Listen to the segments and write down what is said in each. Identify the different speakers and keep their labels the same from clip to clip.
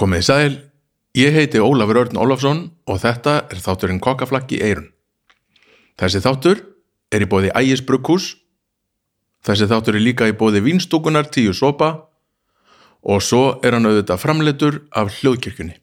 Speaker 1: Komið í sæl, ég heiti Ólafur Örn Ólafsson og þetta er þátturinn kokkaflakki eirun. Þessi þáttur er í bóði Ægis Brugghús, þessi þáttur er líka í bóði Vínstúkunar tíu sopa og svo er hann auðvitað framleitur af hljóðkirkjunni.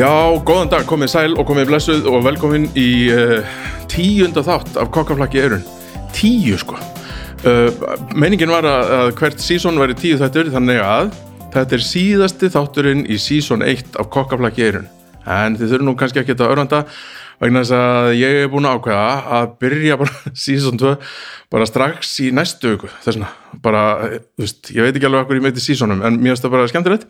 Speaker 1: Já, góðan dag, komið sæl og komið blessuð og velkomin í uh, tíunda þátt af kokkaflakki eirun. Tíu sko. Uh, meiningin var að, að hvert sísón væri tíu þættur þannig að þetta er síðasti þátturinn í sísón 1 af kokkaflakki eirun. En þið þurfum nú kannski ekki að örvanda vegna þess að ég er búin að ákveða að byrja bara sísón 2 bara strax í næstu viku. Þess vegna, bara, eh, þú veist, ég veit ekki alveg okkur ég meiti sísónum en mér finnst það bara skemmtilegt.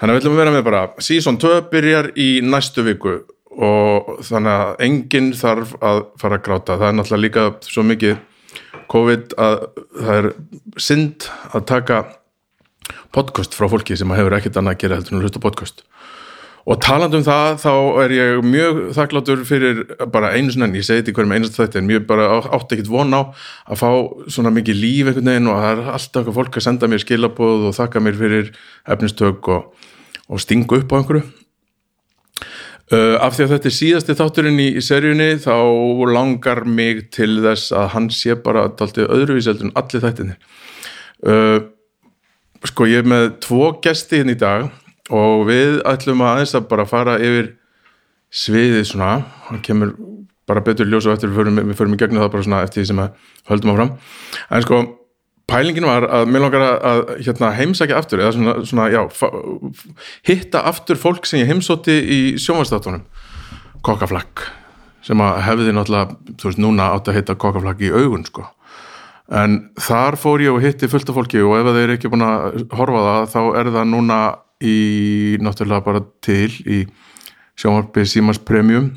Speaker 1: Þannig að við ætlum að vera með bara sísón 2 byrjar í næstu viku og þannig að enginn þarf að fara að gráta. Það er náttúrulega líka svo mikið COVID að það er synd að taka podcast frá fólki sem hefur ekkert annað að gera heldur en að hlusta á podcast og talandi um það þá er ég mjög þakklátur fyrir bara einu svona ég segi þetta í hverjum einasta þætti en ég bara á- átti ekkert von á að fá svona mikið líf einhvern veginn og það er alltaf eitthvað fólk að senda mér skilabóð og þakka mér fyrir efnistök og, og stingu upp á einhverju Uh, af því að þetta er síðasti þátturinn í, í seríunni þá langar mig til þess að hann sé bara daltið öðruvíseldur en allir þættinir. Uh, sko ég er með tvo gesti hérna í dag og við ætlum að aðeins að bara fara yfir sviðið svona hann kemur bara betur ljós og eftir við förum, við förum í gegnum það bara svona eftir því sem að höldum áfram en sko pælingin var að mér langar að, að hérna, heimsækja aftur eða svona, svona já fa- hitta aftur fólk sem ég heimsótti í sjónvastáttunum kokkaflakk sem að hefði náttúrulega, þú veist, núna átt að hitta kokkaflakk í augun sko en þar fór ég og hitti fullt af fólki og ef þeir eru ekki búin að horfa á það þá er það núna í náttúrulega bara til í sjónvarpi Simars Premium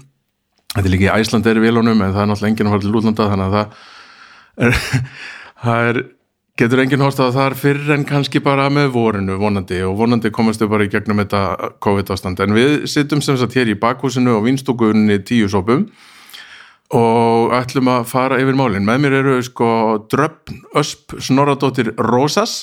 Speaker 1: þetta er líka í Æsland er í vélunum en það er náttúrulega enginn að fara til útlanda þannig að það er, það er getur enginn horst að það er fyrr en kannski bara með vorinu vonandi og vonandi komast við bara í gegnum þetta COVID-ástand en við sittum sem sagt hér í bakhúsinu og vinstúkunni tíu sopum og ætlum að fara yfir málin. Með mér eru sko Dröfn Ösp Snorradóttir Rósas.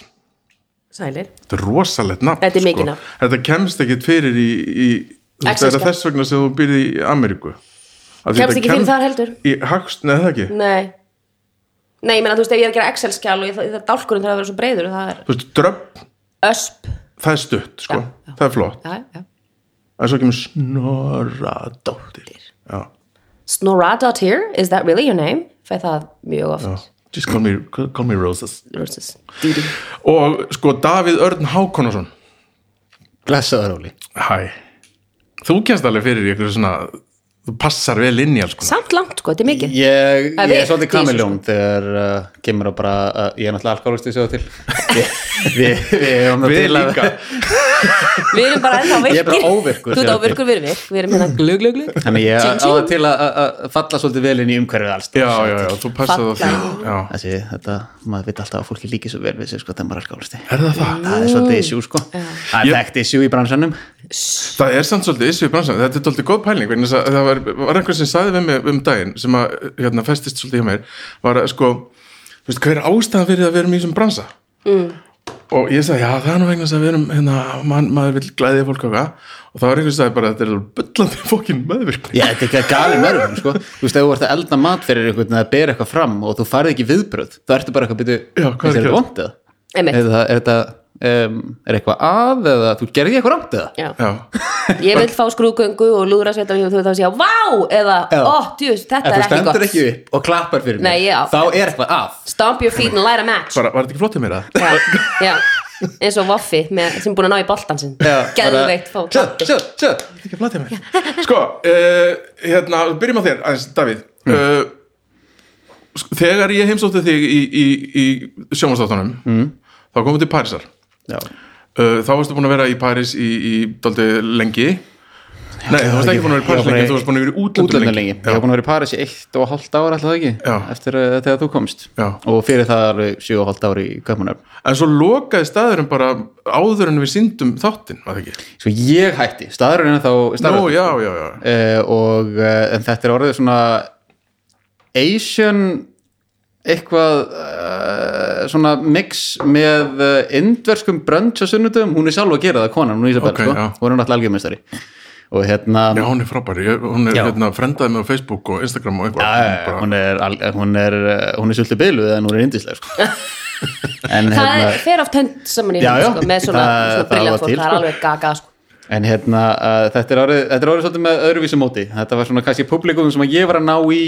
Speaker 2: Sælir.
Speaker 1: Þetta er rosalegt nafn.
Speaker 2: Þetta er mikið
Speaker 1: sko.
Speaker 2: nafn.
Speaker 1: Þetta kemst ekkit fyrir í, í þú veist,
Speaker 2: Exelska.
Speaker 1: er það þess vegna sem þú byrði í Ameríku. Af því
Speaker 2: Kemst
Speaker 1: þetta
Speaker 2: ekki
Speaker 1: kem-
Speaker 2: fyrir þar heldur.
Speaker 1: Í hagst, neða það ekki.
Speaker 2: Nei. Nei, ég meina, þú veist, ef ég er að gera Excel-skjál og ég, það dálkurinn þarf að vera svo breyður, það er
Speaker 1: Þú veist, Dröfn,
Speaker 2: ösp.
Speaker 1: það er stutt, sko.
Speaker 2: Já, já.
Speaker 1: Það er flott.
Speaker 2: Já, já.
Speaker 1: En svo kemur Snorradóttir. Já.
Speaker 2: Snorra.here, is that really your name? Fæ það mjög oft.
Speaker 1: Just call me, call me Rosas.
Speaker 2: Versus Didi.
Speaker 1: Og sko Davíð Örn Hákonarsson.
Speaker 3: Blessaður Óli
Speaker 1: Hæ. Þú kemst alveg fyrir í einhverju svona, þú passar vel inn í alls konar.
Speaker 2: Samt langt, sko, þetta er mikið. Það er
Speaker 3: Ég, ég er
Speaker 2: veikt
Speaker 3: svolítið
Speaker 2: í þessu,
Speaker 3: kamiljón þegar uh, kemur að bara, uh, ég er náttúrulega alkoholist í sögðu til Við vi, vi, vi,
Speaker 1: Við líka.
Speaker 2: Við erum bara ennþá virkir.
Speaker 3: Ég er bara
Speaker 2: Þú
Speaker 3: óvirkur,
Speaker 2: ert
Speaker 3: þegar-
Speaker 2: óvirkur, við erum virk. Við erum hérna glug, glug, glug.
Speaker 3: Þannig ég á
Speaker 2: Tjing, tjing.
Speaker 3: það til að- að að falla svolítið vel inn í umhverfið alls
Speaker 1: já, já, já, þú passar það
Speaker 2: Falla.
Speaker 1: því já.
Speaker 3: Þessi, þetta, maður veit alltaf að fólki líki svo vel við sér sko þegar maður er alkoholisti
Speaker 1: er það það?
Speaker 3: Það er svolítið issue sko Það
Speaker 1: Ég-
Speaker 3: er þekkt issue í bransanum
Speaker 1: það er samt svolítið issu í bransan þetta er svolítið góð pæling vegna þess að það var, var einhver sem saði við mig um daginn sem að hérna, festist svolítið hjá mér var að sko, þú veist, hver er ástæða fyrir að vera mjög sem bransa mm. og ég sagði, já, það er nú vegna þess að við erum hérna, man, maður vil glæðið fólk og hvað og það var einhver sem sagði bara, þetta er bullandi fókin meðvirkni
Speaker 3: Já, þetta er ekki að gali mörgum sko Þú veist, ef þú ert að elda mat fyrir einhvern að bera eitthvað fram og þú farið ekki viðbröð þá ertu bara eitthvað
Speaker 1: Já,
Speaker 3: byrju,
Speaker 1: hvað er að
Speaker 3: er þetta
Speaker 1: gerast?
Speaker 3: vond eða?
Speaker 2: Einmitt.
Speaker 3: Er þetta- er þetta, um, er eitthvað að eða þú gerði eitthvað rámt eða?
Speaker 2: Já.
Speaker 1: já,
Speaker 2: Ég vil fá skrúgöngu og lúðra sveit og þú veit þá að segja, vá, eða,
Speaker 3: Já.
Speaker 2: ó, djús, þetta
Speaker 3: En
Speaker 2: er
Speaker 3: þú
Speaker 2: ekki
Speaker 3: stendur
Speaker 2: gott.
Speaker 3: ekki upp og klappar fyrir
Speaker 2: Nei,
Speaker 3: mér
Speaker 2: já.
Speaker 3: þá er eitthvað að
Speaker 2: Stomp your feet and light a match.
Speaker 1: bara, var þetta ekki flott í mér að
Speaker 2: já, já, eins og Voffi með, sem er búin að ná í boltan sinn geðveikt fót
Speaker 3: Sjö, sjö, sjö.
Speaker 1: Þetta er ekki að flatja mér Sko, uh, hérna, byrjum á þér aðeins, Davíð mm. Þegar ég heimsótti þig í, í, í sjónvastáttunum mm. þá komum við til Parísar
Speaker 3: Já.
Speaker 1: uh, þá varstu búin að vera í Paris í, í daldi lengi Nei, þú varst ekki búin að vera í Paris
Speaker 3: Ég var
Speaker 1: lengi,
Speaker 3: í-
Speaker 1: þú varst búin að vera í útlöndum
Speaker 3: útlöndan
Speaker 1: lengi,
Speaker 3: lengi, ég hef búin að vera í Paris í eitt og hálft ára alltaf ekki,
Speaker 1: Já.
Speaker 3: eftir uh, þegar þú komst
Speaker 1: Já.
Speaker 3: og fyrir það alveg sjö og hálft ára í Kaupmannöfn
Speaker 1: En svo lokaði staðurinn bara áður en við síndum þáttinn, var það ekki?
Speaker 3: sko ég hætti, staðurinn er þá
Speaker 1: Nú,
Speaker 3: staðurinn
Speaker 1: já, já, já.
Speaker 3: uh, og uh, en þetta er orðið svona Asian eitthvað uh, svona mix með uh, indverskum brönds á sunnudum, hún er sjálf að gera það konan, hún er Ísabel,
Speaker 1: Ok,
Speaker 3: sko,
Speaker 1: já.
Speaker 3: hún er náttúrulega algjörmeistari og hérna
Speaker 1: Já, hún er frábær, ég, hún er
Speaker 3: Já.
Speaker 1: hérna frendaði mig á Facebook og Instagram og eitthvað.
Speaker 3: Já, já, hún er, al- hún er, uh, hún er svolítið byluð en hún er indislega sko. en,
Speaker 2: það
Speaker 3: hérna,
Speaker 2: er, fer oft hönd saman í
Speaker 3: Já,
Speaker 2: hönd,
Speaker 3: já.
Speaker 2: sko, með svona,
Speaker 3: Það-
Speaker 2: svona
Speaker 3: það
Speaker 2: briljant
Speaker 3: var
Speaker 2: fólk,
Speaker 3: til,
Speaker 2: það er
Speaker 3: sko.
Speaker 2: alveg gaga sko.
Speaker 3: en hérna uh, þetta, er orðið, þetta er orðið svolítið með öðruvísi móti þetta var svona kannski publikum sem að ég var að ná í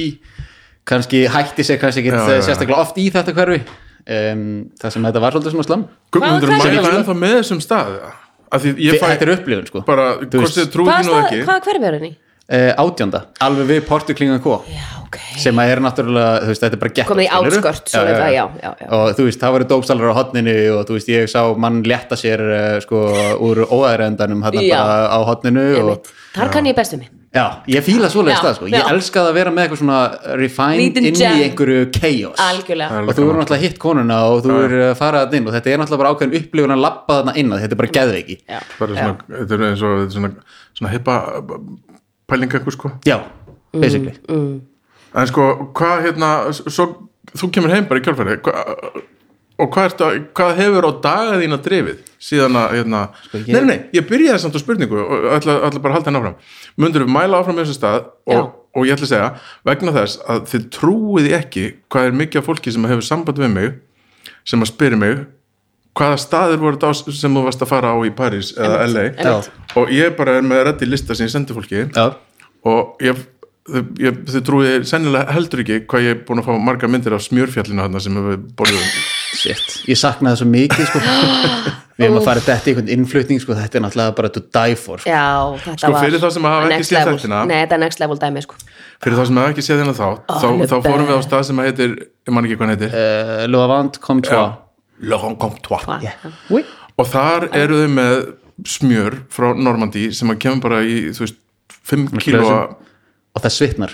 Speaker 3: kannski hætti sig kannski
Speaker 1: Já,
Speaker 3: ekkit
Speaker 1: já,
Speaker 3: já,
Speaker 1: já.
Speaker 3: sérstaklega oft í þetta hverfi um, það sem þetta var svolítið svona slam
Speaker 1: Guðmundur
Speaker 2: Hvaða
Speaker 1: mæla
Speaker 2: hverfi?
Speaker 1: ennþá með þessum stað, eða? af því ég
Speaker 3: þetta
Speaker 1: fæ
Speaker 3: er upplifun sko
Speaker 1: bara,
Speaker 3: Þú
Speaker 1: hvort
Speaker 3: veist,
Speaker 1: þið trúið
Speaker 2: Hvaða
Speaker 1: nú
Speaker 2: stað-
Speaker 1: ekki.
Speaker 2: hvaða hverfi er henni?
Speaker 3: uh, átjónda, alveg við Portu Klingan K
Speaker 2: Já, ok
Speaker 3: sem að er náttúrulega, þú veist, þetta er bara gett
Speaker 2: Komið í outskirts og þetta, já, já, já.
Speaker 3: og þú veist, það var dópsalar á hotninu og þú veist, ég sá mann létta sér uh, sko, úr óæðrendanum hann
Speaker 2: Já.
Speaker 3: bara á hotninu og,
Speaker 2: Einmitt. Þar kann ég bestu mig
Speaker 3: já, ég fíla svoleiðist
Speaker 2: Já,
Speaker 3: það, sko, ég
Speaker 2: já.
Speaker 3: elska það að vera með eitthvað svona refined
Speaker 2: Lítinn
Speaker 3: inn í
Speaker 2: gem.
Speaker 3: einhverju chaos
Speaker 2: Algjörlega
Speaker 3: og þú eru náttúrulega hitt konuna og þú eru að fara þarna inn og þetta er náttúrulega bara ákveðin upplifun að labba þarna inn að þetta er bara geðveiki
Speaker 2: Já,
Speaker 1: Bara
Speaker 2: já.
Speaker 1: svona, þetta er eins og þetta er svona, svona hippa pælinga eitthvað sko.
Speaker 3: já, basically
Speaker 2: Mm,
Speaker 1: En sko, hvað hérna, s- svo, þú kemur heim bara í kjálfæri hva, og hvað, ertu, að- hvað hefur á daga þína drifið síðan að, hérna,
Speaker 3: Sko, ég-
Speaker 1: nei, nei, nei, ég byrjaði samt á spurningu og ætla, ætla bara að halda henni áfram. Mundur við mæla áfram með þessum stað
Speaker 2: Já.
Speaker 1: og, og ég ætla að segja, vegna þess að þið trúið ekki hvað er mikið af fólki sem hefur samband við mig, sem að spyrir mig, hvaða staðir voru það sem þú varst að fara á í París eða LA
Speaker 3: einmitt.
Speaker 1: og ég bara er með reddi lista sem ég sendi fólki
Speaker 2: mm.
Speaker 3: já,
Speaker 1: og ég, þau, ég, þau trúið sennilega heldur ekki hvað ég er búin að fá marga myndir af smjörfjallinu hann sem við borðum
Speaker 3: shit, ég sakna það svo mikið sko. við hefum að fara þetta í einhvern innflutning sko, þetta er náttúrulega bara to die for sko.
Speaker 2: Já, þetta
Speaker 1: Sko,
Speaker 2: var
Speaker 1: fyrir þá sem hafa ekki
Speaker 2: next
Speaker 1: séð
Speaker 2: level.
Speaker 1: þættina.
Speaker 2: Nei, þetta er next level dæmi sko.
Speaker 1: fyrir þá sem hefði ekki séð þennan þá
Speaker 2: hann
Speaker 1: þá,
Speaker 2: er
Speaker 1: þá fórum við á
Speaker 2: best.
Speaker 1: stað sem heitir ég man ekki hvað hann heitir
Speaker 3: uh, Lovant kom tvo
Speaker 1: Lorangomtois
Speaker 2: Hva?
Speaker 3: Ui.
Speaker 1: og þar eru þau með smjör frá Normandi sem að kemur bara í þú veist 5 kílóa
Speaker 3: glösum. og það svitnar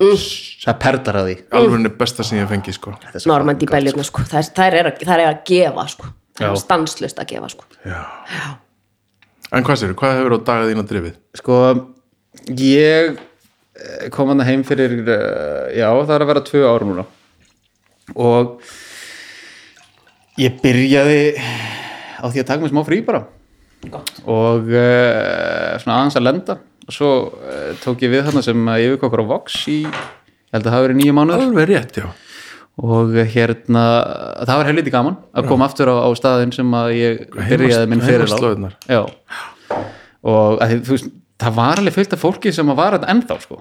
Speaker 2: Mm.
Speaker 3: það perlar að því
Speaker 1: alveg besta sem ég hef fengið sko
Speaker 3: Þetta er svo
Speaker 2: Normandi
Speaker 3: gott,
Speaker 2: beljurna sko. þær, þær, er að, þær er að gefa sko.
Speaker 3: Já.
Speaker 2: stanslust að gefa sko.
Speaker 1: en hvað sér, hvað hefur á daga þína drifið?
Speaker 3: sko ég eh, kom hann heim fyrir eh, já það er að vera tvö árum núna og ég byrjaði á því að taka mig smá frí bara og uh, svona aðeins að lenda og svo uh, tók ég við þarna sem yfirkokkur á Vox í, ég held að það hafi verið nýju mánuður
Speaker 1: alveg rétt, já
Speaker 3: og hérna það var helviti gaman að koma aftur á, á staðin sem að ég byrjaði minn
Speaker 1: heimast-
Speaker 3: fyrir
Speaker 1: heimaslóðirnar.
Speaker 3: já og að, því, þú veist, það var alveg fullt af fólki sem að var þetta ennþá sko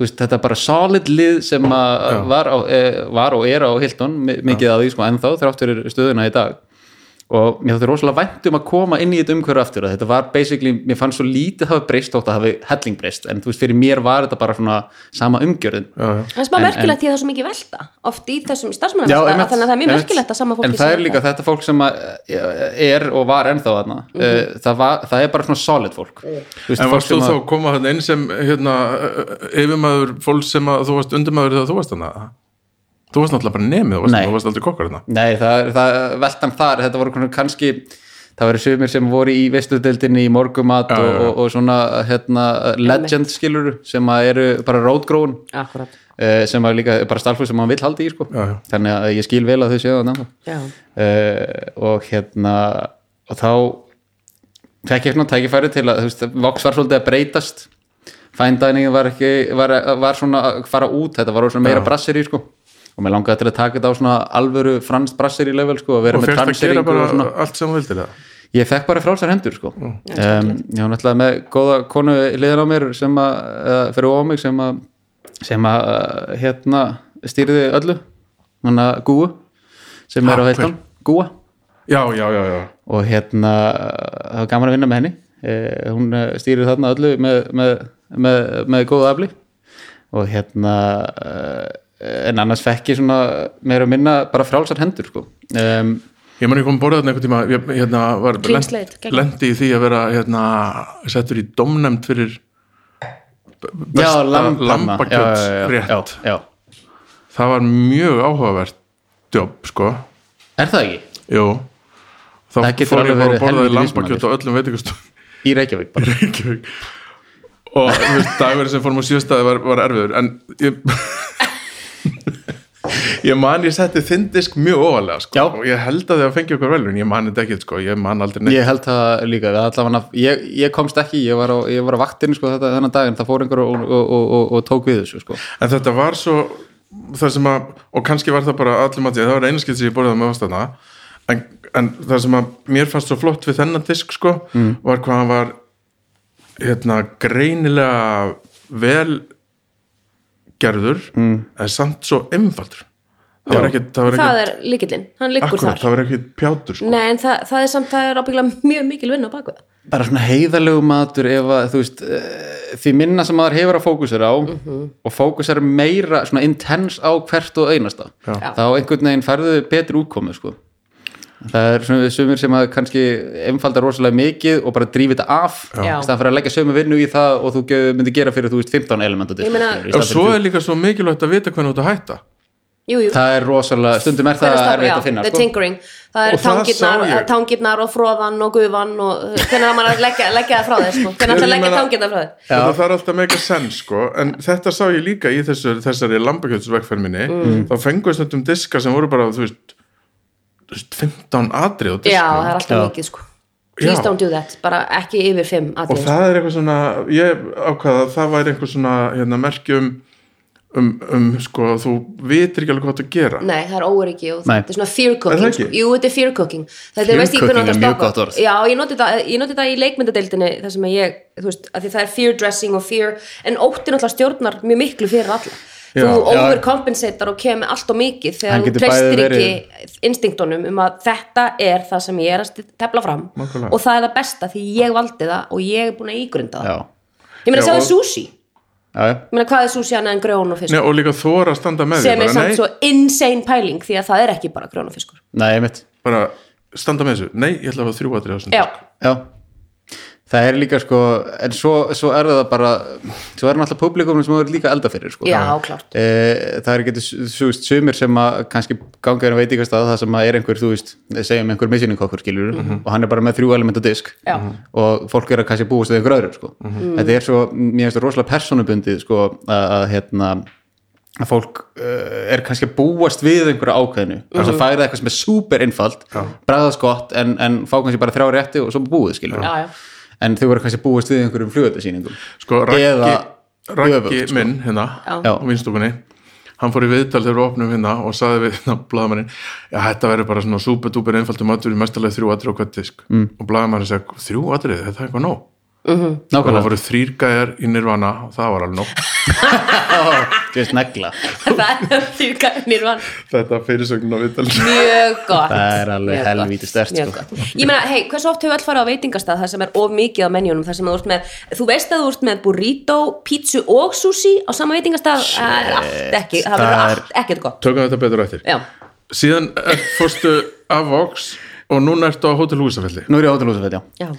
Speaker 3: þú veist, þetta er bara solid lið sem að var, á, e, var og er á Hilton mi- mikið að því sko ennþá þrátt fyrir stöðuna í dag og mér þótti rosalega vænt um að koma inn í þetta umhverju aftur að þetta var basically, mér fannst svo lítið hafa breyst þótt að hafi helling breyst en þú veist, fyrir mér var þetta bara svona sama umgjörðin
Speaker 1: já, já.
Speaker 2: Það er smá
Speaker 3: En- en-
Speaker 2: merkilegt því að það er svo mikið velta oft í þessum starfsmennum
Speaker 3: Já,
Speaker 2: þannig
Speaker 3: einmitt,
Speaker 2: að það er mjög
Speaker 3: einmitt.
Speaker 2: merkilegt að sama fólki
Speaker 3: en það
Speaker 2: sé
Speaker 3: er líka þetta fólk sem að, eh, er og var ennþá þarna
Speaker 2: Mhm.
Speaker 3: mm það, var, það er bara svona solid fólk
Speaker 2: Mm.
Speaker 3: Þú veist,
Speaker 1: En
Speaker 3: fólk
Speaker 1: varst þú
Speaker 3: sem
Speaker 1: þá
Speaker 3: að-
Speaker 1: að koma hann inn sem hérna, yfirmaður fólk sem að þú varst undirmaður þegar þú varst hann Þú varst náttúrulega bara nemið, þú varst,
Speaker 3: Nei.
Speaker 1: þú varst aldrei kokkar hann
Speaker 3: nei, það, er- það veltan þar þetta voru konar kannski það verið sömur sem voru í vestudeldinni í morgumat og, og, og svona hérna, legend skilur sem að eru bara rótgróin
Speaker 2: Akkurat,
Speaker 3: eh, sem að líka er bara starfsfólk sem maður vill haldi í sko.
Speaker 1: Já, já.
Speaker 3: þannig að ég skil vel að þau séu það náttúrulega
Speaker 2: já
Speaker 3: uh, og hérna og þá fekk ég svona tækifæri til að þú veist, Vox var svolítið að breytast fine dining var ekki var, var svona að fara út, þetta var svona meira brasseri sko og mér langaði til að taka þetta á svona alvöru franskt brasseri level sko og vera
Speaker 1: Og
Speaker 3: með
Speaker 1: fyrst að gera
Speaker 3: transering
Speaker 1: bara Mm.
Speaker 3: og svona
Speaker 1: allt sem þú vildir það
Speaker 3: ég fekk bara frálsar hendur sko um, ég var náttúrulega með góða konu liðan á mér sem að, uh, fyrir ofan mig sem að, sem að uh, hérna stýrði öllu hann að Gúu sem
Speaker 1: Ha,
Speaker 3: er á
Speaker 1: hver?
Speaker 3: heiltan, Gúa
Speaker 1: Já, já, já, já
Speaker 3: og hérna það var gaman að vinna með henni eh, hún eh, stýrir þarna öllu með, með, með, með góða afli og hérna eh, en annars fekk ég svona meira að minna bara frálsar hendur sko um,
Speaker 1: ég man ekki kom að borða þarna einhvern tíma ég hérna, var
Speaker 2: Clean slate, geggjað.
Speaker 1: lendi í því að vera hérna, settur í domnemnd fyrir
Speaker 3: já,
Speaker 1: besta
Speaker 3: lamb- þarna. Já, já, já, já,
Speaker 1: lambakjötsrétt
Speaker 3: já, já.
Speaker 1: það var mjög áhugavert jobb sko
Speaker 3: er það ekki?
Speaker 1: Jú. þá
Speaker 3: Það getur
Speaker 1: fór
Speaker 3: alveg
Speaker 1: ég bara
Speaker 3: verið
Speaker 1: að borða í
Speaker 3: helvíti
Speaker 1: lambakjött á öllum veitingastofum
Speaker 3: í Reykjavík bara
Speaker 1: Reykjavík og þú veist, dagverð sem fórum á sjöstaði var, var erfiður en ég ég man ég setti þindisk mjög óvalega sko.
Speaker 3: Já.
Speaker 1: og ég held að það fengi okkur velun ég man þetta ekki, sko. ég man aldrei neitt
Speaker 3: ég held það líka það allavega, ég, ég komst ekki, ég var á, ég var á vaktinni sko, þetta, þennan daginn, það fór einhver og, og, og, og, og tók við þessu sko.
Speaker 1: en þetta var svo þar sem að, og kannski var það bara allir mati, það var einu skilt sem ég borðið með ástæðna en, en það sem að mér fannst svo flott við þennan disk sko var hvað hann var hérna greinilega vel gerður mm. en samt svo einfaldur það var ekkit, það var ekkit
Speaker 2: það er líkillinn, hann liggur
Speaker 1: akkurat,
Speaker 2: þar
Speaker 1: það var ekkit pjátur sko.
Speaker 2: Nei, en það, það er samt, það er ábyggilega mjög mikil vinna á baku það
Speaker 3: bara svona heiðalegu matur ef að þú veist eh, því minna sem maður hefur að fókusera á
Speaker 1: Mhm.
Speaker 3: og fókusera meira svona intense á hvert og einasta
Speaker 1: Já.
Speaker 2: Já.
Speaker 3: þá einhvern veginn færðu betri útkomu sko. það er svona sumir sem að kannski einfalda rosalega mikið og bara drífi þetta af
Speaker 2: Já.
Speaker 3: í staðan fyrir að leggja sömu vinnu í það og þú ge- myndir gera fyrir þú veist 15 elementa
Speaker 2: Ég meina-
Speaker 1: og svo er líka svo mikilvægt að vita hvernig þú ert að hætta
Speaker 2: Jú, jú,
Speaker 3: það er rosalega, stundum er það
Speaker 2: Hvenær stoppar-
Speaker 3: erfitt
Speaker 2: já,
Speaker 3: að finna
Speaker 2: the
Speaker 3: sko.
Speaker 2: tinkering, það
Speaker 1: Og
Speaker 2: er
Speaker 1: það
Speaker 2: tangirnar,
Speaker 1: sá ég.
Speaker 2: tangirnar og fróðan og gufan og uh, hvernig það maður að leggja, leggja það frá þér sko.
Speaker 1: Ég
Speaker 2: hvernig það að leggja
Speaker 1: meina-
Speaker 2: tangirnar frá þér
Speaker 1: þetta þarf alltaf meika senn sko en þetta sá ég líka í þessu, þessari lambakjötsvegferð minni
Speaker 2: Mm.
Speaker 1: þá fengu við stundum diska sem voru bara þú veist, þú veist 15 atrið og
Speaker 2: já,
Speaker 1: diska
Speaker 2: það er alltaf
Speaker 3: Já.
Speaker 2: mikið sko
Speaker 1: Já.
Speaker 2: please don't do that, bara ekki yfir fimm
Speaker 1: og
Speaker 2: atriði.
Speaker 1: það er eitthvað svona ég ákvaða að það væri eitthvað svona hérna, merki um, um, um sko að þú vitir ekki alveg hvað þú gera
Speaker 2: Nei, það er óöryggi og
Speaker 3: Nei.
Speaker 2: þetta er svona fear
Speaker 1: Er það
Speaker 2: cooking
Speaker 1: ekki?
Speaker 2: sko. Jú, þetta er fear cooking Þetta
Speaker 3: Fear
Speaker 2: er veist ég hvernig
Speaker 3: cooking
Speaker 2: átt að
Speaker 3: er mjög
Speaker 2: stoppa.
Speaker 3: gott orð.
Speaker 2: Já, ég noti það, ég noti það í leikmyndadeildinni þar sem að ég, þú veist, að því það er fear dressing og fear, en óttin alltaf stjórnar mjög miklu fyrir alla
Speaker 1: Já.
Speaker 2: Þú
Speaker 3: Já.
Speaker 2: overcompensatar og kemur allt og mikið þegar
Speaker 3: Hann
Speaker 2: þú
Speaker 3: getur bæði
Speaker 2: treystir ekki instinktunum um að þetta er það sem ég er að sti- tefla fram
Speaker 1: Nákvæmlega.
Speaker 2: og það er það besta því ég valdi það og ég er búin að ígrunda það
Speaker 3: já,
Speaker 2: Ég meina,
Speaker 1: Já,
Speaker 2: sjáðu
Speaker 1: og-
Speaker 2: sushi Ég
Speaker 3: já, já
Speaker 2: meina, hvað er sushi annað en grjón og fisk?
Speaker 1: Nei, og líka þóra að standa með
Speaker 2: sem
Speaker 1: því
Speaker 2: er
Speaker 1: bara,
Speaker 2: samt svo insane pæling því að það er ekki bara grjón og fiskur
Speaker 3: Nei, einmitt.
Speaker 1: bara standa með þessu nei, ég ætla að hafa þrjú atrið á þessum
Speaker 2: Já,
Speaker 1: disk.
Speaker 3: Já, það er líka sko en svo, svo er það bara svo er náttúrulega publikum sem er líka elda fyrir sko.
Speaker 2: já, klárt
Speaker 3: Eh, það er getur súst sumir sem að kannski ganga hérna en veit ekki að það sem að er einhver, þú veist, eh, segjum einhver misjunningokkur skilur og hann er bara með þrjú elementa disk
Speaker 2: Já. Mm.
Speaker 3: og fólk er að kannski búast við einhver öðru sko. þetta er svo, mér finnst það rosalega personubundið sko, að, að hérna að fólk uh, er kannski að búast við einhverja ákveðinu,
Speaker 2: Mhm.
Speaker 3: þess að færa eitthvað sem er súper einfalt, bræðast gott en, en fá kannski bara þrjá rétti og svo búið skilur
Speaker 2: Já, já.
Speaker 3: en þau voru kannski búast við einhverjum flugöldasýningum
Speaker 1: sko, Raggi,
Speaker 3: Eða
Speaker 1: Raggi
Speaker 3: öfugt, sko.
Speaker 1: minn hérna
Speaker 2: Já.
Speaker 1: á vinstofunni hann fór í viðtal þegar við opnum hérna og saði við hérna blaðamannin já, þetta verður bara svona súper duper einfaldur matur í mestalega þrjú atrið á hvert disk mm. og blaðamannin segi, þrjú atrið, þetta er eitthvað nóg og það
Speaker 3: nákvæmlega,
Speaker 1: voru þrýr gæjar í nirvana og það var alveg nóg
Speaker 3: þú veist negla
Speaker 2: það er því kannir var
Speaker 1: þetta fyrirsögnin á viðtal
Speaker 2: mjög gott
Speaker 3: Það er alveg
Speaker 2: Mjög gott,
Speaker 3: helvíti sterkt,
Speaker 2: mjög
Speaker 3: sko.
Speaker 2: gott. Ég meina, hei, hversu oft hefur öll farið á veitingastað það sem er of mikið á menjunum það sem þú ert með, þú veist að þú ert með burrito, pítsu og sushi á sama veitingastað, það er allt ekki það verður
Speaker 3: Það er-
Speaker 2: allt ekkert gott
Speaker 1: tökum þetta betur eftir
Speaker 2: Já,
Speaker 1: síðan eh, fórstu af Vox og núna ertu á Hotel Húsafelli
Speaker 3: nú er ég átalúsafett, já
Speaker 2: já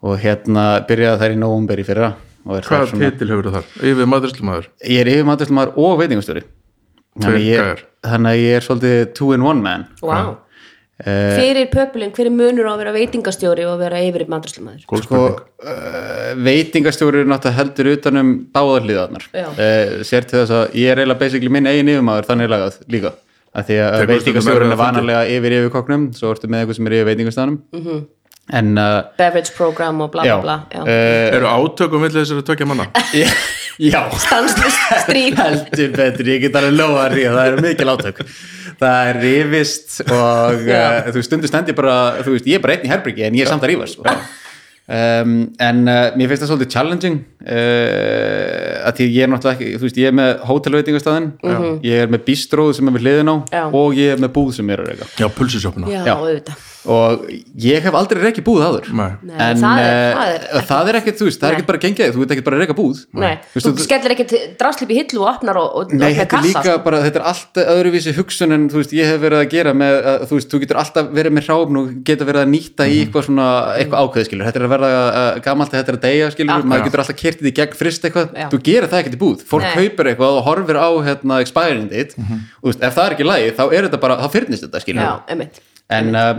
Speaker 3: og hérna byrjaði þær í nóvumberi fyrra og er þær
Speaker 1: hvaða
Speaker 3: svona,
Speaker 1: titil hefur þar? yfir maðurslumæður
Speaker 3: ég er yfirmaturlumar og veitingastjóri þannig, að
Speaker 1: gæjar.
Speaker 3: ég- þannig að ég er svolítið two in one man
Speaker 2: Wow.
Speaker 3: eh,
Speaker 2: Fyrir pöpulinn, hver er munur á að vera veitingastjóri og að vera yfir maturslumæður?
Speaker 3: sko, uh, veitingastjóri náttúrulega heldur utanum báðar hliðarnar
Speaker 2: Já.
Speaker 3: uh, sér til þess að ég er eiginlega basically minn eigin yfirmaður þannig lagað líka að því að
Speaker 1: Tekur stundum erfiða
Speaker 3: veitingastjórun er vanalega yfir yfirkokknum svo ertu með eitthvað sem er yfir veitingastanum -hmm. en uh,
Speaker 2: Beverage program og bla
Speaker 3: já,
Speaker 2: bla bla já.
Speaker 3: uh,
Speaker 1: eru átökum millir þessari tökja manna?
Speaker 3: já, já
Speaker 2: Stanslust stríð
Speaker 3: heldur betur, ég get alveg lofa að ríða það eru mikil átök það er rifist og uh, þú veist, stundu stend ég bara, þú veist, ég er bara einn í herbyggi en ég er samt að rífast sko. um, en uh, mér finnst það svolítið challenging uh, að því ég er náttúrulega ekki, þú veist, ég er með Mhm. hótelveitingastæðin, ég er með bistróð sem er við hliðin á
Speaker 2: Já.
Speaker 3: og ég er með búð sem er að reyka
Speaker 1: já, pulsusjófna
Speaker 2: Já,
Speaker 3: Já.
Speaker 2: auðvitað
Speaker 3: og ég hef aldrei reikið búð áður
Speaker 1: Nei.
Speaker 2: Nei,
Speaker 3: en
Speaker 2: það er-
Speaker 3: eh,
Speaker 2: það er ekkert-
Speaker 3: það er ekkert, þú veist, það er
Speaker 2: Nei.
Speaker 3: ekkert bara að gengja þig, þú veit ekkert bara að reika búð
Speaker 2: Nei,
Speaker 3: Þú
Speaker 2: þú
Speaker 3: veist,
Speaker 2: skellir ekkert dráslipp í hillu og opnar og, og
Speaker 3: Nei,
Speaker 2: opnar
Speaker 3: þetta er líka
Speaker 2: sko.
Speaker 3: bara, þetta er allt öðruvísi hugsun en þú veist, ég hef verið að gera með, að, þú veist, þú getur alltaf verið með hráfn og geta verið að nýta í eitthvað svona, eitthvað ákveð, skilur, þetta er að verða uh, gamalt þetta er að deyja, skilur,
Speaker 2: Akkurat.
Speaker 3: maður getur alltaf kertið í gegn frist eitthvað,
Speaker 2: Já.
Speaker 3: þú gerir það ekkert í búð, fólk
Speaker 2: Nei.
Speaker 3: kaupir eitthvað og horfir á hérna expiring date, og þú veist, ef það er ekki lægi, þá er þetta bara, þá fyrnist þetta, skilur,
Speaker 2: Já, einmitt
Speaker 3: en uh,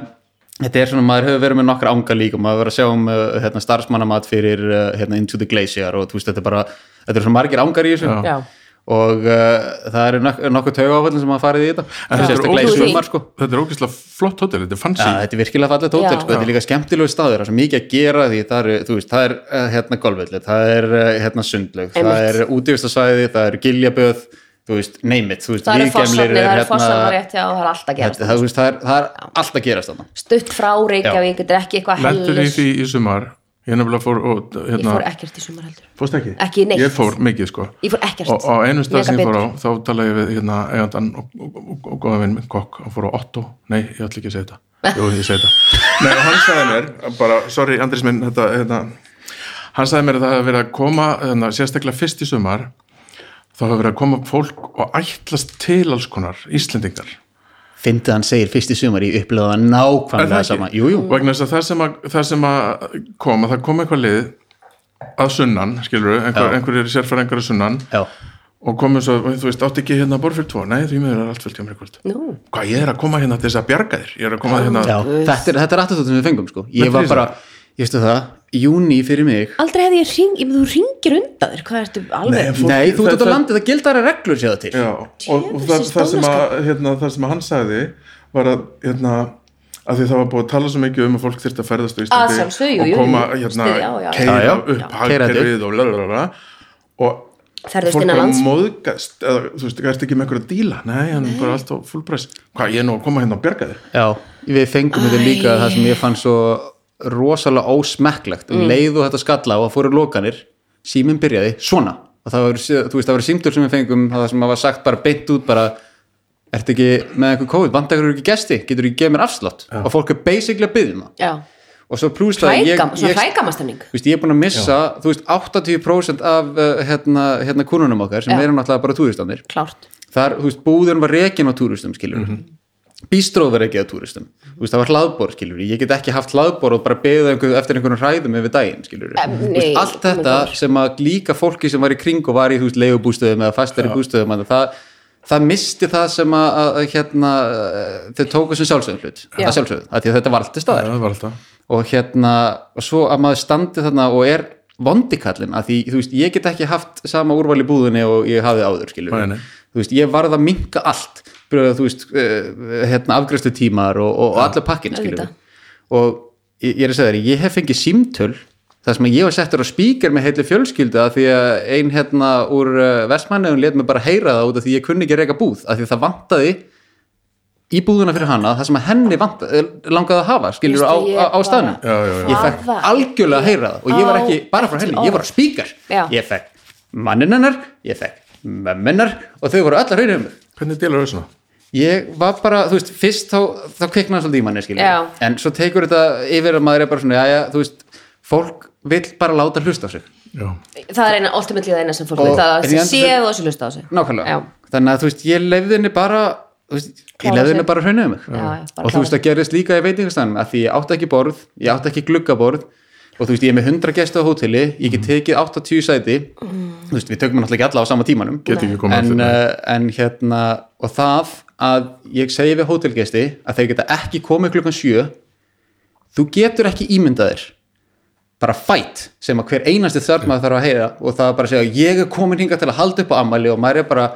Speaker 3: þetta er svona, maður hefur verið með nokkra ánga líka maður hefur verið að sjá um uh, hérna, starfsmannamat fyrir uh, hérna, Into the Glacier og þú veist, þetta er bara, þetta er svona margir ángar í þessu
Speaker 2: Já.
Speaker 3: og uh, það eru nok nokkuð taugáfallin sem hafa farið í þetta
Speaker 1: En þetta er
Speaker 3: sérstaklega í
Speaker 1: ógeðslega-
Speaker 3: sumar sko
Speaker 1: Þetta er ógeðslega flott hótel, þetta er fancy
Speaker 3: Já, þetta er virkilega fallið tótel,
Speaker 2: Já.
Speaker 3: sko, þetta er líka skemmtilegu staður, það er svo mikið að gera því það er, þú veist, það er eh, hérna golfvellir, það er eh, hérna sundlaug, það
Speaker 2: Einmitt.
Speaker 3: er útífustasæði, það er giljaböð, þú veist, neymit, þú veist,
Speaker 2: Það eru
Speaker 3: víðgemlir
Speaker 2: fossanir, það eru fossanir
Speaker 3: hérna,
Speaker 2: rétt hjá og það er alltaf að
Speaker 3: þetta-
Speaker 2: gerast
Speaker 3: það, þú veist, það er, það er allt að gerast þarna.
Speaker 2: Stutt frá Reykjavík, þetta er ekki eitthvað
Speaker 1: Lendur í
Speaker 2: hellis
Speaker 3: hérna.
Speaker 1: því í sumar Ég nefnilega fór og
Speaker 2: Ég
Speaker 1: hérna,
Speaker 2: fór ekkert í sumar heldur
Speaker 1: Fórst ekki?
Speaker 2: Ekki neitt.
Speaker 1: Ég fór mikið sko
Speaker 2: Ég fór ekkert.
Speaker 1: Og á einu stað sem ég
Speaker 2: Mega
Speaker 1: fór á þá talaði ég við hérna eigandann og, og, og, og góða minn kokk og fór á Otto Nei, ég ætla ekki að segja þetta Jú, ég segja þetta Nei, og hann sagði mér bara, sorry Andris minn þetta, hérna, hann sagði mér að það hefði verið að koma hérna, sérstaklega fyrst í sumar þá hefði verið að koma fólk og ætlast til alls konar Íslendingar
Speaker 3: Fyndið hann segir fyrst í sumar í upplöða nákvæmlega sama, jú, jú,
Speaker 2: Mm.
Speaker 1: vegna þess að það sem að, það sem að kom að það kom eitthvað lið að sunnan, skilur við, einhver,
Speaker 3: Já.
Speaker 1: einhverjir sérfæringar að sunnan
Speaker 3: já,
Speaker 1: og komum svo, þú veist, átti ekki hérna borð fyrir tvo, nei því miður er allt fullt hjá mér í kvöld
Speaker 2: Nú.
Speaker 1: hvað ég er að koma hérna til þess að bjarga þér ég er að koma hérna,
Speaker 3: já, þetta er, þetta er attitútið sem við fengum, sko, ég
Speaker 1: Þetta
Speaker 3: var
Speaker 1: er
Speaker 3: bara, ég veistu það, júni fyrir mig,
Speaker 2: Aldrei hefði ég hring, ég meina, þú ringir undan þér, hvað ertu alveg
Speaker 1: Fólk-
Speaker 3: nei, þú ert út á
Speaker 1: þetta-
Speaker 3: landið, það gildar reglur séða til,
Speaker 1: já, og, og
Speaker 2: Djöfull,
Speaker 1: það,
Speaker 2: þessi
Speaker 1: það, sem að,
Speaker 2: stólaskap.
Speaker 1: hérna, það sem að hann sagði var að, hérna að því það var búið að tala svo mikið um að fólk þyrfti að ferðast á
Speaker 2: Að
Speaker 1: Íslandi
Speaker 2: sjálfsögðu, jú,
Speaker 1: og
Speaker 2: jú,
Speaker 1: koma
Speaker 2: jú,
Speaker 1: hérna,
Speaker 2: styðja, já, já.
Speaker 1: keira
Speaker 3: Já, já.
Speaker 1: upp
Speaker 3: Já.
Speaker 1: hagkerfið og lalalala og
Speaker 2: Ferðast
Speaker 1: fólk
Speaker 2: innan
Speaker 1: bara
Speaker 2: lands.
Speaker 1: móðgast eða, þú veist, það er ekki með einhverja díla nei, hann er bara allt á full price hvað, ég er nú að koma hérna og bjarga þér
Speaker 3: já, við fengum þetta líka það sem ég fann svo rosalega ósmekklegt,
Speaker 2: Mm.
Speaker 3: um leið og þetta skalla og það fóru lokanir, síminn byrjaði svona, og það var, þú veist, það var símtöl sem við fengum, það sem var sagt bara beint út bara, ertu ekki með einhver kóð, vandakur eru ekki gesti, getur ekki gefið mér afslátt og fólk er basically að byggja maður
Speaker 2: Já,
Speaker 3: og svo plúst að ég,
Speaker 2: Hrægam- svona
Speaker 3: ég,
Speaker 2: hrægamastemning
Speaker 3: Þú veist, ég er búin að missa, þú veist, 80% af uh, hérna, hérna kununum okkar sem
Speaker 2: Já.
Speaker 3: eru náttúrulega bara túristandir.
Speaker 2: Klárt
Speaker 3: Þar, þú veist, búðurinn var rekin á túristum, skilur. Mm Bístróð var rekin á túristum. Þú veist, það var hlaðbor, skilur. Ég get ekki haft hlaðbor og bara beðið einhver, eftir einhvern hræðum yfir daginn, skilur.
Speaker 2: Em,
Speaker 3: Þú
Speaker 2: nei,
Speaker 3: veist, allt
Speaker 2: oh my
Speaker 3: þetta
Speaker 2: gosh.
Speaker 3: sem að líka fólki sem var í kring og var í, þú veist, leigubústöðum eða fastari bústöðum, að það, það misti það sem að, að að, hérna, eh, þau tóku sem sjálfsögum hlut.
Speaker 2: Já.
Speaker 3: Það sjálfsögum, að því að þetta var allt til staðar
Speaker 1: það var alltaf
Speaker 3: og hérna og svo að maður standi þarna og er vondikallin að því, þú veist, ég get ekki haft sama úrval í búðinni og ég hafði áður skilur,
Speaker 1: Nei, nei.
Speaker 3: þú veist, ég varð að minka allt, bröðu, þú veist uh, hérna, afgreifstu tímar og, og, og allar pakkin skilur,
Speaker 2: Auðvitað.
Speaker 3: og ég, ég er að segja þér, ég hef fengið símtöl þar sem að ég var settur á spíker með heilir fjölskyldu að því að ein hérna úr vestmanniðun let mig bara heyra það út af því ég kunni ekki reyka búð, að því það vantaði í búðuna fyrir hana það sem að henni vant, eh, langaði að hafa skilur á,
Speaker 2: Veistu, ég
Speaker 3: á, á staðnum
Speaker 2: bara- Já, já, já.
Speaker 3: ég fekk
Speaker 2: Hvað?
Speaker 3: algjörlega að heyra það og ég var ekki
Speaker 2: Á-
Speaker 3: bara frá henni, ég var á spíkar
Speaker 2: Já.
Speaker 3: ég fekk manninennar, ég fekk mömminnar og þau voru allar hraunum
Speaker 1: hvernig delar þau svona?
Speaker 3: um ég var bara, þú veist, fyrst þá, þá kviknaði svolítið í manni, skilur
Speaker 2: Já.
Speaker 3: en svo tekur þetta yfir að maður er bara svona já, þú veist, fólk vill bara láta hlusta á sig
Speaker 1: Já.
Speaker 2: Það er eina, ultimately það eina sem fólk
Speaker 3: Og-
Speaker 2: veit Það
Speaker 3: en
Speaker 2: að
Speaker 3: í enda-
Speaker 2: séu og þessu lusta á sig
Speaker 3: nákvæmlega,
Speaker 2: Já.
Speaker 3: þannig að þú veist, ég lefði henni bara þú veist, ég
Speaker 2: Klára
Speaker 3: lefði
Speaker 2: sig.
Speaker 3: henni bara hraunum mig
Speaker 2: Já, já, bara
Speaker 3: og
Speaker 2: klára
Speaker 3: þú veist, það gerist líka í veitingastæðanum að því ég átti ekki borð, ég átti ekki gluggaborð og þú veist, ég er með 100 gæstu á hóteli ég
Speaker 1: Mm.
Speaker 3: get tekið 80 sæti
Speaker 2: Mm.
Speaker 3: þú veist, við tökum náttúrulega ekki alla á sama tímanum
Speaker 1: Get ekki komið
Speaker 3: en,
Speaker 1: aftur, nei.
Speaker 3: uh, en hérna, og það að ég segi við hótelgæsti að þeir geta ekki komið klukkan 7 þú getur ekki ímyndaðir bara fætt sem að hver einasti þörfmaður þarf að heyra og það er bara að segja ég er komin hingað til að halda upp á ammæli og maður er bara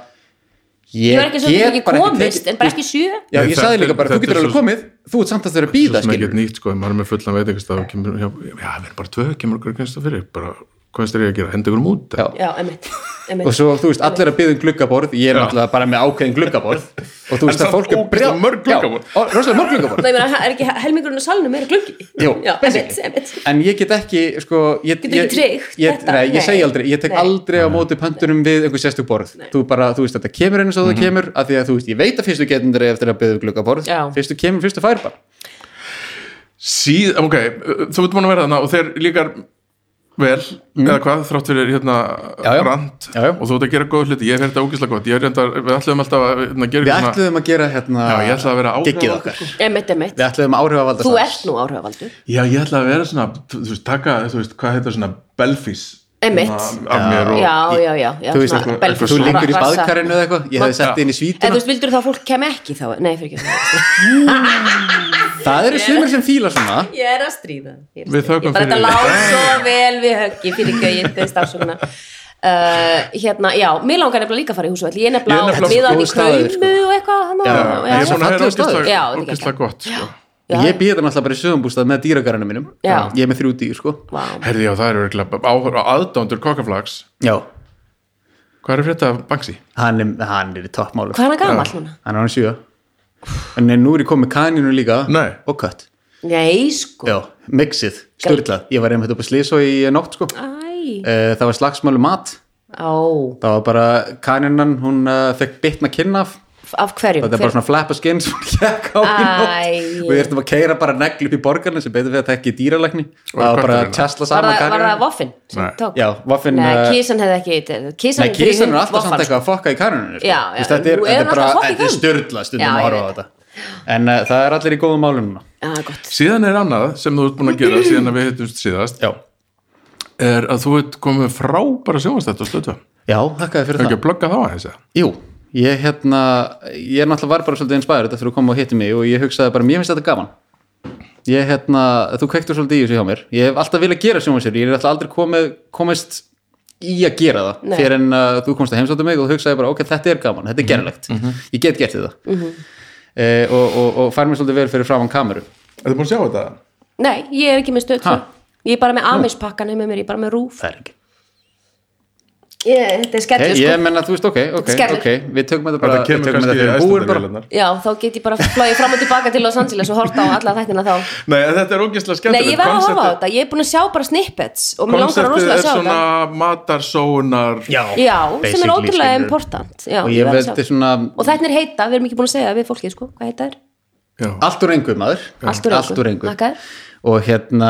Speaker 2: Ég
Speaker 3: ég
Speaker 2: var ekki svo
Speaker 3: get
Speaker 2: ekki
Speaker 3: bara ekki
Speaker 2: komist,
Speaker 3: tekið-
Speaker 2: en bara ekki sjö
Speaker 3: Já,
Speaker 1: Nei,
Speaker 3: ég
Speaker 1: þetta
Speaker 3: sagði
Speaker 1: er-
Speaker 3: líka bara, þú
Speaker 1: þetta
Speaker 3: getur
Speaker 1: er
Speaker 3: alveg
Speaker 1: svo-
Speaker 3: komið þú ert samt að þeirra
Speaker 1: svo
Speaker 3: býða,
Speaker 1: sem
Speaker 3: skilur
Speaker 1: ekkert nýtt sko, ef maður er með fullan veitingastaf og kemur, já, já, það er bara tvö, kemur okkur kynst fyrir, bara, hvað er það að gera, henda ykkur um út
Speaker 3: Já.
Speaker 2: Já, emitt, emitt.
Speaker 3: og svo, þú veist, allir að byggja um gluggaborð ég er náttúrulega bara með ákveðin gluggaborð og þú veist
Speaker 1: samt
Speaker 3: að fólk er
Speaker 1: ógeðslega
Speaker 3: brjál-
Speaker 1: mörg gluggaborð.
Speaker 3: Já, og rosalega mörg gluggaborð
Speaker 2: Það ég meina, er ekki helmingurinn á salnum er gluggi
Speaker 3: Jú,
Speaker 2: Já, emitt,
Speaker 3: basically.
Speaker 2: emitt
Speaker 3: en ég get ekki sko, ég,
Speaker 2: Getur ekki
Speaker 3: ég,
Speaker 2: tryggt
Speaker 3: ég,
Speaker 2: þetta.
Speaker 3: nei, ég segi
Speaker 2: Nei.
Speaker 3: aldrei, ég tek
Speaker 2: Nei.
Speaker 3: aldrei á móti pöntunum við einhver sérstök borð þú bara, þú veist, þetta kemur eins og það kemur af því að þú veist, ég veit að fyrstu getur eftir að byggja um gluggaborð
Speaker 2: Já.
Speaker 3: fyrstu kemur, fyrstu fær bara
Speaker 1: síð, ok, þú ert búin að vera þarna og þeir líkar vel eða hvað, þrátt fyrir hérna
Speaker 3: Mm. Já, já.
Speaker 1: rand
Speaker 3: Já, já.
Speaker 1: og þú ert að gera góð hluti, ég er þetta ógislega gott ég er reyndar, við ætluðum alltaf að hérna, gera
Speaker 3: Við
Speaker 1: eitthvað svona-
Speaker 3: ætluðum að gera hérna
Speaker 1: Já, ég ætlaði að vera áhrif-
Speaker 3: giggið okkar
Speaker 2: Emitt, emitt.
Speaker 3: Við ætluðum að áhrifa valda
Speaker 2: Þú ert nú áhrifavaldur.
Speaker 1: Já, ég ætla að vera svona, þú þú veist, taka, þú veist, hvað heitir svona belfís
Speaker 2: Einmitt.
Speaker 1: Svona af mér og
Speaker 2: Já, já, já. já
Speaker 3: Þú veist,
Speaker 2: svona
Speaker 3: eitthvað-
Speaker 2: belfast-
Speaker 3: þú liggur í
Speaker 2: rassa.
Speaker 3: baðkarinu eða eitthvað Ég hefði sett þig inn í
Speaker 2: En þú
Speaker 3: svítuna
Speaker 2: veist, vildur þá að fólk kem ekki þá? Nei, fyrir ekki.
Speaker 3: Það eru sumir sem fíla svona
Speaker 2: Ég er að stríða. Ég er að
Speaker 1: Við
Speaker 2: stríða.
Speaker 1: þökkum
Speaker 2: Ég bara
Speaker 1: fyrir
Speaker 2: þetta
Speaker 1: því.
Speaker 2: lág svo vel við höggi fyrir gauðin, þau stafsuguna. Uh, hérna, já, mér langar nefnilega líka að fara í húsvöld ég er
Speaker 1: Ég er
Speaker 2: nefnilega á
Speaker 1: nefnilega
Speaker 2: miðan í
Speaker 3: góð staður, sko.
Speaker 2: kaumu og eitthvað þannig
Speaker 3: Já,
Speaker 2: að-
Speaker 1: ég er búin að heyra
Speaker 3: Fallegur staður.
Speaker 1: ógislega,
Speaker 2: Já, þetta er
Speaker 1: ógislega
Speaker 2: geggjað.
Speaker 1: gott sko.
Speaker 2: Já.
Speaker 3: Ég býði náttúrulega bara í sögumbústað með dýragarinu mínum
Speaker 2: Já.
Speaker 3: Ég er með þrjú dýr sko
Speaker 2: Vá.
Speaker 1: Herði, já, það eru örgulega áhör á aðdándur kokkaflags
Speaker 3: Já,
Speaker 1: Hvað er að frétta af Banksy?
Speaker 3: hann er, hann er í toppmálu
Speaker 2: Hvað er hann gamall núna?
Speaker 3: Hann er hann sjö En nú er ég komið kaninu líka
Speaker 1: Nei.
Speaker 3: og kött
Speaker 2: Nei, sko.
Speaker 3: Já, mixið, styrlað Ég var einmitt upp að slýsa í nótt sko
Speaker 2: Æ,
Speaker 3: Eh, Það var slagsmálu mat
Speaker 2: á,
Speaker 3: Það var bara kaninan, hún uh, fekk bitna kinn af
Speaker 2: af hverjum?
Speaker 3: Þetta er bara svona flappa skinn sem hún gekk á í
Speaker 2: Æ.
Speaker 3: nótt og við ertum að keira bara neglu upp í borgarna sem betur við að það ekki í dýralækni og það var bara að
Speaker 1: kötturinn?
Speaker 3: tjastla
Speaker 2: Var
Speaker 3: saman
Speaker 2: það, var það
Speaker 3: kaninu
Speaker 2: voffin sem
Speaker 1: Nei.
Speaker 2: tók?
Speaker 3: Já, vaffin
Speaker 2: Nei,
Speaker 3: eh,
Speaker 2: kísan hefði ekki Kísan,
Speaker 3: Nei, kísan er alltaf samt eitthvað að fokka í kanuninu
Speaker 2: Já, já,
Speaker 3: Þetta er,
Speaker 2: nú er
Speaker 3: þetta
Speaker 2: hann
Speaker 3: er bara,
Speaker 2: alltaf að fokka í
Speaker 3: þetta er
Speaker 2: kaninu.
Speaker 3: störla stundum
Speaker 2: Já,
Speaker 3: að
Speaker 2: ég
Speaker 3: horfa á
Speaker 2: veit
Speaker 3: þetta En uh, það er allir í góðum málum núna
Speaker 2: Já, Ah, gott
Speaker 1: Síðan er annað sem þú ert búin að gera síðan að við hittumst síðast
Speaker 3: Já,
Speaker 1: er að þú ert komið með frábæra sjónvastætt og stöðva
Speaker 3: já þakkaði fyrir
Speaker 1: ekki
Speaker 3: það
Speaker 1: að plugga þá aðeins eða?
Speaker 3: Jú, ég hérna, ég náttúrulega var bara svolítið inspærið þetta fyrir að koma og hitti mig og ég hugsaði bara, mér finnst þetta gaman Ég hérna, þú kveiktur svolítið í þessu hjá mér Ég hef alltaf viljað gera sjónvansir, ég er alltaf aldrei komið, komist í að gera það
Speaker 2: Nei.
Speaker 3: fyrir en uh, þú komst að heimsóttu mig og þú hugsaði bara, ok, þetta er gaman, þetta er gerlegt Ég get gert þetta
Speaker 2: Mhm.
Speaker 3: eh, og, og, og fær mér svolítið vel fyrir framan kameru
Speaker 1: Ertu búin að sjá þetta?
Speaker 2: Nei, ég er ekki með stöð
Speaker 3: Ha?
Speaker 2: tvö. Ég er bara með Amish pakkan með mér, ég er bara með rúf
Speaker 3: Það er ekki
Speaker 2: ég, Þetta er skellu
Speaker 3: Ég,
Speaker 2: sko
Speaker 3: ég menna, þú veist, ok, ok,
Speaker 2: Skellir.
Speaker 3: ok Við tökum þetta bara,
Speaker 1: Þetta
Speaker 3: við
Speaker 1: kemur
Speaker 3: tökum þetta
Speaker 1: kannski í
Speaker 3: fyrir búin bara
Speaker 1: æslandavélarnar
Speaker 2: Já, þá get ég bara flóið fram og tilbaka til Los Angeles og horta á alla þættina þá
Speaker 1: Nei, en þetta er ógeðslega
Speaker 2: Nei,
Speaker 1: skemmtilegt
Speaker 2: ég verð að horfa á
Speaker 1: Konceptið-
Speaker 2: þetta, ég er búin að sjá bara snippets og mér langar að
Speaker 1: Konceptið
Speaker 2: rosalega
Speaker 1: er
Speaker 2: að sjá
Speaker 1: svona
Speaker 2: þetta
Speaker 1: matarsónar
Speaker 2: Já, sem er
Speaker 3: basically,
Speaker 2: ótrúlega
Speaker 3: skilurðu.
Speaker 2: important Já,
Speaker 3: Og
Speaker 2: ég
Speaker 3: ég
Speaker 2: verð að
Speaker 3: veldi
Speaker 2: sjá.
Speaker 3: svona,
Speaker 2: Og þetta er heita, við erum ekki búin að segja við fólkið sko, hvað heita er?
Speaker 1: Já,
Speaker 3: allt úr engu maður
Speaker 2: Allt úr engu. Þakkaðir.
Speaker 3: og hérna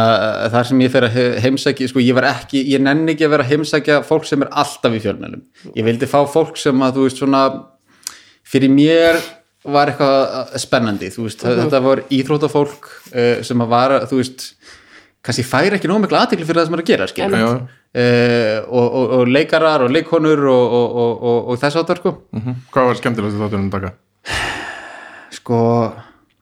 Speaker 3: þar sem ég fer að he- heimsækja sko ég var ekki, ég nenni ekki að vera að heimsækja fólk sem er alltaf í fjölmjölum ég vildi fá fólk sem að þú veist svona fyrir mér var eitthvað uh, spennandi, þú veist þetta var íþrótafólk uh, sem að var þú veist, kannski færi ekki nóg mikla aðtekli fyrir það sem er að gera skilur
Speaker 1: já, já.
Speaker 3: uh, og, og, og leikarar og leikonur og, og, og, og, og þess áttar sko.
Speaker 1: Mhm. Hvað var skemmtilegast þátturinn um daga?
Speaker 3: sko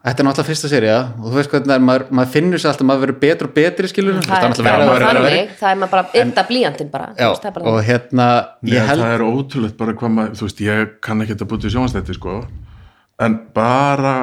Speaker 3: þetta er náttúrulega fyrsta serið og þú veist hvernig það er, maður, maður finnur sér alltaf maður verður betur og betri skilur
Speaker 2: Það er
Speaker 1: verra og verra
Speaker 2: bara
Speaker 1: og
Speaker 2: þannig, það er maður bara ytta blíjantinn bara þú
Speaker 3: Já,
Speaker 2: veist, það er bara
Speaker 3: og
Speaker 2: þannig.
Speaker 3: hérna
Speaker 1: Nei,
Speaker 3: ég held,
Speaker 1: það er ótrúlegt bara hvað maður, þú veist, ég kann ekki að búti sjónvastætti, sko, en bara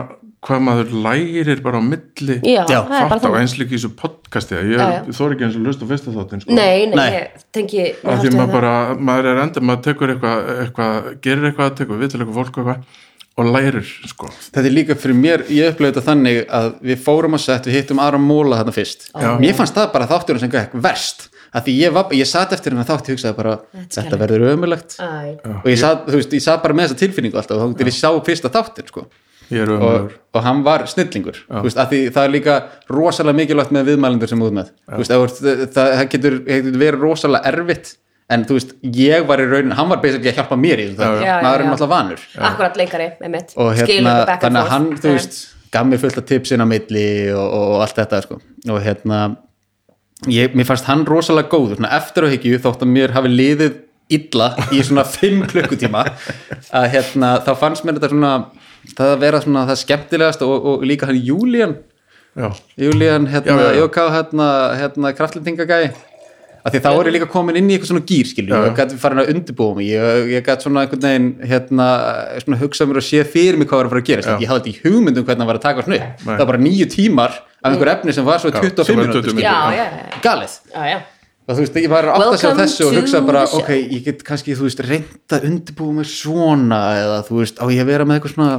Speaker 1: hvað maður lærir bara á milli
Speaker 2: Já,
Speaker 3: Já,
Speaker 2: það er bara
Speaker 1: þátt á
Speaker 2: þannig
Speaker 1: eins líka í þessu podcasti að
Speaker 2: Já, já.
Speaker 1: ég þóri ekki eins og lust á fyrsta þáttin, sko.
Speaker 2: Nei, nei,
Speaker 3: Nei.
Speaker 2: ég tengi
Speaker 1: Af því maður bara, maður er enda, maður tekur eitthvað, eitthvað gerir eitthvað, tekur viðtal eitthvað fólk og eitthvað og lærir, sko.
Speaker 3: þetta er líka fyrir mér ég upplöði þetta þannig að við fórum að sett við hittum aðra móla þarna fyrst
Speaker 1: Já.
Speaker 3: mér fannst það bara þátturinn sem gekk verst að því ég, var, ég sat eftir hennar þátt ég hugsaði bara,
Speaker 2: Þetta er
Speaker 3: þetta verður ömulegt
Speaker 2: Æ,
Speaker 3: og ég sat, þú veist, ég sat bara með þessa tilfinningu alltaf þá til ég sá fyrsta þáttin sko.
Speaker 1: Ég er
Speaker 3: og,
Speaker 1: ömur.
Speaker 3: og hann var snillingur þú veist, að því, það er líka rosalega mikilvægt með viðmælendur sem þú ert með þú veist, ef þú ert- eh, það, það getur, getur verið rosalega erfitt en þú veist, ég var í raunin hann var basically að hjálpa mér í þessu
Speaker 1: Já,
Speaker 3: það,
Speaker 2: já. Já,
Speaker 3: maður
Speaker 2: já,
Speaker 3: er
Speaker 2: já.
Speaker 3: náttúrulega vanur
Speaker 2: akkurat leikari, einmitt
Speaker 3: og
Speaker 2: Skilur
Speaker 3: hérna,
Speaker 2: þetta back and
Speaker 3: þannig
Speaker 2: forth.
Speaker 3: að hann, þú
Speaker 2: Já.
Speaker 3: veist gaf mér fullt af tipsin á milli og, og, og allt þetta, sko og hérna, ég, mér fannst hann rosalega góður, svona eftir á higgju þótt að mér hafi liðið illa í svona fimm klukkutíma að hérna, þá fannst mér þetta svona það að vera svona það skemmtilegast og, og líka hann Julian
Speaker 1: Já.
Speaker 3: Julian, hérna,
Speaker 1: Já, já, já.
Speaker 3: Jóká hérna, hérna, kraftlendingagæi af því þá er ég líka komin inn í eitthvað svona gýr skilju, ég gæti farin að undirbúa mig ég, ég gæti svona einhvern veginn hérna, svona hugsa mér og sé fyrir mig hvað var að fara að gerast ég hafði ekki hugmynd um hvernig það var að taka svona
Speaker 1: Nei.
Speaker 3: upp það var bara níu tímar af einhver efni sem var svo
Speaker 1: Já,
Speaker 3: 25
Speaker 1: sem var
Speaker 3: mínútur
Speaker 1: 20
Speaker 3: skilju.
Speaker 1: Já.
Speaker 2: Já, já, já,
Speaker 3: galið
Speaker 2: já, já.
Speaker 3: og þú veist, ég var átt að sjá
Speaker 2: Welcome
Speaker 3: þessu og
Speaker 2: to
Speaker 3: hugsa bara,
Speaker 2: the show.
Speaker 3: ok, ég get kannski, þú veist, reynda undirbúið mig svona eða þú veist, á ég að vera með eitthvað svona,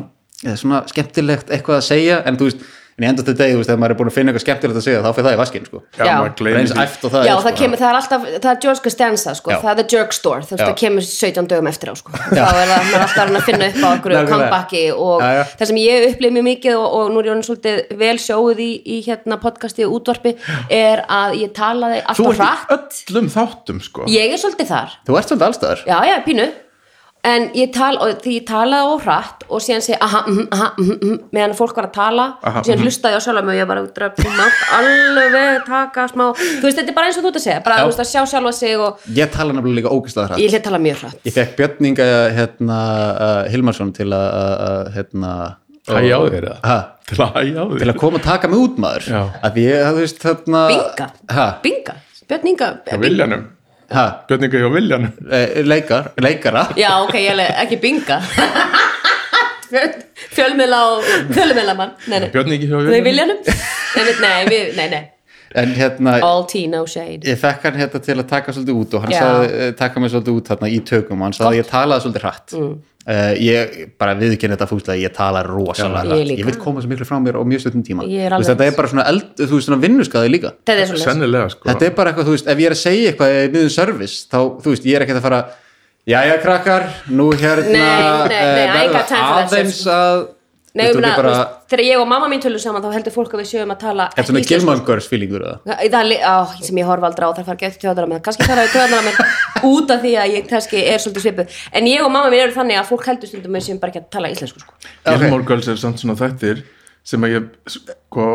Speaker 3: eða svona skemmtilegt eitthvað að segja, en þú veist, en í enda til degi, þú veist, þegar maður er búin að finna eitthvað skemmtilegt að segja þá fyrir það í vaskin, sko
Speaker 2: Já.
Speaker 1: maður
Speaker 3: Það er
Speaker 1: gleymir
Speaker 3: eins
Speaker 1: því.
Speaker 3: æft og það
Speaker 2: já,
Speaker 3: er, sko.
Speaker 2: það kemur, það er alltaf, það er George Costanza sko,
Speaker 3: Já.
Speaker 2: það er The Jerk Store, þú veist,
Speaker 3: Já.
Speaker 2: það kemur 17 dögum eftir á, sko, þá er það, maður er alltaf að reyna að finna upp á okkur
Speaker 3: Nákvæmlega.
Speaker 2: comebacki og
Speaker 3: Já, já.
Speaker 2: það sem ég upplif mjög mikið og, og nú er ég orðin svolítið vel sjóð í, í hérna podcasti og útvarpi er að ég talaði
Speaker 1: Þú
Speaker 2: alltaf hratt,
Speaker 1: ert í öllum þáttum sko
Speaker 2: ég er svolítið þar
Speaker 3: Þú ert svolítið allstaðar
Speaker 2: já, já, pínu en ég tal, og því ég talaði á hratt og síðan segi, aha, mhm, aha, mhm, mhm meðan fólk var að tala,
Speaker 1: Aha,
Speaker 2: síðan hlustaði ég á sjálf og ég bara dröf, mátt alveg taka smá, þú veist, þetta er bara eins og þú ert að segja bara,
Speaker 3: Já.
Speaker 2: þú veist, að sjá sjálfa sig og
Speaker 3: Ég tala nefnilega líka ógæslega hrætt
Speaker 2: ég hlið tala mjög hratt
Speaker 3: Ég fekk Björninga hérna, uh, Hilmarsson til að uh, hérna,
Speaker 1: Hægja á þér eða?
Speaker 3: ha,
Speaker 1: Til að hægja á
Speaker 3: til
Speaker 1: þér
Speaker 3: að koma að taka mig út maður
Speaker 1: Já.
Speaker 3: að ég, þú veist, þarna
Speaker 2: binga,
Speaker 3: ha,
Speaker 2: binga, Björn Inga eh,
Speaker 1: Hjá
Speaker 2: Binga.
Speaker 1: Viljanum
Speaker 3: ha,
Speaker 1: Björningu hjá Viljanum
Speaker 3: eh, leikar, leikara
Speaker 2: já, ok, ég hlið ekki binga fjölmela og fjölmela mann, nei, nei
Speaker 1: Björningu hjá
Speaker 2: Nei,
Speaker 1: Viljanum
Speaker 2: Viljanum? Nei, við- nei, við- nei, nei,
Speaker 3: en hérna,
Speaker 2: all tea, no shade
Speaker 3: ég fekk hann hérna til að taka svolítið út og hann
Speaker 2: Já.
Speaker 3: sagði, eh, taka mig svolítið út þarna í tökum og hann sagði að ég talaði svolítið hrætt mm. ég bara viðkynna þetta fúst að ég tala rosalega
Speaker 2: Já, ég
Speaker 3: hrætt
Speaker 2: líka.
Speaker 3: ég vil koma svo miklu frá mér á mjög stundum tíma
Speaker 2: Ég er alveg
Speaker 3: Þú veist, þetta
Speaker 2: eins.
Speaker 3: er bara svona, eld, þú veist, svona vinnuskaði líka
Speaker 2: þetta er svolítið
Speaker 1: Sennilega sko
Speaker 3: þetta er bara eitthvað, þú veist, ef ég er að segja eitthvað í miðun service, þá, þú veist, ég er ekkert að fara jæja krakkar, nú hérna
Speaker 2: Nei, nei, nei,
Speaker 3: eh,
Speaker 2: I
Speaker 3: verða
Speaker 2: got time for that
Speaker 3: aðeins
Speaker 2: shit.
Speaker 3: að
Speaker 2: Nei,
Speaker 3: þú
Speaker 2: ég
Speaker 3: veist,
Speaker 2: meina,
Speaker 3: þetta er bara,
Speaker 2: þú veist, þegar ég og mamma mín tölum saman þá heldur fólk að við séum að tala
Speaker 3: þetta er svona
Speaker 2: ekki íslensku.
Speaker 3: Gilmangars feelingur eða?
Speaker 2: Það er li- á, sem ég horfa aldrei á, það fara ekki eftir tjóðanar með kannski fara eftir tjóðanar með út af því að ég kannski er svolítið svipuð en ég og mamma mín eru þannig að fólk heldur stundum með sem bara ekki að tala íslensku sko.
Speaker 1: Gilmore Girls er samt svona þættir sem að ég sko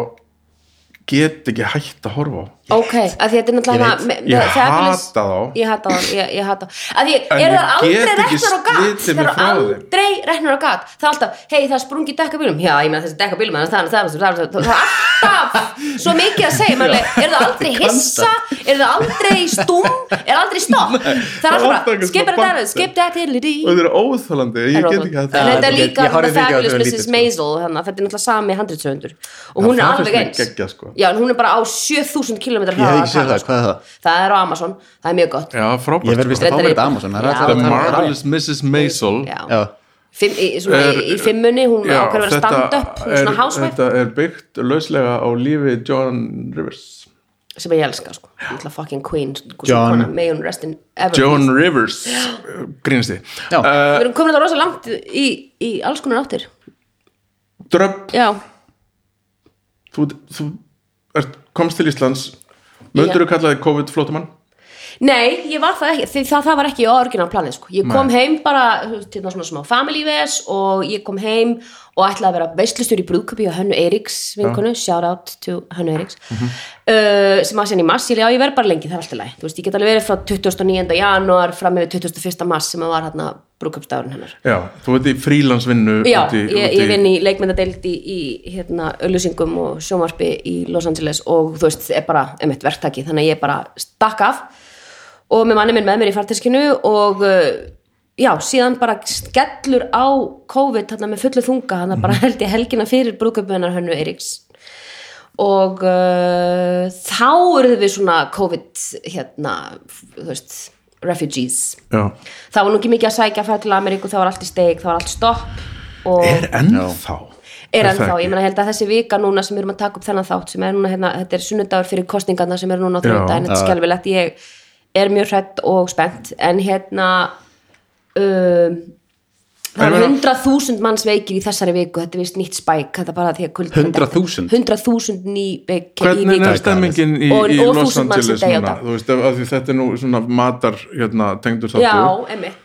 Speaker 1: get ekki hægt að horfa á
Speaker 2: ok, af því þetta er náttúrulega
Speaker 3: Ég veit.
Speaker 2: me-
Speaker 1: Ég
Speaker 2: það- það er alveg-
Speaker 1: hata þá.
Speaker 2: ég hata þá, ég, ég hata þá af því
Speaker 1: En
Speaker 2: eru
Speaker 1: ég
Speaker 2: það
Speaker 1: get
Speaker 2: aldrei
Speaker 1: ekki
Speaker 2: reknar og gat
Speaker 1: slitið
Speaker 2: það
Speaker 1: mig
Speaker 2: eru
Speaker 1: frá þeim.
Speaker 2: aldrei reknar og gat það er alltaf, hei það er sprungið dekkabílum já, ég meina þessi dekkabílum, þannig að það er það er- það er alltaf svo mikið að segja maður, er það aldrei hissa er það aldrei stúm er það aldrei stopp,
Speaker 1: það
Speaker 2: það er
Speaker 1: er
Speaker 2: alltaf
Speaker 1: alltaf
Speaker 2: bara,
Speaker 1: eitthvað svona
Speaker 2: skip it down,
Speaker 1: band.
Speaker 2: skip that hill
Speaker 1: og þetta er óþalandi, ég get ekki hægt að
Speaker 2: En þetta er
Speaker 3: ég-
Speaker 2: líka
Speaker 3: ég horfði
Speaker 2: The
Speaker 3: mikið á
Speaker 2: Fabulous
Speaker 3: þetta lítið,
Speaker 2: Mrs.
Speaker 3: sko.
Speaker 2: Maisel hérna, þetta er náttúrulega sami handritsöfundur og hún er
Speaker 1: það finnst
Speaker 2: alveg
Speaker 1: mér
Speaker 2: eins
Speaker 1: geggjað, sko.
Speaker 2: já, en hún er bara á 7000 km
Speaker 3: Ég hef ekki séð það, hvað er það?
Speaker 2: sko. það er á Amazon, það er mjög gott
Speaker 1: Já, frábært sko.
Speaker 3: Ég verð vist að fá
Speaker 2: Reyndar
Speaker 3: mér
Speaker 2: ég-
Speaker 3: þetta Amazon,
Speaker 2: Já.
Speaker 3: það er alltaf
Speaker 1: The
Speaker 3: að tala um það.
Speaker 1: Marvelous Mrs. Maisel
Speaker 3: Já.
Speaker 2: já. Fimm, í, svona, í, í
Speaker 1: Er-
Speaker 2: fimmunni, hún
Speaker 1: Já,
Speaker 2: ákveður að vera
Speaker 1: þetta
Speaker 2: stand-up hún er
Speaker 1: er-
Speaker 2: svona housewife
Speaker 1: Þetta er byggt lauslega á lífi John Rivers
Speaker 2: sem ég elska, sko, náttúrulega fucking queen sko, sem
Speaker 3: John-
Speaker 2: kona, may hún rest in ever
Speaker 1: John Rivers grínsti
Speaker 3: Já.
Speaker 2: við erum komin þetta rosa langt í, í alls konar áttir
Speaker 1: Dröpp,
Speaker 2: já,
Speaker 1: þú, þú ert, komst til Íslands Möndur þú kallaði COVID-flótumann?
Speaker 2: nei, ég var það ekki því það, það var ekki orginal planið, sko ég kom heim bara, þú veist, hérna svona smá family ves og ég kom heim og ætlaði að vera veislustur í brúðköpi á Hönnu Eiríks vinkonu, shout out to Hönnu Eiríks uh, sem að sérna í mars, ég, já, ég verð bara lengi, það er alltaf læg þú veist, ég get alveg verið frá 29. janúar fram yfir 21. mars sem að var hérna brúðköpsdárun hennar
Speaker 1: Já, þú veit í frílansvinnu
Speaker 2: Já,
Speaker 1: úti,
Speaker 2: ég,
Speaker 1: úti-
Speaker 2: ég vinn í leikmyndadeild í, í hérna, öllusingum og sjónvarpi í Los Angeles og þú veist, er bara emitt verktaki, þannig að ég bara stakk af og með manni minn með mér í farteskinu og uh, já, síðan bara skellur á COVID þarna með fullu þunga, þannig að bara held ég helgina fyrir brúðköpunar hönnu Eiríks og uh, þá eruðum við svona COVID hérna, þú veist refugees
Speaker 1: Já.
Speaker 2: það var nú ekki mikið að sækja að fara til Ameríku það var allt í steik, það var allt stopp og
Speaker 1: Er
Speaker 2: er,
Speaker 1: ennþá
Speaker 2: ennþá,
Speaker 1: það
Speaker 2: ég
Speaker 1: ekki?
Speaker 2: meina held að þessi vika núna sem við erum að taka upp þennan þátt sem er núna, hérna, þetta er sunnudagur fyrir kostningarna sem er núna á
Speaker 1: Já.
Speaker 2: þrjóta en þetta er
Speaker 3: Já.
Speaker 2: skelfilegt, ég er mjög hrætt og spennt, en hérna um, það
Speaker 1: Ég
Speaker 2: er
Speaker 1: meina-
Speaker 2: 100.000 manns veikir í þessari viku, þetta er vist nýtt spæk þetta er bara því að kulda
Speaker 3: 100.000?
Speaker 2: 100.000 ný veikir í
Speaker 1: Hvernig
Speaker 2: viku
Speaker 1: er stemmingin í,
Speaker 2: Og-
Speaker 1: í
Speaker 2: og
Speaker 1: Los
Speaker 2: þúsund manns sem
Speaker 1: Angeles
Speaker 2: deyja á
Speaker 1: núna?
Speaker 2: dag.
Speaker 1: Þú veist, af, af því þetta er nú svona matar hérna, tengdur þáttur
Speaker 2: Já, emitt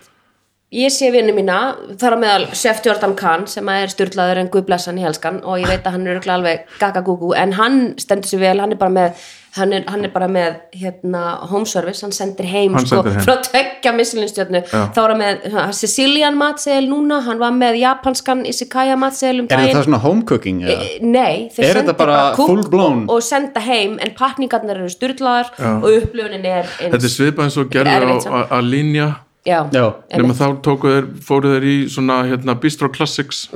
Speaker 2: Ég sé vinnu mína, þar á meðal Chef Jordan Kahn sem að er styrlaður en guðblessan í helskan og ég veit að hann er örugglega alveg gagagúgú en hann stendur sér vel, hann er bara með hann er, hann er bara með hérna, home service, hann sendir heim,
Speaker 1: Hann
Speaker 2: sko,
Speaker 1: sendir heim.
Speaker 2: frá tvekja mislinstjörnu,
Speaker 1: Já.
Speaker 2: þá er hann með ha, Sicilian matseðil núna, hann var með japanskan Isikaya matseðil um
Speaker 3: Er
Speaker 2: daginn
Speaker 3: þetta svona home cooking? eða?
Speaker 2: E, Nei, þeir
Speaker 3: Er
Speaker 2: senda
Speaker 3: þetta bara
Speaker 2: kúkk
Speaker 3: full blown?
Speaker 2: og, og senda heim en pakningarnar eru styrlaðar og upplöfunin er eins.
Speaker 1: Þetta er svipað eins og
Speaker 2: Þetta er
Speaker 1: gerði
Speaker 2: erfitt
Speaker 1: á að linja
Speaker 2: Já,
Speaker 3: Já.
Speaker 2: einmitt. Mm,
Speaker 1: nema þá tóku þeir, fóru þeir í svona hérna, Bistro Classics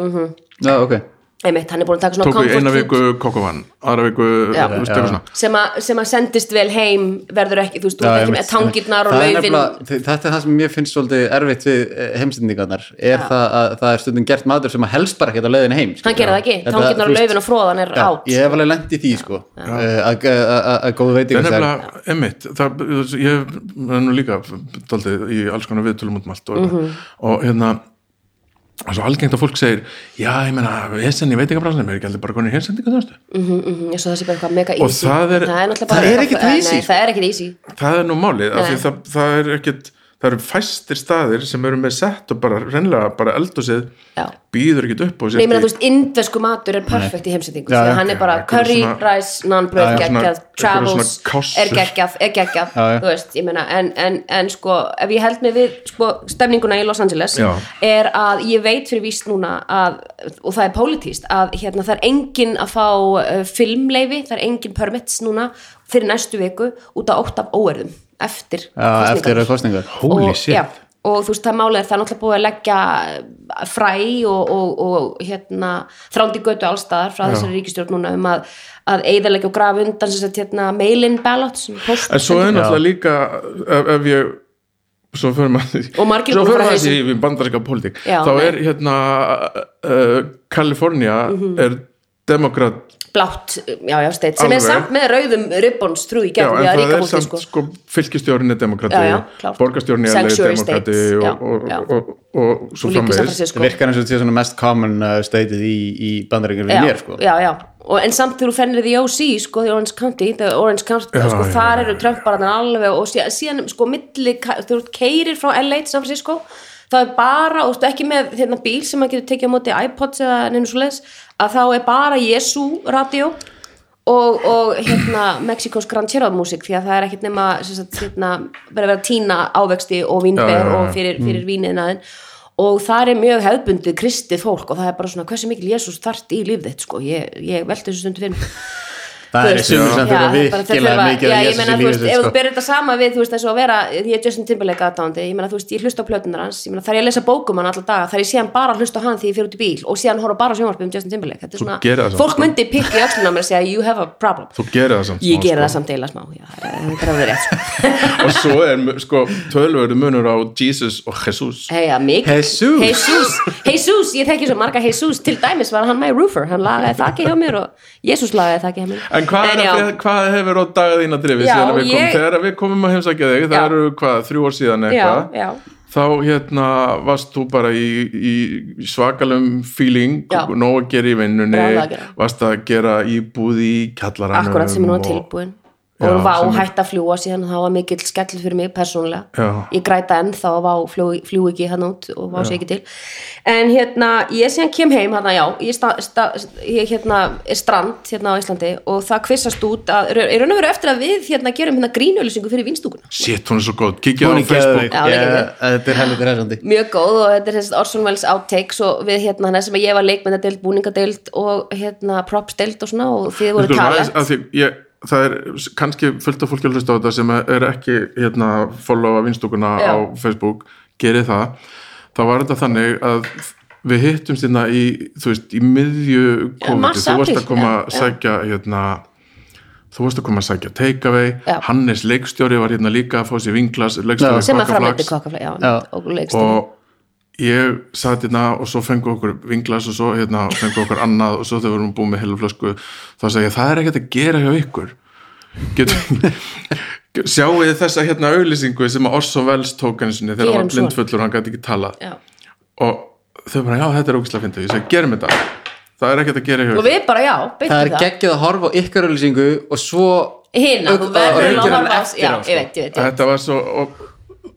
Speaker 3: Já, ok
Speaker 2: einmitt, hann er búin að taka svona
Speaker 1: tóku
Speaker 2: comfort
Speaker 1: eina
Speaker 2: food
Speaker 1: viku kokkovan aðra viku,
Speaker 2: Já.
Speaker 1: þú veist, eitthvað svona
Speaker 2: sem, að- sem að sendist vel heim verður ekki, þú veist, þú
Speaker 3: Já,
Speaker 2: ert ekki
Speaker 3: einmitt,
Speaker 2: með tangirnar og
Speaker 3: Það er
Speaker 2: laufin
Speaker 3: nefnilega- þe- þetta er það sem mér finnst svolítið erfitt við eh, heimsendingarnar er það að það er stundum gert matur sem að helst bara ekkert á leiðin heim skilur.
Speaker 2: hann gerir það ekki,
Speaker 3: Þetta,
Speaker 2: tangirnar
Speaker 3: þú
Speaker 2: og
Speaker 3: veist,
Speaker 2: laufin og fróðan er
Speaker 3: já,
Speaker 2: átt
Speaker 3: ég hef alveg lent í því sko eh, að að- að- að góðu
Speaker 1: Það
Speaker 3: veitingar
Speaker 1: er nefnilega, emmitt, það, ég er nú líka daldið í alls konar viðtölum út um allt og,
Speaker 2: Mhm.
Speaker 1: og hérna það er svo algengt að fólk segir já, ég meina, vesen í veitingabransanum er ekki allir bara konir hersendinga þjóðstu
Speaker 2: ég svo Mhm, það sé bara eitthvað mega
Speaker 1: Og
Speaker 2: easy
Speaker 1: það er-
Speaker 2: náttúrulega
Speaker 3: það
Speaker 2: bara
Speaker 3: er
Speaker 2: eitthvað-
Speaker 3: ekkit það
Speaker 2: Nei,
Speaker 3: easy, sko.
Speaker 2: það er ekkit easy
Speaker 1: það er nú málið, af því
Speaker 2: Nei.
Speaker 1: það, það er ekkit það eru fæstir staðir sem eru með sett og bara, reynlega, bara eldúsið
Speaker 2: Já.
Speaker 1: býður ekkit upp og sér
Speaker 2: Nei, ég meina,
Speaker 1: ekki-
Speaker 2: þú veist, indversku matur er perfekt í heimsendingu
Speaker 3: Já,
Speaker 2: því
Speaker 3: já.
Speaker 2: að hann er bara
Speaker 1: Já, einhverju
Speaker 2: curry,
Speaker 1: svona-
Speaker 2: rice, naan,
Speaker 3: Já,
Speaker 2: bröð,
Speaker 3: já.
Speaker 1: Svona-
Speaker 2: geggjað travels,
Speaker 1: einhverju svona kássur.
Speaker 2: er geggjað er geggjað,
Speaker 3: Já, já.
Speaker 2: þú veist, ég meina en, en, en sko, ef ég held mig við sko, stemninguna í Los Angeles
Speaker 1: Já.
Speaker 2: er að ég veit fyrir víst núna að, og það er pólitíst, að hérna það er engin að fá uh, filmleifi það er engin permits núna fyrir næstu viku út af ótt af óerðum eftir
Speaker 3: Já, eftir
Speaker 2: kosningarnar
Speaker 3: að kostningar
Speaker 1: Holy
Speaker 2: og,
Speaker 1: shit.
Speaker 2: já, og þú veist það málið er það er náttúrulega búið að leggja fræ og, og, og hérna, þrándi götu allstaðar frá þessari ríkistjórn núna um að, að eiðalegja og grafa undan sem sagt, hérna, mail-in ballots sem póst-
Speaker 1: En svo er
Speaker 2: sendir-
Speaker 1: náttúrulega líka ef, ef ég svo fyrir maður
Speaker 2: Og margir
Speaker 1: svo fyrir
Speaker 2: búin að fara
Speaker 1: maður
Speaker 2: hausinn.
Speaker 1: þessi í bandarinska pólitík
Speaker 2: Já,
Speaker 1: þá
Speaker 2: nei.
Speaker 1: er hérna uh, Kalifornia
Speaker 2: Mhm.
Speaker 1: er demokrat
Speaker 2: blátt, já, já, steit, sem
Speaker 1: Alveg.
Speaker 2: er samt með rauðum ribbons trú í
Speaker 1: já,
Speaker 2: gegn
Speaker 1: en
Speaker 2: við að
Speaker 1: það
Speaker 2: ríka
Speaker 1: er
Speaker 2: fólki
Speaker 1: samt
Speaker 2: sko.
Speaker 1: sko, sko fylkistjórn er demokrati
Speaker 2: Já, já, klárt.
Speaker 1: borgarstjórn er
Speaker 2: Sanctuary
Speaker 1: demokrati
Speaker 2: states, já,
Speaker 1: og, og,
Speaker 2: já.
Speaker 1: og, og, og svo
Speaker 2: og líka San
Speaker 1: framvegis
Speaker 2: Francisco
Speaker 3: Það virkar eins og þetta er svona mest common uh, stated í, í bandarengjum
Speaker 2: já,
Speaker 3: við mér sko.
Speaker 2: já, já, og en samt þegar þú fennir því OC, sko, því Orange County the Orange County,
Speaker 1: Já,
Speaker 2: sko,
Speaker 1: já,
Speaker 2: þar
Speaker 1: já,
Speaker 2: eru trömpbararnir alveg og síðan, síðan sko, milli, ka- þegar þú keirir frá LA til San Francisco, þá er bara og þú ekki með hérna, bíl sem maður getur tekið á móti iPods eða neina svo leis að þá er bara Jesu radio og, og hérna Mexikos Grand Cherokee músík því að það er ekkit nema sem sagt, hérna, verið að vera að tína ávexti
Speaker 1: Já,
Speaker 2: og
Speaker 1: já,
Speaker 2: vínber
Speaker 1: já, Mm. já.
Speaker 2: og fyrir, fyrir víniðnaðin og það er mjög hefðbundið kristið fólk og það er bara svona hversu mikil Jésús þart í líf þitt sko, ég, ég velti þessu stundu fyrir mér.
Speaker 3: Það
Speaker 2: Þú
Speaker 3: er
Speaker 2: veist,
Speaker 3: sumur sem
Speaker 2: já,
Speaker 3: þurfa
Speaker 2: það er bara- þeir
Speaker 3: virkilega
Speaker 2: þurfa-
Speaker 3: mikið
Speaker 2: já,
Speaker 3: að
Speaker 2: ég
Speaker 3: jésus
Speaker 2: meina,
Speaker 3: í
Speaker 2: þú veist,
Speaker 3: lífið
Speaker 2: ef
Speaker 3: sitt
Speaker 2: þú
Speaker 3: sko.
Speaker 2: berir þetta sama við, þú veist, þessu að vera ég er Justin Timberlake aðdáandi, ég meina, þú veist, ég hlusta á plötunar hans, ég meina, þar ég að lesa bókum hann alla daga, þar ég sé hann bara að hlusta á hann því ég fyrir út í bíl og sé hann horfa bara á sjónvarpið um Justin Timberlake, þetta er svona,
Speaker 1: gerir það samt,
Speaker 2: fólk
Speaker 1: sko.
Speaker 2: myndi pikka í öxlunum á mér og segja, you have a problem
Speaker 1: þú gerir það samt
Speaker 2: ég
Speaker 1: smá,
Speaker 2: gera það
Speaker 1: sko.
Speaker 2: samt eila smá, já, þetta er að vera rétt sko.
Speaker 1: og svo er sko tölvöru munur á Jesus og Jesus
Speaker 2: Heiða, mikið
Speaker 3: Jesus.
Speaker 2: uh, Jesus, Jesus, ég þekki svo marga Jesus til dæmis var hann my roofer, hann lagaði þakki hjá mér og Jesus lagaði þakki hjá mér
Speaker 1: En hvað, er
Speaker 2: já,
Speaker 1: að, frétt- hvað hefur á daga þína drifið
Speaker 2: Já,
Speaker 1: síðan að við komum,
Speaker 2: ég-
Speaker 1: þegar að við komum að heimsækja þig, það
Speaker 2: Já.
Speaker 1: eru hvað, þrjú ár síðan
Speaker 2: já,
Speaker 1: eitthvað
Speaker 2: já,
Speaker 1: þá hérna varst þú bara í, í svakalum feeling,
Speaker 2: Já.
Speaker 1: nóg að gera í vinnunni
Speaker 2: Brjálæði að gera.
Speaker 1: varst að gera íbúð í kjallaranum
Speaker 2: akkurat sem er núna
Speaker 1: og-
Speaker 2: tilbúin
Speaker 1: Já,
Speaker 2: og vá
Speaker 1: sem er-
Speaker 2: hætt að fljúa síðan það var mikill skell fyrir mig persónulega
Speaker 1: Já.
Speaker 2: ég græta enn þá að vá fljú, fljú ekki hann út og vá sé ekki til en hérna, ég síðan kem heim hérna, já, ég, sta, sta, ég hérna er strand hérna á Íslandi og það kvissast út að, í raun og veru eftir að við hérna gerum hérna grínölusingu fyrir vinstúkuna
Speaker 1: Shit, hún er svo góð, kikið á
Speaker 3: Hún er
Speaker 1: Facebook
Speaker 3: geðveik.
Speaker 2: Já, hún er
Speaker 3: Ég-
Speaker 2: geðveik.
Speaker 3: Þetta er helviti ræsandi
Speaker 2: mjög góð og þetta er þessi Orson Welles outtakes og við hérna hann sem ég var leikmyndadeild, búningadeild og hérna propsdeild og svona og þið
Speaker 1: Við
Speaker 2: voru
Speaker 1: skulum aðeins-
Speaker 2: talent
Speaker 1: af því ég- Það er kannski fullt af fólki að hlusta á þetta sem er ekki hérna followa vinstúkuna
Speaker 2: Já.
Speaker 1: á Facebook gerið það þá var þetta þannig að við hittum þérna í, þú veist, í miðju
Speaker 2: Já,
Speaker 1: COVID,
Speaker 2: mars,
Speaker 1: þú varst að
Speaker 2: apríl,
Speaker 1: koma
Speaker 2: já,
Speaker 1: að sækja hérna, þú varst að koma að sækja takeaway,
Speaker 2: Já.
Speaker 1: Hannes leikstjóri var hérna líka að fá sér vinglas
Speaker 3: Já.
Speaker 1: leikstjóri
Speaker 2: sem að framleiti
Speaker 1: Kokkaflags
Speaker 2: kokkaflag, já,
Speaker 3: Já.
Speaker 2: og leikstjóri
Speaker 1: og ég satt hérna og svo fengu okkur vinglas og svo hérna fengu okkur annað og svo þegar við vorum búið með helflösku þá sagði ég það er ekkert að gera hjá ykkur getur sjáu þið þessa hérna auðlýsingu sem að Orson Welles tók einu sinni þegar hann
Speaker 2: Gerum
Speaker 1: var blindfullur og hann gæti ekki talað
Speaker 2: Já.
Speaker 1: og þau bara já þetta er ógislega fyndið ég segi gerum þetta það er ekkert að gera hjá
Speaker 2: og
Speaker 1: ykkur
Speaker 2: við bara, já,
Speaker 3: Það er
Speaker 2: beintum það
Speaker 3: geggjað að horfa á ykkar ölýsingu og svo
Speaker 2: hérna, þú
Speaker 3: Og- og
Speaker 2: verður
Speaker 3: reykir
Speaker 2: að
Speaker 3: hann
Speaker 2: horfa á
Speaker 3: eftir
Speaker 2: já,
Speaker 3: á, sko.
Speaker 2: ég veit, ég veit, ég veit
Speaker 1: þetta var svo og,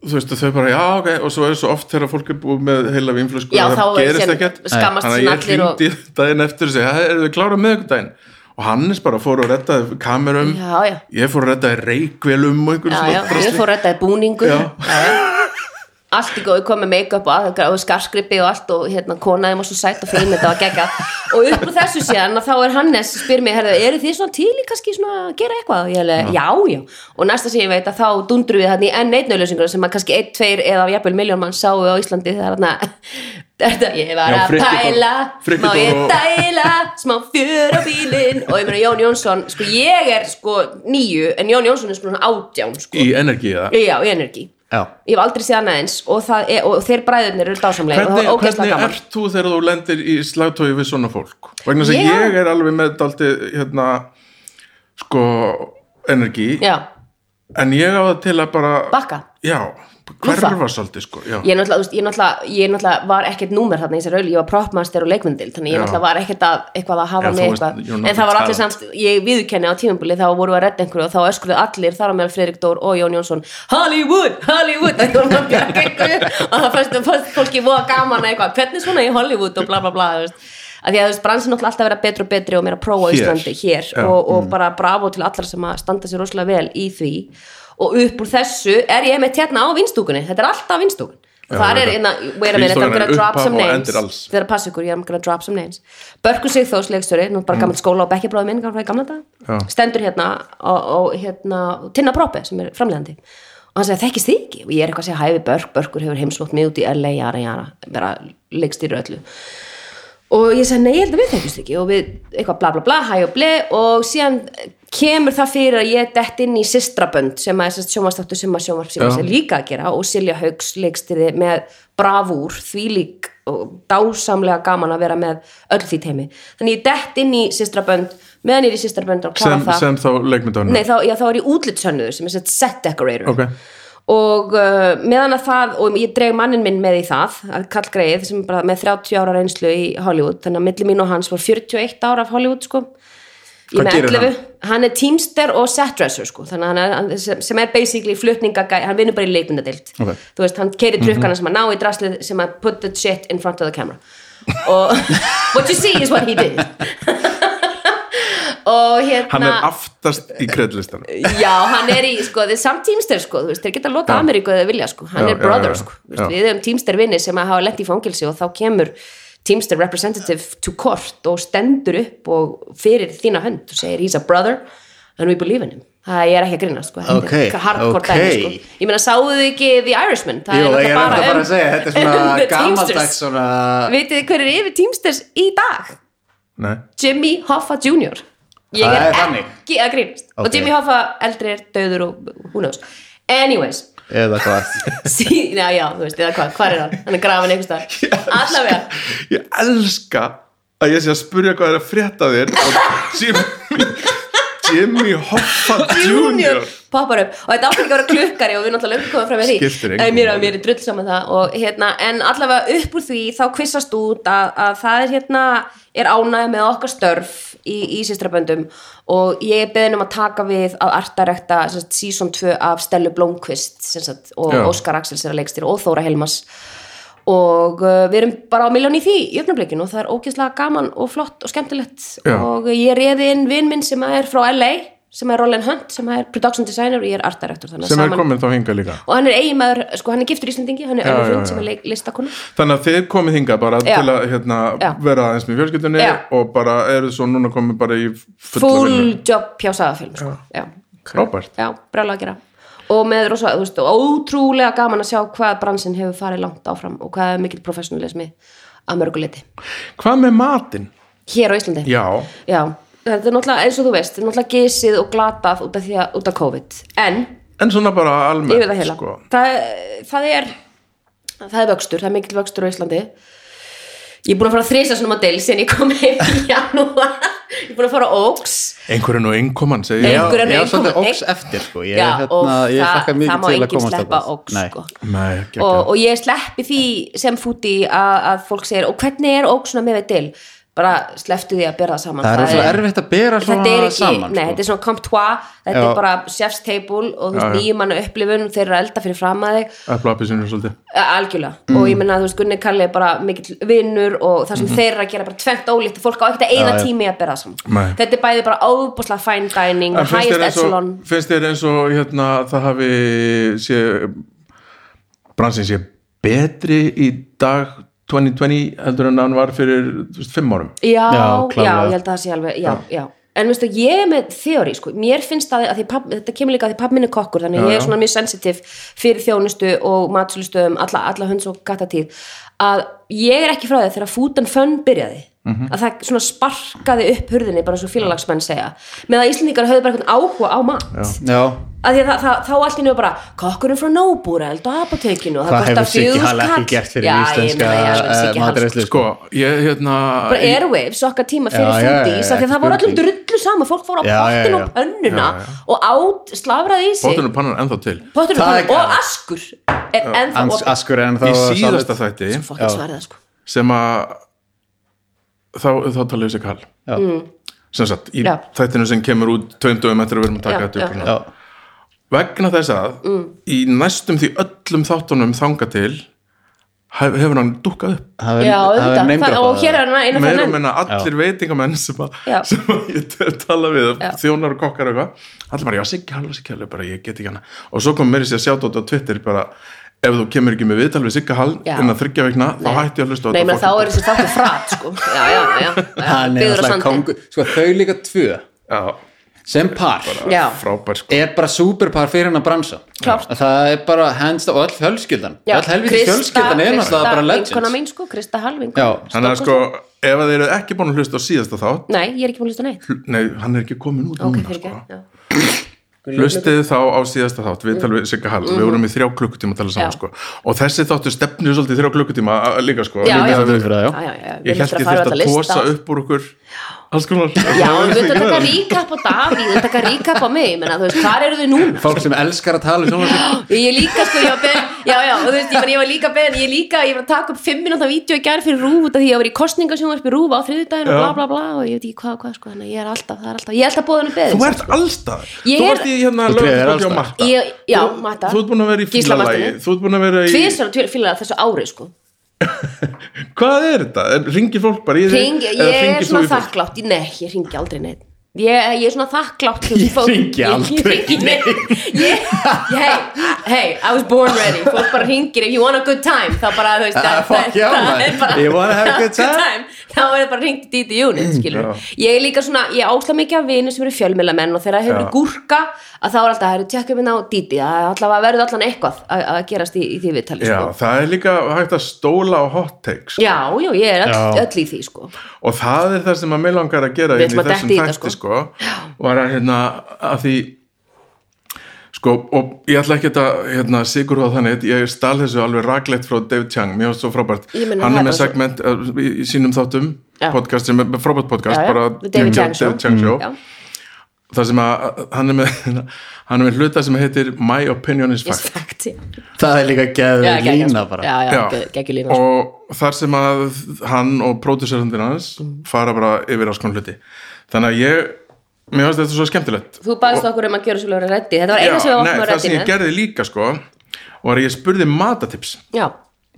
Speaker 1: þú veist og þau bara já ok og svo er svo oft þegar fólk er búið með heila vínflösku
Speaker 2: Já,
Speaker 1: og
Speaker 2: þá
Speaker 1: það
Speaker 2: er
Speaker 1: gerist
Speaker 2: sem-
Speaker 1: ekkert
Speaker 2: skammast
Speaker 1: Þannig að
Speaker 2: sín
Speaker 1: ég
Speaker 2: allir og-
Speaker 1: hringdi daginn eftir og segi, "Hæ, eru þið klára miðvikudaginn og Hannes bara fór og rettaði kamerum
Speaker 2: Já, já.
Speaker 1: ég fór að rettaði reikvelum og einhvern
Speaker 2: já,
Speaker 1: svona
Speaker 2: já,
Speaker 1: drasli.
Speaker 2: ég fór rettaði búningu
Speaker 1: Já.
Speaker 2: já, já. allt í góðu komið make-up og, aðra- og skarskripi og allt og hérna konaði maður svo sætt og fín þetta var gegga og upp úr þessu síðan að þá er Hannes spyr mig, herðu, eru þið svona til í kannski svona að gera eitthvað? Og ég hefði, já, já og næsta sem ég veit að þá dundru við þannig enn einn auðlýsingur sem að kannski einn, tveir eða jafnvel miljón mann sáu á Íslandi þegar þarna þetta ég var
Speaker 1: Já,
Speaker 2: að
Speaker 1: Frikki Dór-
Speaker 2: pæla
Speaker 1: Frikki
Speaker 2: má ég
Speaker 1: Dór og-
Speaker 2: dæla, smá fjör á bílinn og ég meina Jón Jónsson, sko ég er sko nýju, en Jón Jónsson er sko svona átján, sko,
Speaker 1: í energi eða
Speaker 2: já, í energi
Speaker 3: já,
Speaker 2: ég hef aldrei séð annað eins og, það er, og þeir bræðurnir eru dásamlega og það
Speaker 1: Hvernig,
Speaker 2: var ógeðslega
Speaker 1: hvernig
Speaker 2: gaman
Speaker 1: ert þú þegar þú lendir í slagtói við svona fólk? Vegna þess að
Speaker 2: Já.
Speaker 1: ég er alveg með daldi hérna sko energi
Speaker 2: já,
Speaker 1: en ég á það til að bara
Speaker 2: bakka
Speaker 1: já, hverfa svolítið sko já.
Speaker 2: ég náttúrulega, þú veist, ég náttúrulega, ég náttúrulega var ekkert númer þarna í þessar auðli, ég var propmaster og leikmyndil þannig ég
Speaker 1: Já.
Speaker 2: náttúrulega var ekkert að eitthvað að
Speaker 1: Já,
Speaker 2: hafa
Speaker 1: þú
Speaker 2: með
Speaker 1: veist,
Speaker 2: eitthvað
Speaker 1: you're not
Speaker 2: en það var
Speaker 1: a
Speaker 2: allir
Speaker 1: talent.
Speaker 2: samt, ég viðurkenni á tímumbuli þá voru að redda einhverju og þá öskruðu allir þar á meðal Fredrik Dór og Jón Jónsson Hollywood, Hollywood og það var að bjarga einhverju og það fannst fannst fólki voða gaman að eitthvað, hvernig svona í Hollywood og bla bla bla, þú veist að því að þú veist, bransin náttúrulega alltaf að vera betri og betri og meira prófa á
Speaker 1: Hér.
Speaker 2: Íslandi hér
Speaker 1: Já.
Speaker 2: og, og bara bravo til allra sem að standa sér rosalega vel í því og upp úr þessu er ég meitt hérna á vinstúkunni þetta er alltaf vinstúkun og
Speaker 1: Já,
Speaker 2: þar
Speaker 1: ég
Speaker 2: er
Speaker 1: veit
Speaker 2: hérna, wait a minute,
Speaker 1: Vinstúkan
Speaker 2: I'm gonna
Speaker 1: er
Speaker 2: drop
Speaker 1: upphaf
Speaker 2: some
Speaker 1: og
Speaker 2: names
Speaker 1: endir alls.
Speaker 2: þeir að passa ykkur, ég er gonna drop some names Börkur Sigþós leikstjóri, nú bara gammalt skóla og bekkjabróði minn, gamla gamla
Speaker 1: Mm. Já.
Speaker 2: þetta stendur hérna og, og hérna Tinna Proppe sem er framlegandi og hann segir, þekkist þið ekki? og ég er eitthvað að segja, hæfi Börk, Börkur hefur heimsótt mig út í LA, jara, jara, bara leikstýru öllu og ég sagði, nei, ég held að við þekkjumst ekki og við, eitthvað bla bla bla, hæ og ble og síðan kemur það fyrir að ég dett inn í Sistrabönd sem að sjómanstáttu sem að
Speaker 1: Já.
Speaker 2: sjómanstáttu er líka að gera og Silja Haugs leikstýrði með bravúr, þvílík og dásamlega gaman að vera með öll því teimi, þannig ég dett inn í Sistrabönd, meðan ég er í Sistrabönd og klára
Speaker 1: sem,
Speaker 2: það,
Speaker 1: sem þá leikmyndarinn
Speaker 2: nei, þá, já, þá er ég útlitsönnuður sem er sett set decorator
Speaker 1: Ok.
Speaker 2: og uh, meðan að það og ég dreg mannin minn með í það Karl Greið sem er bara með 30 ára reynslu í Hollywood, þannig að milli mín og hans var 41 ára af Hollywood sko Ég
Speaker 1: Hvað
Speaker 2: með
Speaker 1: gerir
Speaker 2: 11. Hann er teamster og setdresser sko, þannig að hann, hann- sem, sem er basically flutningagæ, hann vinnur bara í leikmyndadild
Speaker 1: Ok. Mhm.
Speaker 2: þú veist, hann keiri trukkana sem að ná í draslið sem að put the shit in front of the camera og what you see is what he did og hérna
Speaker 1: hann er aftast í kreðlistan
Speaker 2: Já, hann er í, sko, þeir samt tímster sko, þú veist, þeir geta að lota
Speaker 1: Já.
Speaker 2: Ameríku eða vilja, sko, hann
Speaker 1: Já,
Speaker 2: er
Speaker 1: já,
Speaker 2: brother,
Speaker 1: já, já.
Speaker 2: sko, Vist,
Speaker 1: Já.
Speaker 2: við erum tímster vinni sem að hafa lett í fangilsi og þá kemur tímster representative to court og stendur upp og fyrir þína hönd og segir, he's a brother and we believe in him, það er ekki að grina, sko þetta
Speaker 3: Ókei,
Speaker 2: er hardcore
Speaker 3: ókei.
Speaker 2: dæmi, sko ég meina, sáuðu þið ekki The Irishman það
Speaker 3: Jú, ég er
Speaker 2: náttúrulega
Speaker 3: bara, bara að segja, þetta er
Speaker 2: um the
Speaker 3: svona
Speaker 2: Teamsters.
Speaker 3: gamaldags svona
Speaker 2: vitið þið hver er yfir tímsters í dag?
Speaker 1: nei,
Speaker 2: Jimmy Hoffa Jr. Ég
Speaker 3: Það
Speaker 2: er
Speaker 3: er þannig.
Speaker 2: ekki að grínast og
Speaker 3: Ok.
Speaker 2: Jimmy Hoffa eldri er döður og hún knows anyways
Speaker 3: eða hvað
Speaker 2: sí, já, já, þú veist, eða hvað, hvað er hann? hann er grafin einhvers staðar allavega,
Speaker 1: ég elska að ég sé að spurja hvað er að frétta þér og Jimmy Jimmy Hoffa
Speaker 2: Junior
Speaker 1: Jr.
Speaker 2: poppar upp og þetta átti ekki að vera klukkari og við náttúrulega löngu komum fram með
Speaker 1: Skiptir
Speaker 2: því
Speaker 1: engu
Speaker 2: en mér,
Speaker 1: máli.
Speaker 2: mér er drull saman það og, hérna, en allavega upp úr því þá kvissast út að, að það er hérna er ánægð með okkar störf í, í sýstraböndum og ég er beðin um að taka við að artarekta sem sagt, season 2 af Stellu Blomqvist sem sagt, og
Speaker 1: Já.
Speaker 2: Óskar Axels er að leikstýra og Þóra Helmas og uh, við erum bara á miljón í því í öfnablikinu og það er ógeðslega gaman og flott og skemmtilegt
Speaker 1: Já.
Speaker 2: og ég reði inn vinn minn sem er frá LA sem er Roland Hunt, sem er production designer og ég er art director þannig að
Speaker 1: sem er
Speaker 2: saman
Speaker 1: komin þá hinga líka
Speaker 2: og hann er eiginmaður, sko hann er giftur Íslendingi hann er
Speaker 1: Já,
Speaker 2: Öllu
Speaker 1: já,
Speaker 2: Hrund
Speaker 1: já.
Speaker 2: sem er listakonu
Speaker 1: Þannig að þið komið hingað bara
Speaker 2: Já.
Speaker 1: til að hérna,
Speaker 2: Já.
Speaker 1: vera aðeins með fjölskyldunni
Speaker 2: Já.
Speaker 1: og bara eru svo núna komið bara í fulla vinnu.
Speaker 2: full job hjá sagafilm sko. já,
Speaker 1: Frábært.
Speaker 2: já brjálega að gera og með rosa, þú veist, og ótrúlega gaman að sjá hvað bransin hefur farið langt áfram og hvað er mikill professionalismi að mörguleiti
Speaker 1: Hvað með matinn?
Speaker 2: hér á Íslandi
Speaker 1: Já,
Speaker 2: Já, þetta er náttúrulega eins og þú veist, þetta er náttúrulega gisið og glatað út af því að, út af COVID en
Speaker 1: en svona bara almennt
Speaker 2: yfir það heila
Speaker 1: sko.
Speaker 2: það, það er það er vöxtur, það er mikill vöxtur á Íslandi ég er búin að fara að þrýsa svona model síðan ég kom heim í janúar ég er búin að fara á Oaks
Speaker 1: Einhverjum og einkoman segi
Speaker 2: Nei.
Speaker 1: ég.
Speaker 2: Einhver er
Speaker 3: ég
Speaker 2: með
Speaker 3: var svolítið
Speaker 2: einhver-
Speaker 3: óks eftir sko. ég,
Speaker 2: Já,
Speaker 3: hérna,
Speaker 2: og
Speaker 3: ég
Speaker 2: það,
Speaker 3: hlakka
Speaker 2: það
Speaker 3: mikið
Speaker 2: má
Speaker 3: til að
Speaker 2: enginn
Speaker 3: komast
Speaker 2: sleppa
Speaker 3: þangað.
Speaker 2: Oaks
Speaker 3: Nei.
Speaker 2: sko.
Speaker 1: Nei, ekki
Speaker 2: og, og ég sleppi því sem fúti að, að fólk segir og hvernig er Oaks svona með við til bara slepptu því að bera það saman
Speaker 3: það er rosalega erfitt að bera
Speaker 2: þetta
Speaker 3: svona
Speaker 2: er ekki,
Speaker 3: saman sko.
Speaker 2: nei, þetta er svona comptoir þetta
Speaker 3: Já.
Speaker 2: er bara chef's table og þú
Speaker 1: Já,
Speaker 2: veist,
Speaker 1: já.
Speaker 2: nýjum manna upplifun þeir eru að elda fyrir fram að þig
Speaker 1: Æfla appisinu svolítið.
Speaker 2: eh, algjörlega,
Speaker 1: Mm.
Speaker 2: og ég menna, þú veist, Gunni Kalli er bara mikill vinnur og það
Speaker 1: Mhm.
Speaker 2: sem þeir eru að gera bara tvennt ólíkt, fólk á ekkert að eigða
Speaker 3: Já, já.
Speaker 2: tími að bera það saman,
Speaker 1: Nei.
Speaker 2: þetta er bæði bara óbúslega fine dining,
Speaker 1: En finnst þér
Speaker 2: highest
Speaker 1: eins og,
Speaker 2: echelon
Speaker 1: finnst þér eins og hérna, það hafi sé, bransinn sé betri í dag 2020 heldur en hann var fyrir þú veist, fimm árum
Speaker 2: já, já,
Speaker 3: klárlega.
Speaker 2: ég held að það sé alveg já, já. en veistu, ég er með þeóri sko. mér finnst að, að papp, þetta kemur líka að því pappminni kokkur þannig
Speaker 1: Já,
Speaker 2: ég er
Speaker 1: já.
Speaker 2: svona mjög sensitiv fyrir þjónustu og matsölustöðum alla, alla hönds og gattatíð að ég er ekki frá því þegar food and fun byrjaði
Speaker 3: Mhm.
Speaker 2: að það svona sparkaði upp hurðinni bara svo félalagsmenn segja með að Íslendingar höfðu bara einhvern áhuga á mat
Speaker 3: já,
Speaker 2: að því að það, það, þá allt í njög bara kokkurinn frá Nóbúræld og apotekinu og
Speaker 3: Hvað
Speaker 2: kostar
Speaker 3: hefur Siggi
Speaker 2: 4.000
Speaker 3: Hall ekki
Speaker 2: kall.
Speaker 3: gert fyrir
Speaker 2: Já, ég
Speaker 3: íslenska,
Speaker 2: meina, ég elska
Speaker 3: eh,
Speaker 2: Siggi Hall,
Speaker 3: matreiðslu?
Speaker 1: sko, ég hérna
Speaker 2: bara
Speaker 1: ég-
Speaker 2: Airwaves okkar tíma fyrir
Speaker 3: Já, já, já,
Speaker 2: foodies af því
Speaker 3: ekki
Speaker 2: að það voru öllum
Speaker 3: spurning.
Speaker 2: drullu sama fólk fór á
Speaker 3: Já, já,
Speaker 2: pottin
Speaker 3: já.
Speaker 2: og pönnuna og át, slafraði í sig
Speaker 1: bóttunum pannar ennþá til
Speaker 2: pottin og
Speaker 3: Það er
Speaker 2: pönnuna og
Speaker 3: gaman.
Speaker 2: askur er ennþá
Speaker 3: ans,
Speaker 2: opið
Speaker 3: askur en þá
Speaker 1: í síðasta þætti
Speaker 2: fokkin svarið það sko
Speaker 1: sem að þá, þá talaði þessi kall
Speaker 3: Já.
Speaker 1: sem sagt, í
Speaker 2: Mm. Já.
Speaker 1: þættinu sem kemur út tveim dögum eftir að við erum að taka
Speaker 2: Já,
Speaker 1: þetta
Speaker 2: já.
Speaker 1: upp hérna. núna.
Speaker 3: já,
Speaker 1: vegna þess að
Speaker 2: Mm.
Speaker 1: í næstum því öllum þáttunum þanga til hef- hefur hann dukkað upp
Speaker 3: það
Speaker 2: já,
Speaker 3: er
Speaker 2: auðvitað,
Speaker 3: neymdur
Speaker 2: Það- og hér er hann einu
Speaker 1: meira
Speaker 2: fyrir
Speaker 1: og
Speaker 2: enn
Speaker 1: menna allir veitingamenn sem, að,
Speaker 2: Já.
Speaker 1: sem að ég t- tala við
Speaker 2: Já.
Speaker 1: þjónar og kokkar og eitthvað allir bara, já, Siggi Hall, Siggi Hall, ég bara, ég get ekki hana og svo kom mér í sig að sjá þetta á Twitter bara, ef þú kemur ekki með viðtal við Siggi Hall
Speaker 2: Já.
Speaker 1: innan þryggja vikna, þá hætti ég að hlusta á
Speaker 2: nei, menn þá
Speaker 1: fucking-
Speaker 2: er þessi þáttu frat sko já, já, já, já,
Speaker 3: hann er
Speaker 2: byggður á
Speaker 3: alltaf
Speaker 2: sandi
Speaker 3: kongur sko þau líka tvö
Speaker 1: já,
Speaker 3: sem par
Speaker 2: já,
Speaker 1: frábær sko
Speaker 3: er bara superpar fyrir hann að bransa
Speaker 2: Klárt.
Speaker 3: Að það er bara hands og öll fjölskyldan
Speaker 2: já
Speaker 3: öll helviti fjölskyldan er náttúrulega bara
Speaker 2: vinkona
Speaker 3: legends
Speaker 2: mín sko, Krista Hall
Speaker 3: Já,
Speaker 2: vinkona
Speaker 1: þannig að sko, ef að þeir eru ekki búin að hlusta á síðasta þátt
Speaker 2: nei, ég er ekki búin að hlusta á neitt
Speaker 1: hl- nei, hann er ekki komin út
Speaker 2: ok,
Speaker 1: núna
Speaker 2: fyrir
Speaker 1: sko.
Speaker 2: ekki,
Speaker 1: hlustið þá á síðasta þátt við talum við Sigga Hall, við vorum í þrjá klukkutíma að tala saman
Speaker 2: Mm. Já.
Speaker 1: sko, og þessi þáttu stefnir svolítið í þrjá klukkutíma a- líka sko
Speaker 2: Já,
Speaker 1: Líka
Speaker 2: já.
Speaker 1: þannig-
Speaker 3: fyrir það, já.
Speaker 2: já, já, já,
Speaker 1: ég held ég þurft að tósa upp úr okkur alls konar
Speaker 2: Já, en þú ert að taka ríkap á Davíð, þú ert að taka ríkap á mig, menna, þú veist, hvar eru þau núna?
Speaker 3: fólk sem elskar að tala um sjónvarpið.
Speaker 2: Ég líka, sko, ég var beðin, já, já, og þú veist, ég, man, ég var líka beðin, ég líka, ég var að taka upp fimm minúta vídeo í gær fyrir rúf, út af því ég var í kostningasjónvarpi rúf á þriðudaginn og
Speaker 1: Já.
Speaker 2: bla, bla, bla, og ég veit ekki hvað, og hvað, sko, þannig að ég er alltaf, það er alltaf, ég er alltaf bóðinu beðin.
Speaker 1: þú ert allstað
Speaker 2: Ég
Speaker 1: þú
Speaker 2: er-
Speaker 1: varst í hérna
Speaker 3: Þú treður
Speaker 1: lögum á
Speaker 3: alls staðar.
Speaker 1: matta
Speaker 2: Ég, já,
Speaker 1: Þú-
Speaker 2: matta.
Speaker 1: þú ert búin að vera í fílalagi
Speaker 2: Gíslamartinu.
Speaker 1: þú ert búin að vera í
Speaker 2: Tvisvar á tvíl- fílalag þessu ári, sko.
Speaker 1: hvað er þetta? ringir fólk bara í þig?
Speaker 2: Hring, ég
Speaker 1: Eða hringir
Speaker 2: er
Speaker 1: þú
Speaker 2: svona
Speaker 1: í fólk?
Speaker 2: þakklátt Nei, ég ringi aldrei neitt Ég, ég er svona þakklátt til
Speaker 3: Ég
Speaker 2: fólk-
Speaker 3: hringi aldrei
Speaker 2: Ég hringi neitt Ég- Hey, hey, I was born ready Fólk bara ringir, if you want a good time Þá bara, þú veist,
Speaker 3: Ah,
Speaker 2: það-
Speaker 3: fuck
Speaker 2: það-
Speaker 3: yeah,
Speaker 2: það
Speaker 3: man.
Speaker 2: er bara-
Speaker 3: You wanna have a good time?
Speaker 2: Þá er það bara ringt í díti unit, skilur Ég er líka svona, ég ásla mikið af vini sem eru fjölmilamenn og þegar það
Speaker 1: Já.
Speaker 2: hefur gúrka að þá er alltaf, það eru tjekkum minna hérna á díti það er allavega verður allan eitthvað að að gerast í, í því viðtali,
Speaker 1: já,
Speaker 2: sko
Speaker 1: það er líka hægt að stóla á hot takes sko.
Speaker 2: Já, já, ég er öll,
Speaker 3: Já.
Speaker 2: öll í því, sko
Speaker 1: og það er það sem að mig langar að gera
Speaker 2: Við
Speaker 1: inn í
Speaker 2: ætlum að
Speaker 1: þessum
Speaker 2: detta í þetta,
Speaker 1: þætti sko, var að hérna að því sko og ég ætla ekki að hérna, sigur á þannig, ég stal þessu alveg raglegt frá David Chang, mjög svo frábært
Speaker 2: Ég meina,
Speaker 1: hann er
Speaker 2: það er
Speaker 1: með
Speaker 2: bara svo-
Speaker 1: segment uh, í, í sínum þáttum
Speaker 2: Já.
Speaker 1: podcast sem er frábært podcast
Speaker 2: Já, já,
Speaker 1: bara
Speaker 2: The David Chang Show. Mm.
Speaker 1: David Chang Show
Speaker 2: Já.
Speaker 1: þar sem að að- hann er með hann er með hluta sem heitir My Opinion is Fact
Speaker 2: Yes, fact, já
Speaker 3: það er líka geðu
Speaker 2: Já, geggjað,
Speaker 3: lína
Speaker 2: sko.
Speaker 3: bara
Speaker 2: já, já,
Speaker 1: Já.
Speaker 2: ge- geggjur lína sko.
Speaker 1: og þar sem að hann og pródúserandinn hans
Speaker 2: Mm.
Speaker 1: fara bara yfir alls konar hluti þannig að ég, mér finnst þetta svo skemmtilegt
Speaker 2: þú baðst okkur um að gjöra svolítið reddi þetta var eina sem við
Speaker 1: nei,
Speaker 2: opnum að
Speaker 1: það sem
Speaker 2: reddinu
Speaker 1: ég gerði líga sko var að ég spurði matatips
Speaker 2: já,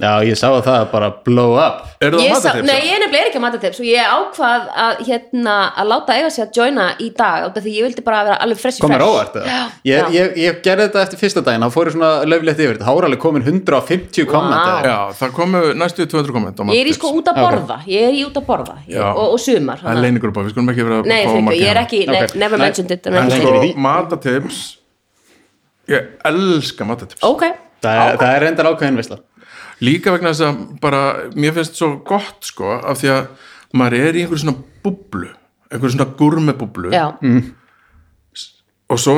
Speaker 3: já, ég sá að það bara blow up
Speaker 1: er það sko.
Speaker 2: ég sá,
Speaker 1: matatips?
Speaker 2: nei, ég er nefnilega er ekki að matatips og ég ákvað að, hérna, að láta eiga sig að joina í dag út af því ég vildi bara vera alveg fresh
Speaker 3: komur
Speaker 2: fresh.
Speaker 3: óvart eða?
Speaker 2: já,
Speaker 3: ég,
Speaker 2: já.
Speaker 3: ég, ég gerði þetta eftir fyrsta daginn þá fóru svona löflegt yfir þetta, þá voru alveg komin 150 wow.
Speaker 2: Vá.
Speaker 1: já, það komu næstu 200 komment á
Speaker 2: ég er í
Speaker 1: matatips
Speaker 2: sko út að borða ég er í út að borða ég,
Speaker 1: Já.
Speaker 2: og, og sumar
Speaker 1: það er leinigrúpa, við skulum ekki vera að
Speaker 2: nei,
Speaker 1: fá
Speaker 2: fyrir ekki,
Speaker 1: margir
Speaker 2: ég er
Speaker 1: hérna.
Speaker 2: ekki nei,
Speaker 3: Ok.
Speaker 2: never
Speaker 3: Nei.
Speaker 2: mentioned it
Speaker 3: En
Speaker 2: never
Speaker 1: en
Speaker 3: Nei,
Speaker 1: sko,
Speaker 2: mentioned it.
Speaker 3: nei, nei.
Speaker 1: matatips ég elska matatips
Speaker 2: ok,
Speaker 3: það, það er reyndar ákveðin veistla
Speaker 1: líka vegna þess að bara mér finnst svo gott sko af því að maður er í einhverju svona búblu einhverju svona gurmebúblu
Speaker 2: já,
Speaker 1: og svo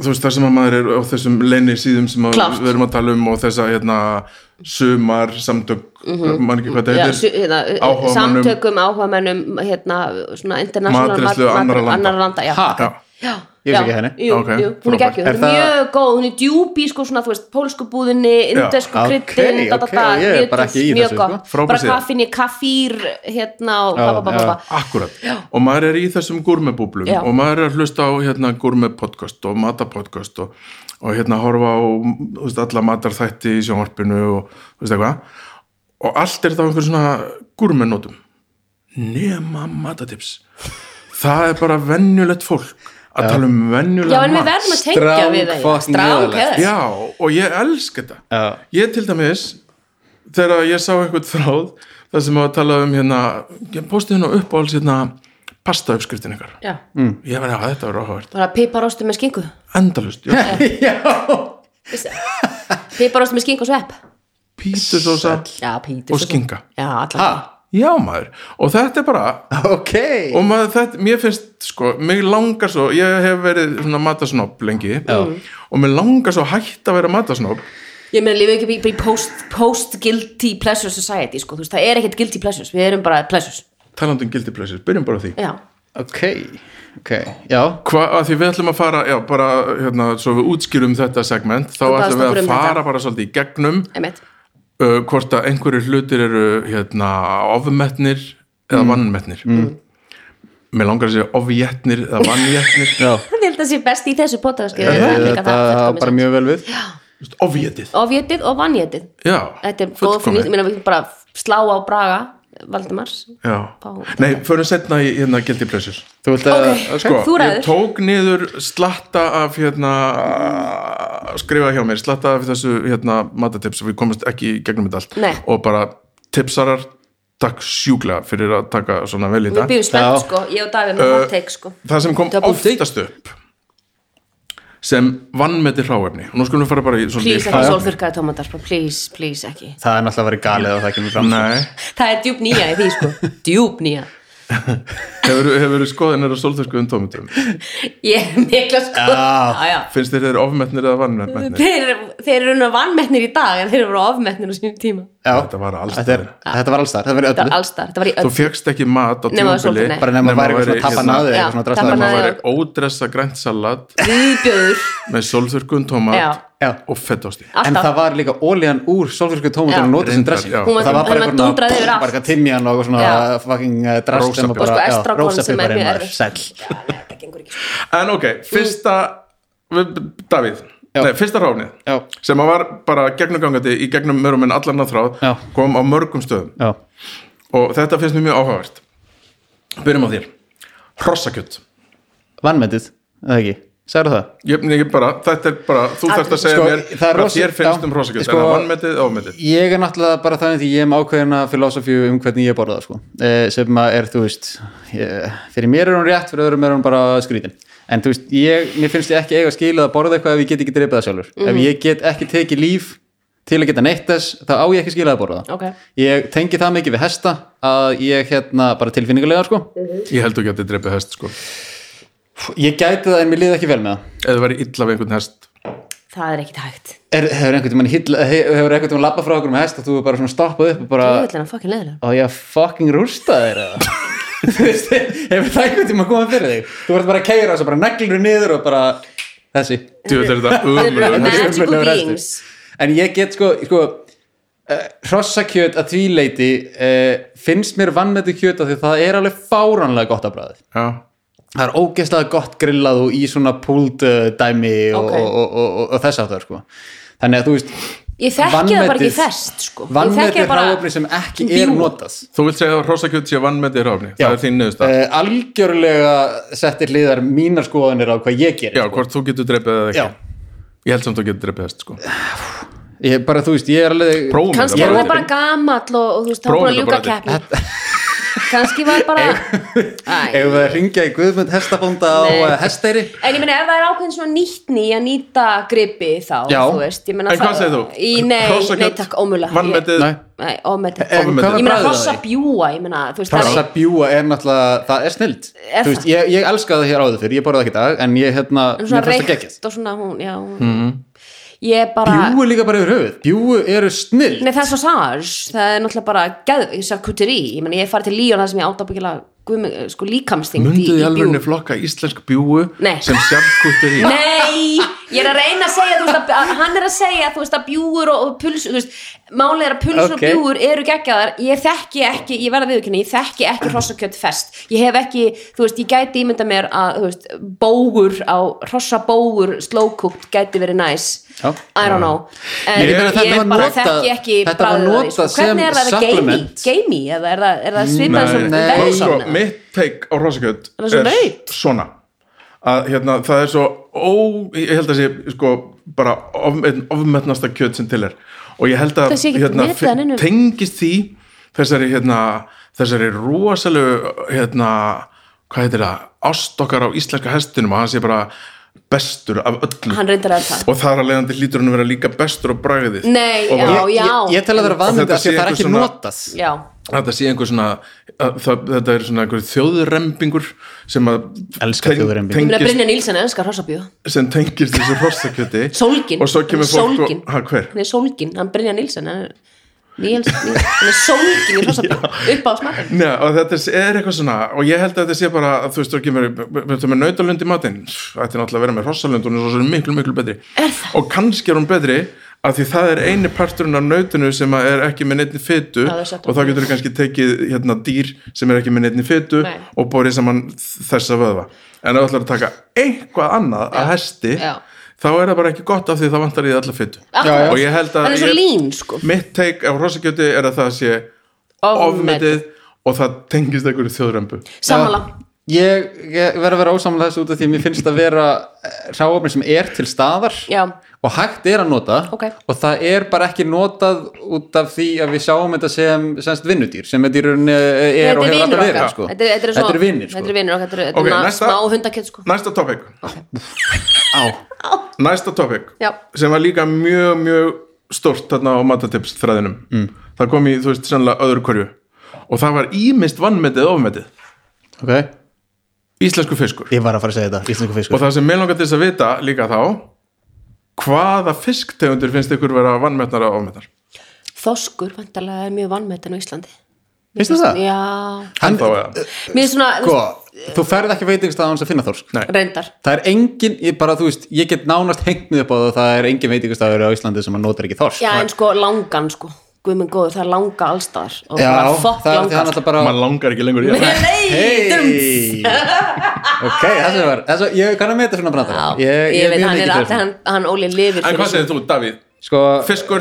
Speaker 1: þú veist það sem að maður er á þessum lenni síðum sem að
Speaker 2: Klárt.
Speaker 1: við erum að tala um og þess að hérna sumar samtök, mm mann ekki hvað
Speaker 2: Mhm. já
Speaker 1: þetta heitir
Speaker 2: su- hérna,
Speaker 1: áhugamönnum-
Speaker 2: samtökum áhugamennum hérna, svona international
Speaker 1: Matreiðslu
Speaker 2: mat-
Speaker 1: annarra landa.
Speaker 2: annarra landa já.
Speaker 3: Ha?
Speaker 1: Já.
Speaker 2: Já,
Speaker 3: Ég vissi
Speaker 2: já,
Speaker 3: ekki henni.
Speaker 2: Jú,
Speaker 1: Ok,
Speaker 2: jú, hún er
Speaker 1: frábært.
Speaker 2: geggjum,
Speaker 3: Er
Speaker 2: hún er
Speaker 3: það-
Speaker 2: mjög góð, hún er djúb í sko svona, þú veist, pólsku búðinni, indesku
Speaker 3: Já, ok,
Speaker 2: kryddin, da, da,
Speaker 3: ok,
Speaker 2: da,
Speaker 3: ég er bara
Speaker 2: jötull,
Speaker 3: ekki í
Speaker 2: mjög
Speaker 3: þessu,
Speaker 2: gott.
Speaker 3: sko.
Speaker 1: Frábær
Speaker 2: Bara
Speaker 1: síða.
Speaker 2: hvað finn ég, kaffýr, hérna og
Speaker 3: Já,
Speaker 2: bá, bá, bá,
Speaker 3: já.
Speaker 2: bá, bá.
Speaker 1: Akkurat, og maður er í þessum gurmebúblum
Speaker 2: Já.
Speaker 1: og maður er að hlusta á hérna, gurmepodcast og matapodcast og, og hérna horfa á þú veist, alla matarþætti í sjónvarpinu og þú veist eitthvað og allt er þá einhver svona gurmenótum nema matatips það er bara venjulegt fólk að tala um venjulega
Speaker 2: Já, en við
Speaker 1: mat
Speaker 2: verðum að tengja við
Speaker 3: Strangfucking
Speaker 2: það, strák
Speaker 3: nýðarlegt.
Speaker 2: heðar.
Speaker 1: Já, og ég elska þetta
Speaker 3: Já.
Speaker 1: ég til dæmis þegar ég sá einhvern þráð það sem að tala um hérna postið hérna uppáhalds hérna pasta uppskriftin ykkar
Speaker 2: Já.
Speaker 1: ég verði að þetta verður áhugavert
Speaker 2: Bara piparostu með skingu.
Speaker 1: endalust, já,
Speaker 2: Piparostu með skingu og svepp.
Speaker 1: pítusósa
Speaker 2: Já, pítur.
Speaker 1: og skinga
Speaker 2: Já, allar.
Speaker 3: ha,
Speaker 1: já maður, og þetta er bara
Speaker 3: Ah, ok
Speaker 1: og maður, þetta, mér finnst sko mig langar svo, ég hef verið svona matasnopp lengi já. og mér langar svo hætt að vera matasnopp
Speaker 2: Ég meina, lifið ekki bara í post- post-guilty pleasure society, sko. Þú veist, það er ekkert guilty pleasures. Við erum bara pleasures.
Speaker 1: talandi um guilty pleasures, byrjum bara á því
Speaker 2: Já.
Speaker 3: ok, ok, já
Speaker 1: Hvað, að því við ætlum að fara, já, bara hérna, svo við útskýrum þetta segment þá
Speaker 2: Þú baðst
Speaker 1: ætlum við að
Speaker 2: okkur um
Speaker 1: fara
Speaker 2: þetta.
Speaker 1: bara svolítið í gegnum
Speaker 2: Emmett.
Speaker 1: uh, hvort að einhverju hlutir eru hérna, ofmetnir eða vannmetnir mm. mér langar að segja ofjetnir eða vannjetnir
Speaker 3: já,
Speaker 2: Ég held að sé best í þessu potaðarskið.
Speaker 3: þetta er bara mjög vel við
Speaker 1: Þú veist, ofjetið,
Speaker 2: Ofjetið og vanjetið.
Speaker 1: já,
Speaker 2: Þetta er góð fyrir mér. Ég meina, við bara slá á Braga, Valdimars.
Speaker 1: já,
Speaker 2: Fá-
Speaker 1: nei, förum setna í hérna guilty pleasures
Speaker 3: þú vilt að,
Speaker 2: Ok.
Speaker 3: ok,
Speaker 1: sko,
Speaker 2: Eh, Þú ræður.
Speaker 1: ég tók niður slatta af hérna að skrifa hjá mér, slatta af þessu hérna matatips og við komumst ekki í gegnum þetta allt
Speaker 2: Nei.
Speaker 1: og bara tipsarar takk sjúkla fyrir að taka svona vel í
Speaker 2: Við
Speaker 1: þetta
Speaker 2: býðum spennt,
Speaker 3: Já. Uh,
Speaker 2: sko. Ég og Davíð með hot take, sko.
Speaker 1: það sem kom
Speaker 2: Double take.
Speaker 1: oftast upp sem vannmeti hráefni og nú skulum við fara bara í
Speaker 2: Please,
Speaker 1: svolítið
Speaker 2: ekki sólþurkaði tómatar, sko. Please, please, ekki.
Speaker 3: það er náttúrulega verið galið og það kemur fram
Speaker 1: Nei,
Speaker 2: Það er djúb nýja í því, sko. Djúb nýja.
Speaker 1: hefur, hefur skoðinir á sólþörskuðum tómutum
Speaker 2: Ég er mikla, sko. Já, já.
Speaker 1: finnst þér þeir ofmetnir eða vannmetnir
Speaker 2: Þeir, þeir eru nú vannmetnir í dag en þeir eru ofmetnir á sínum tíma.
Speaker 3: já,
Speaker 1: Þetta var alls
Speaker 3: þetta er- þetta var alls þar, þetta var í
Speaker 2: Það var
Speaker 3: öllu
Speaker 2: alls þar, það var í
Speaker 1: þú
Speaker 2: öll.
Speaker 1: fegst ekki mat á
Speaker 2: Nema að
Speaker 1: tímabili hérna-
Speaker 2: sólþurrka, nei.
Speaker 3: bara nema að væri
Speaker 1: að
Speaker 3: eitthvað svona tappa
Speaker 2: Já,
Speaker 3: náði eitthvað svona
Speaker 2: tappa
Speaker 3: drastlega
Speaker 2: náði.
Speaker 1: það væri ódressa grænt salat
Speaker 2: Viðbjöður,
Speaker 1: með sólþurkun tómat
Speaker 2: Já.
Speaker 3: Já.
Speaker 1: og fettosti
Speaker 3: en
Speaker 2: alltaf.
Speaker 3: það var líka ólíðan úr sólfyrsku
Speaker 2: Já.
Speaker 3: tómatunum notur sem
Speaker 1: Reyndar,
Speaker 3: dressing
Speaker 1: já.
Speaker 2: Hún var-
Speaker 3: það var
Speaker 2: hún var
Speaker 3: bara eitthvað svona-
Speaker 2: dundrað yfir allt.
Speaker 3: bara eitthvað timjan og eitthvað svona
Speaker 2: Já.
Speaker 3: fucking eh,
Speaker 1: Rósapipar.
Speaker 3: drast sem að
Speaker 1: Og
Speaker 3: bara
Speaker 2: sko,
Speaker 3: já,
Speaker 2: estragon sem er
Speaker 3: rósapiparinn
Speaker 2: mjög
Speaker 3: var
Speaker 2: erfitt.
Speaker 3: sæll.
Speaker 2: Já, nei, þetta gengur ekki. sko.
Speaker 1: en ok, fyrsta við- Davíð,
Speaker 3: Já.
Speaker 1: nei, fyrsta ráfnið
Speaker 3: Já.
Speaker 1: sem að var bara gegnumgangandi í gegnum mörum en allan að þráð
Speaker 3: Já.
Speaker 1: kom á mörgum stöðum
Speaker 3: já,
Speaker 1: og þetta finnst mér mjög áhugavert byrjum á þér hrossakjött
Speaker 3: vannmetið, eða ekki, sagði það
Speaker 1: ég, ég bara, þetta er bara, þú þarft að segja
Speaker 3: Sko,
Speaker 1: mér
Speaker 3: það er
Speaker 1: hvað
Speaker 3: rosa-
Speaker 1: þér finnst
Speaker 3: já.
Speaker 1: um hrossakjött
Speaker 3: Sko-
Speaker 1: er það vannmetið, eða ofmetið
Speaker 3: ég er náttúrulega bara þannig því ég er með ákveðina filosofíu um hvernig ég borða það sko. eh, sem að er, þú veist ég, fyrir mér er hún rétt, fyrir öðrum er hún bara skrítin en þú veist, ég, mér finnst ég ekki eiga skilið að borða eitthvað ef ég get ekki dreipið það sjálfur
Speaker 2: Mhm.
Speaker 3: ef ég get ekki tekið líf til að geta neitt þess, þá á ég ekki skilið að borða það
Speaker 2: Ok.
Speaker 3: ég tengi það mikið við hesta að ég hérna bara tilfinningulega sko.
Speaker 1: ég held þú getið dreipið hest sko
Speaker 3: ég gæti það en mér liði ekki vel með það
Speaker 1: eða verið illa við einhvern hest
Speaker 2: Það er ekkit hægt.
Speaker 3: Er, hefur einhvern tímann hilla- he- hefur einhvern tímann labbað frá okkur með hest og þú er bara svona stoppað upp og bara
Speaker 2: Þú vil hann fucking leðilega.
Speaker 3: og ég að fucking rústa þér eða Þú veist, hefur það einhvern tíma komað fyrir þig þú verður bara að keira og svo bara neglur niður og bara þessi
Speaker 1: djúið er þetta ömurlegur hestur.
Speaker 2: Magical
Speaker 3: Ömurlegur hestur.
Speaker 2: beings.
Speaker 3: en ég get sko, sko uh, hrossakjöt að því leiti uh, finnst mér vannmetu kjöt af því það er alveg fáránlega gott að bræðið
Speaker 1: já,
Speaker 3: það er ógeðslega gott grillað og í svona púld uh, dæmi og,
Speaker 2: Ok.
Speaker 3: og, og, og, og, og þess að það sko þannig að þú veist
Speaker 2: Ég þekki það bara ekki
Speaker 3: vanmetið-
Speaker 2: fest, sko. Ég þekki
Speaker 3: vanmetið
Speaker 2: það bara-
Speaker 3: hráöfni sem ekki er
Speaker 2: Bjú.
Speaker 3: notað
Speaker 1: þú vilt segja að hrossakjött sé vannmetið ráfni það er þín niðurstað
Speaker 3: Eh, algjörlega settir hliðar mínar skoðanir á hvað ég gerir
Speaker 1: Já, hvort þú getur dreipið eða ekki
Speaker 3: Já.
Speaker 1: Ég held samt að þú getur dreipið hest sko.
Speaker 3: ég, bara þú veist, ég er alveg
Speaker 1: Prófum
Speaker 2: Kannski
Speaker 1: þetta
Speaker 2: er
Speaker 1: bara.
Speaker 2: það bara gamall og, og þú veist, það var
Speaker 1: Prófum
Speaker 2: bara
Speaker 1: þetta
Speaker 2: ljúka
Speaker 1: bara
Speaker 2: keppni. Kannski var bara... Æ.
Speaker 3: ef það ringja í Guðmund hestabónda á
Speaker 2: Nei.
Speaker 3: eh, hesteyri
Speaker 2: En ég meina ef það er ákveðin svona nýtni í að nýta gripi þá,
Speaker 3: Já.
Speaker 2: þú veist, ég meina
Speaker 1: En hvað
Speaker 2: það-
Speaker 1: segir þú?
Speaker 2: Í, nei,
Speaker 1: Hrossakjöt,
Speaker 2: nei, takk, ómulega
Speaker 1: vanmetið-
Speaker 3: Nei.
Speaker 2: Nei, ómetið
Speaker 3: En hvað
Speaker 2: Ég
Speaker 3: var
Speaker 2: meina
Speaker 3: bragðið
Speaker 2: hrossa
Speaker 3: að því?
Speaker 2: bjúa, ég meina, þú veist, það
Speaker 3: Hrossa
Speaker 2: er
Speaker 3: bjúa er náttúrulega, það er snild
Speaker 2: Er
Speaker 3: Þú veist, ég, ég elska það hér áður fyrir, ég borða það ekki í dag en ég hérna,
Speaker 2: en
Speaker 3: mér
Speaker 2: svona
Speaker 3: fannst það geggjast Mhm.
Speaker 2: reykt og svona hún, já hún- Ég er bara
Speaker 3: Bjúu líka bara yfir höfuð, bjúu eru snild
Speaker 2: Nei, það er svo sars, það er náttúrulega bara geð, ég sagði kuttir í, ég meina, ég farið til Líón það sem ég átabækilega, sko, líkamsting
Speaker 1: Munduð í alvegni flokka íslensk bjúu
Speaker 2: Nei.
Speaker 1: sem sjálfkúttir í
Speaker 2: Nei, ég er að reyna að segja þú veist, að, hann er að segja, þú veist, að bjúur og, og puls, þú veist, málið er að pulsur
Speaker 3: Ok.
Speaker 2: og bjúur eru geggjaðar, ég þekki ekki ég verða viðurkynni, ég þekki ekki hrossakjött fest ég hef ekki, þú veist, ég gæti ímynda mér að, þú veist, bógur á hrossabógur, slowcooked gæti verið næs,
Speaker 3: Já.
Speaker 2: I don't know en
Speaker 3: Ég
Speaker 2: ég,
Speaker 3: meina, þetta var
Speaker 2: bara
Speaker 3: notað-
Speaker 2: þekki ekki
Speaker 3: þetta var
Speaker 2: bragðið af því,
Speaker 3: notað
Speaker 2: sko. hvernig
Speaker 3: sem
Speaker 2: er það, er það
Speaker 3: supplement.
Speaker 2: geimi, eða er það, er það svipað sem
Speaker 3: Nei.
Speaker 1: Og
Speaker 2: velsóna?
Speaker 1: sko, mitt teik á hrossakjött
Speaker 2: Það er svo naut.
Speaker 1: svona að hérna, það er svo ó, ég held að sé sko, bara of, einn ofmetnasta kjöt sem til er og ég held að hérna,
Speaker 2: Það sé ekkert metið að neinu.
Speaker 1: tengist því þessari, hérna, þessari rosalegu hérna, hvað heitir það, ást okkar á íslenska hestinum að hann sé bara bestur af öllu
Speaker 2: hann reyndar að það
Speaker 1: og þar að leiðandi hlýtur hann að vera líka bestur á bragðið
Speaker 2: Nei,
Speaker 1: Og bara-
Speaker 2: Já,
Speaker 3: ég,
Speaker 2: já.
Speaker 3: ég, ég tel að það er vanmynd
Speaker 1: Þetta
Speaker 3: að
Speaker 1: sé
Speaker 3: það er
Speaker 1: einhver
Speaker 3: ekki
Speaker 1: svona-
Speaker 3: notað
Speaker 2: já,
Speaker 1: þetta sé einhver svona að, það, þetta er svona einhver þjóðurrembingur sem að
Speaker 3: Elska þjóðrembingur.
Speaker 2: ég meina
Speaker 1: tengist,
Speaker 2: Brynja Nílsen elskar hrossabíu
Speaker 1: sem tengist þessu hrossakjöti
Speaker 2: sólgin,
Speaker 1: og svo kemur
Speaker 2: Hann er
Speaker 1: fólk
Speaker 2: sólgin.
Speaker 1: og, ha, hver?
Speaker 2: hann er sólgin, hann Brynja Nílsen hann er, Níls, Níls, hann er sólgin í hrossabíu upp á smakan
Speaker 1: Nei, og þetta er eitthvað svona og ég held að þetta sé bara að þú veist þú kemur við erum með nautalund í matinn þetta er náttúrulega að vera með rossalund og hún er svo sem miklu miklu betri
Speaker 2: Er það?
Speaker 1: og kannski er hún betri af því það er eini parturinn af nautinu sem að er ekki með neittni fytu
Speaker 2: Já, það er satt.
Speaker 1: og þá getur þú kannski tekið hérna dýr sem er ekki með neittni fytu
Speaker 2: Nei.
Speaker 1: og borið saman þessa vöðva en ef þú ætlar að taka eitthvað annað að hesti
Speaker 2: Já.
Speaker 1: þá er það bara ekki gott af því það vantar í það alla fytu
Speaker 2: Akkurat.
Speaker 1: og ég held að
Speaker 2: hann er svo
Speaker 1: ég-
Speaker 2: lín sko
Speaker 1: mitt teik á rosakjöti er að það sé
Speaker 2: Ofmetið.
Speaker 1: ofmetið og það tengist einhverju þjóðrembu
Speaker 2: samanlá,
Speaker 3: ég, ég verð að vera ósamlega þessu út af því að mér finnst að vera ráöfni sem er til staðar
Speaker 2: Já.
Speaker 3: og hægt er að nota
Speaker 2: Ok.
Speaker 3: og það er bara ekki notað út af því að við sjáum þetta sem semst vinnudýr sem þetta í rauninni eh,
Speaker 2: þetta
Speaker 3: er og
Speaker 2: er vinur
Speaker 3: hefur alltaf
Speaker 2: okkar
Speaker 3: verið sko.
Speaker 2: þetta er- þetta er svo-
Speaker 3: þetta er vinnir
Speaker 2: þetta er
Speaker 3: sko.
Speaker 2: vinur okkar, þetta er-
Speaker 1: Ok,
Speaker 2: þetta er
Speaker 1: næsta.
Speaker 2: smá hundakett sko
Speaker 1: næsta topic
Speaker 3: Á.
Speaker 1: næsta topic
Speaker 2: Já.
Speaker 1: sem var líka mjög mjög stort þarna á matatips þræðinum mm. það kom í þú veist sannlega öðru hverju og það var ímist vannmetið eða ofmetið
Speaker 3: okay.
Speaker 1: íslensku fiskur
Speaker 3: ég var að fara að segja þetta íslensku
Speaker 1: og
Speaker 3: fiskur
Speaker 1: það sem mér langar til þess að vita líka þá hvaða fisktegundir finnst ykkur vera vannmetnar eða ofmetnar
Speaker 2: þoskur vantarlega er mjög vannmetin á Íslandi
Speaker 3: finnst þér það?
Speaker 2: já,
Speaker 3: Hann,
Speaker 1: þá eða
Speaker 2: mér er svona
Speaker 3: sko, þú ferð ekki veitingstað án þess að finna þorsk
Speaker 1: Nei.
Speaker 2: reyndar
Speaker 3: það er engin, ég bara þú veist ég get nánast hengt mig upp á það að það er engin veitingstafur á Íslandi sem að notar ekki þorsk
Speaker 2: Já, en sko langan sko Guðmund góður, það er langa allstaðar og
Speaker 3: Já,
Speaker 2: bara fokk
Speaker 3: það er því
Speaker 2: langa
Speaker 3: hann
Speaker 2: sko.
Speaker 3: alltaf bara
Speaker 1: maður langar ekki lengur í það
Speaker 2: Nei, dums
Speaker 3: Hey. ok, þessi var þessi, ég kann að meta svona brandara
Speaker 2: Já,
Speaker 3: ég, ég, er
Speaker 2: veit, hann er
Speaker 3: mjög mikið fyrir
Speaker 2: alltaf,
Speaker 3: svona.
Speaker 2: hann, hann Óli lifir
Speaker 1: en
Speaker 2: fyrir
Speaker 1: hvað
Speaker 2: þessu.
Speaker 1: segir þú Davíð
Speaker 3: sko,
Speaker 1: fiskur,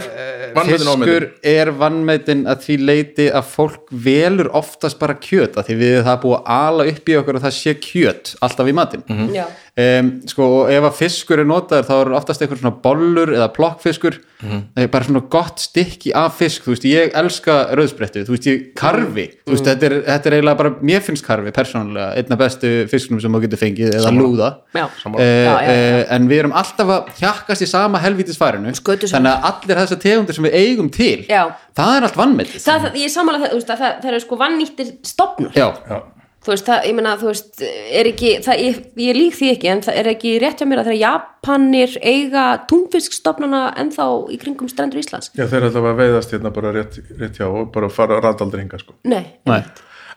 Speaker 1: vannmetinn og
Speaker 3: fiskur
Speaker 1: ofmetinn
Speaker 3: er vannmetin að því leiti að fólk velur oftast bara kjöt að því við það er búið að ala upp í okkur að það sé kjöt alltaf í matinn
Speaker 2: Já.
Speaker 3: um, sko, og ef að fiskur er notaður þá eru oftast einhver svona bollur eða plokkfiskur
Speaker 2: Mhm.
Speaker 3: það er bara svona gott stykki af fisk, þú veist, ég elska rauðsprettu, þú veist, ég karfi þú
Speaker 2: Mhm.
Speaker 3: veist, þetta, er, þetta er eiginlega bara, mér finnst karfi persónulega, einna bestu fiskunum sem maður getur fengið eða lúða
Speaker 2: Já. Já,
Speaker 3: Eh,
Speaker 2: já, já.
Speaker 3: eh, en við erum alltaf að hjakkast í sama helvítisfærinu
Speaker 2: Skötu saman.
Speaker 3: þannig að allir þessar tegundir sem við eigum til
Speaker 2: Já.
Speaker 3: það er allt vannmetið
Speaker 2: Það, það, ég samanlega það, þú veist, að það, það eru sko vannýttir stopnur
Speaker 3: já,
Speaker 2: Þú veist, það, ég meina, þú veist, er ekki það, ég, ég lík því ekki, en það er ekki rétt hjá mér að þegar Japanir eiga túnfiskstopnana ennþá í kringum strendur Íslands
Speaker 1: Já, þeir ætla að veiðast hérna bara rétt, rétt hjá og bara fara rataldri hinga sko.
Speaker 2: Nei,
Speaker 3: Nei.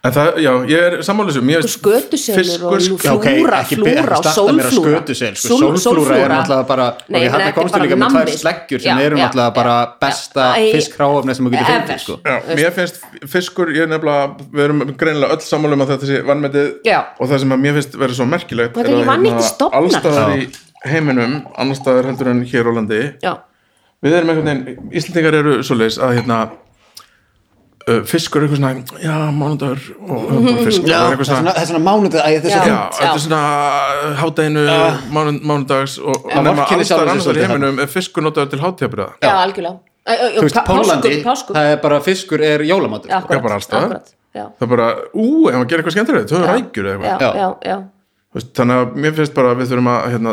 Speaker 1: En það, já, ég er sammálisum Mér
Speaker 2: Og skötuselur og
Speaker 1: fiskur, sko,
Speaker 3: Já, Sko, ok,
Speaker 2: Flúra,
Speaker 3: ekki
Speaker 2: flúra
Speaker 3: be- ekki
Speaker 2: og
Speaker 3: starta meira
Speaker 2: sólflúra.
Speaker 3: skötusel, sko.
Speaker 2: Sól-
Speaker 3: sólflúra er
Speaker 2: sólflúra.
Speaker 3: náttúrulega bara
Speaker 2: Nei,
Speaker 3: og
Speaker 2: ég
Speaker 3: ég
Speaker 2: meina,
Speaker 3: hann er
Speaker 2: þetta er
Speaker 3: komst
Speaker 2: bara
Speaker 3: líka með tvær
Speaker 2: nammi, sko.
Speaker 3: sleggjur
Speaker 2: Já,
Speaker 3: sem eru
Speaker 2: já,
Speaker 3: náttúrulega
Speaker 2: já,
Speaker 3: bara
Speaker 2: já.
Speaker 3: besta
Speaker 2: Æ,
Speaker 3: fiskráfni sem þú getur
Speaker 2: ever.
Speaker 3: fengið sko.
Speaker 1: Já, mér finnst fiskur, ég er nefnilega við erum greinilega öll sammálum að þetta sé vannmetið
Speaker 2: Já.
Speaker 1: og það sem að mér finnst verið svo merkilegt
Speaker 2: Þetta er ekki vannýttir stofnar.
Speaker 1: allstaðar í heiminum annarstaðar heldur en hér á landi
Speaker 2: Já,
Speaker 1: við erum einhvern veginn, Íslendingar eru svoleiðis að hérna uh, fiskur er eitthvað svona, já, mánudagur og höfum fiskur
Speaker 3: Já,
Speaker 1: og
Speaker 3: það
Speaker 1: eitthvað
Speaker 3: er svona, það er svona mánuðið æ, þetta er
Speaker 2: Já.
Speaker 3: svo
Speaker 1: Já, þetta er svona uh, hádeginu mánu, mánudags og og nema
Speaker 3: vorkennir sjálfum
Speaker 1: allstaðar
Speaker 3: sér
Speaker 1: annars í
Speaker 3: svolítið
Speaker 1: heiminum er fiskur notaður til hátíðabriða
Speaker 2: já, algjörlega Æ, ö, ö,
Speaker 3: þú veist,
Speaker 2: pá-
Speaker 3: Pólandi,
Speaker 2: páskum- páskum.
Speaker 3: það er bara fiskur er jólamatur sko.
Speaker 2: Akkurat,
Speaker 1: Já, bara alls staðar.
Speaker 2: akkurat, já.
Speaker 1: það er bara, ú, ef maður gerir eitthvað skemmtilegt þau eru rækjur eða
Speaker 2: Já,
Speaker 1: eitthvað
Speaker 3: Já.
Speaker 2: já, já.
Speaker 1: Þú veist, þannig að mér finnst bara að við þurfum að hérna,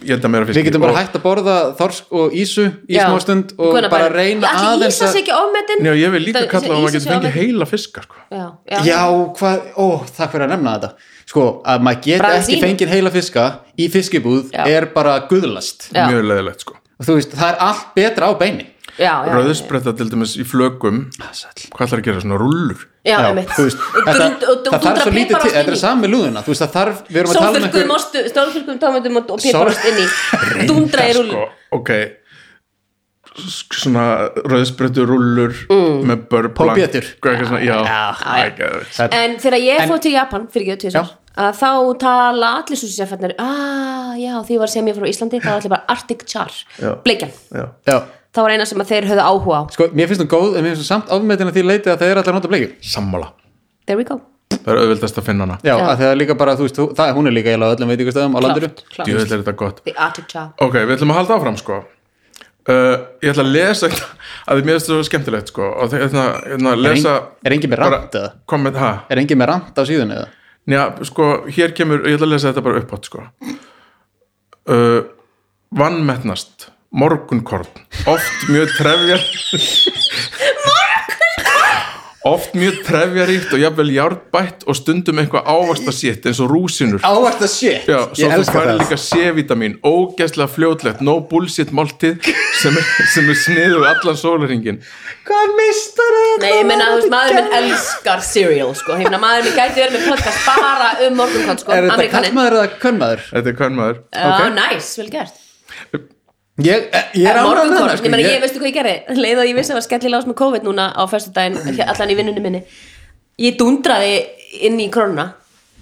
Speaker 1: ég held að meira fisk
Speaker 3: við getum bara hægt að borða þorsk og ísu í
Speaker 2: Já.
Speaker 3: smástund og
Speaker 2: Guðna
Speaker 3: bara reyna
Speaker 2: Ætli
Speaker 3: aðeins
Speaker 2: Ísa
Speaker 3: að-
Speaker 2: sé ekki ofmetin
Speaker 1: Já, ég vil líka
Speaker 2: Það-
Speaker 1: kalla að
Speaker 2: þessi
Speaker 1: maður
Speaker 2: ísa
Speaker 1: getur
Speaker 2: sé
Speaker 1: fengið
Speaker 2: ofmetin.
Speaker 1: heila fiskar sko.
Speaker 2: Já, já,
Speaker 3: Já, hvað, ó, takk fyrir að nefna þetta Sko, að maður get
Speaker 2: Bransíni.
Speaker 3: ekki fengið heila fiska í fiskibúð
Speaker 2: Já.
Speaker 3: er bara guðlast
Speaker 2: Já.
Speaker 1: mjög leðilegt sko.
Speaker 3: og þú veist, það er allt betra á beini
Speaker 2: já, já,
Speaker 1: rauðspretta til dæmis í flögum
Speaker 3: Ah,
Speaker 1: hvað ætlar að gera svona rullur
Speaker 2: já, já,
Speaker 3: þú veist, þetta, það þarf svo lítið til, þetta er saman með lúðuna þú veist, það þarf, við erum að tala um
Speaker 2: Sólþurkum,
Speaker 3: einhver
Speaker 2: ostu, stóðþurkum, tómatum og og
Speaker 3: Sól-
Speaker 2: piparost inn í Dundra í rúlu
Speaker 1: sko, ok S- svona rauðsprettu rullur með börn
Speaker 3: Paul
Speaker 1: blank-
Speaker 3: Pétur.
Speaker 1: hvað eitthvað svona, já,
Speaker 3: Mm. Já.
Speaker 1: Æ, geðveikt.
Speaker 3: Það-
Speaker 2: En þegar ég
Speaker 3: En-
Speaker 2: fór til Japan, fyrir ekki
Speaker 3: Já.
Speaker 2: tvisar að þá tala allir svo sérfætnar ah, já, því ég var sem ég frá Íslandi þá var allir bara Arctic Char,
Speaker 1: Já.
Speaker 2: bleikjan
Speaker 1: Já.
Speaker 3: Já,
Speaker 2: það var eina sem að þeir höfðu áhuga á
Speaker 3: sko, mér finnst það góð en mér finnst það samt ofmetin að því leiti að það er allir að nota bleikjur
Speaker 1: sammála
Speaker 2: There we go
Speaker 1: það er auðvildast að finna hana
Speaker 3: Já,
Speaker 2: Já.
Speaker 3: að það er líka bara, þú veist, þú- það, hún er líka eiginlega á öllum veitingastöðum á landinu
Speaker 2: klárt, klárt.
Speaker 1: djöðlega er þetta gott
Speaker 2: The Artichoke
Speaker 1: Ok, við ætlum að halda áfram sko uh, Ég ætla að lesa eitt- að því mér finnst þetta svo skemmtilegt sko og þe- ég ætla, ég ætla að
Speaker 3: Er,
Speaker 1: lesa
Speaker 3: ein, er engin með
Speaker 1: bara-
Speaker 3: rant eða?
Speaker 1: komment, ha?
Speaker 3: Er engin með rant á síðunni eða?
Speaker 1: Já, sko, hér kemur, ég ætla að lesa þetta bara upphátt sko uh, Vannmetnast morgunkorn oft mjög trefjar oft mjög trefjaríkt og jafnvel járbætt og stundum eitthvað ávasta sétt eins og rúsinur
Speaker 3: Ávarta shit,
Speaker 1: Já, svo
Speaker 3: ég
Speaker 1: þú
Speaker 3: elska
Speaker 1: færi
Speaker 3: það
Speaker 1: líka C-vitamin ógæslega fljótlegt, no bullshit máltið sem er, sem er sniðu við allan sólaringin
Speaker 3: Hvað mistar það?
Speaker 2: Nei, ég meina, þú veist, maður minn elskar cereal, sko, ég meina, maður minn gæti verið með podcast bara um morgunkvæmt, sko,
Speaker 3: Er þetta
Speaker 2: Amerikanin
Speaker 3: kallmaður eða könnmaður?
Speaker 1: Þetta er hvern maður
Speaker 2: Já,
Speaker 3: ok.
Speaker 2: næs, vel gert
Speaker 3: Ég, ég er ánægður með
Speaker 2: Morgunkorn,
Speaker 3: það,
Speaker 2: Eh,
Speaker 3: sko.
Speaker 2: ég meina, ég
Speaker 3: ég-
Speaker 2: veistu hvað ég gerði leið að ég vissi að það var skellilega ás með COVID núna á föstudaginn, allan í vinnunni minni ég dundraði inn í krónuna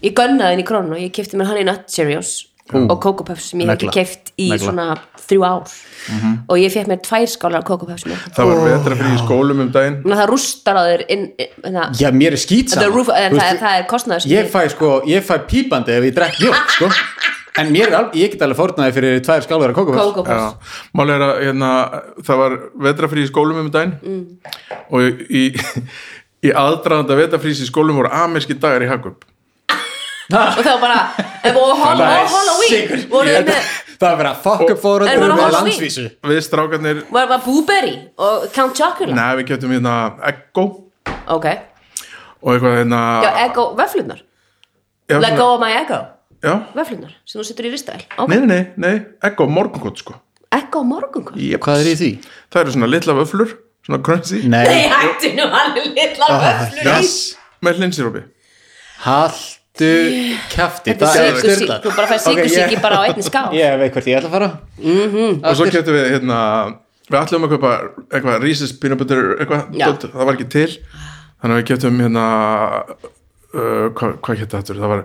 Speaker 2: ég gönnaði inn í krónuna og ég kefti mér hann í Nut Cheerios og Coco Puffs sem ég hef
Speaker 3: Mm. Negla.
Speaker 2: ekki keft í
Speaker 3: Negla. Mhm.
Speaker 2: svona þrjú ár og ég fekk mér tvær skálar af Coco Puffs með
Speaker 1: Það var vetra fyrir í skólum um daginn
Speaker 2: Núna það rústar á þér inn, hérna, inn, inn,
Speaker 3: Já, mér er skýt
Speaker 2: the
Speaker 3: saman
Speaker 2: roof, en eh, það, það er kostnaður sem
Speaker 3: Ég fæ sko, ég fæ pípandi ef ég drekk mjólk, sko En mér er alveg, ég get alveg fórnaði fyrir tvær skálar að kókum
Speaker 2: Coco Puffs
Speaker 1: Já, mál er að hérna, það var vetra fyrir í skólum um daginn
Speaker 2: Mm.
Speaker 1: og í, í aðdraðanda vetra fyrir í skólum voru amerski dagar í Hakup
Speaker 2: og það var bara, ef og hol-
Speaker 3: Það
Speaker 2: og
Speaker 3: er sigur.
Speaker 2: Halloween voru
Speaker 3: Ég-
Speaker 2: þið með
Speaker 3: Það er verið að fokk upp
Speaker 2: En
Speaker 3: fóröldur
Speaker 2: voru
Speaker 3: á
Speaker 2: Halloween?
Speaker 3: landsvísu
Speaker 1: Við strákarnir,
Speaker 2: var, var Blueberry og Count Chocula
Speaker 1: neða við getum hérna Eggo
Speaker 2: ok,
Speaker 1: og eitthvað hérna
Speaker 2: já, Eggo, veflunar
Speaker 1: já,
Speaker 2: let go of my Eggo,
Speaker 1: Já,
Speaker 2: veflunar sem þú setur í ristavel, ok,
Speaker 1: nei, nei, nei, nei, Eggo morgunkot sko
Speaker 2: Eggo morgunkvöld
Speaker 1: yep.
Speaker 3: Hvað er í því?
Speaker 1: Það eru svona litla vöflur, svona crunchy
Speaker 2: nei, hættu nú hann er litla vöflur
Speaker 3: Ah, yes.
Speaker 1: með hlinsirópi
Speaker 3: Haltu kjafti
Speaker 2: þetta
Speaker 3: það
Speaker 2: er
Speaker 3: er
Speaker 2: sykursík,
Speaker 3: sturlað.
Speaker 2: þú bara fæði
Speaker 3: Ok, ég-
Speaker 2: sykursíki bara á einni ská
Speaker 3: Ég veit hvert ég ætla að fara
Speaker 1: og svo getum við hérna við ætlum að kaupa eitthvað Reese's peanut butter eitthvað,
Speaker 2: Já.
Speaker 1: dót, það var ekki til þannig að við getum hérna uh, hvað, hvað geta þetta það var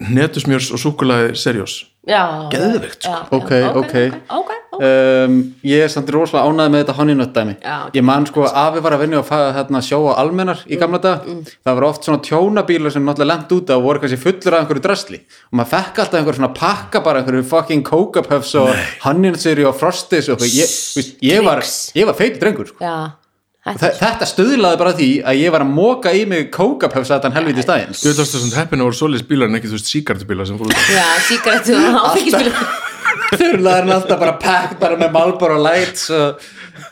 Speaker 1: netusmjörs og súkulaði serjós
Speaker 2: já,
Speaker 1: Geðveikt, sko.
Speaker 2: já, já,
Speaker 3: Ok, ok.
Speaker 2: ok, ok
Speaker 3: um, Ég er samt rosalega ánæði með þetta honinöttæmi
Speaker 2: Já, ok. Mm,
Speaker 3: Ég man sko afi var að vinna og fæða hérna sjóa almennar í gamla dag Það var oft svona tjónabílar sem náttúrulega lent út af og voru kannski fullur af einhverju drasli og maður fekk alltaf einhverju svona pakka bara einhverju fucking kókapöfs og honinötseri og frostis og eitthvað. ég, þú veist, ég var,
Speaker 2: Trix.
Speaker 3: ég var feitur drengur sko.
Speaker 2: já,
Speaker 3: Þe-
Speaker 2: þetta
Speaker 3: Þetta stöðlaði bara því að ég var að móka í mig kókapöfsa þetta helviti stæðin
Speaker 1: þú veist þessum heppinu voru svoleiðis bílar en ekki þú veist síkartubílar sem fóru út.
Speaker 2: já, síkaretu og áfengispil
Speaker 3: Þurlaðurinn alltaf bara pækt bara með Marlboro Lights og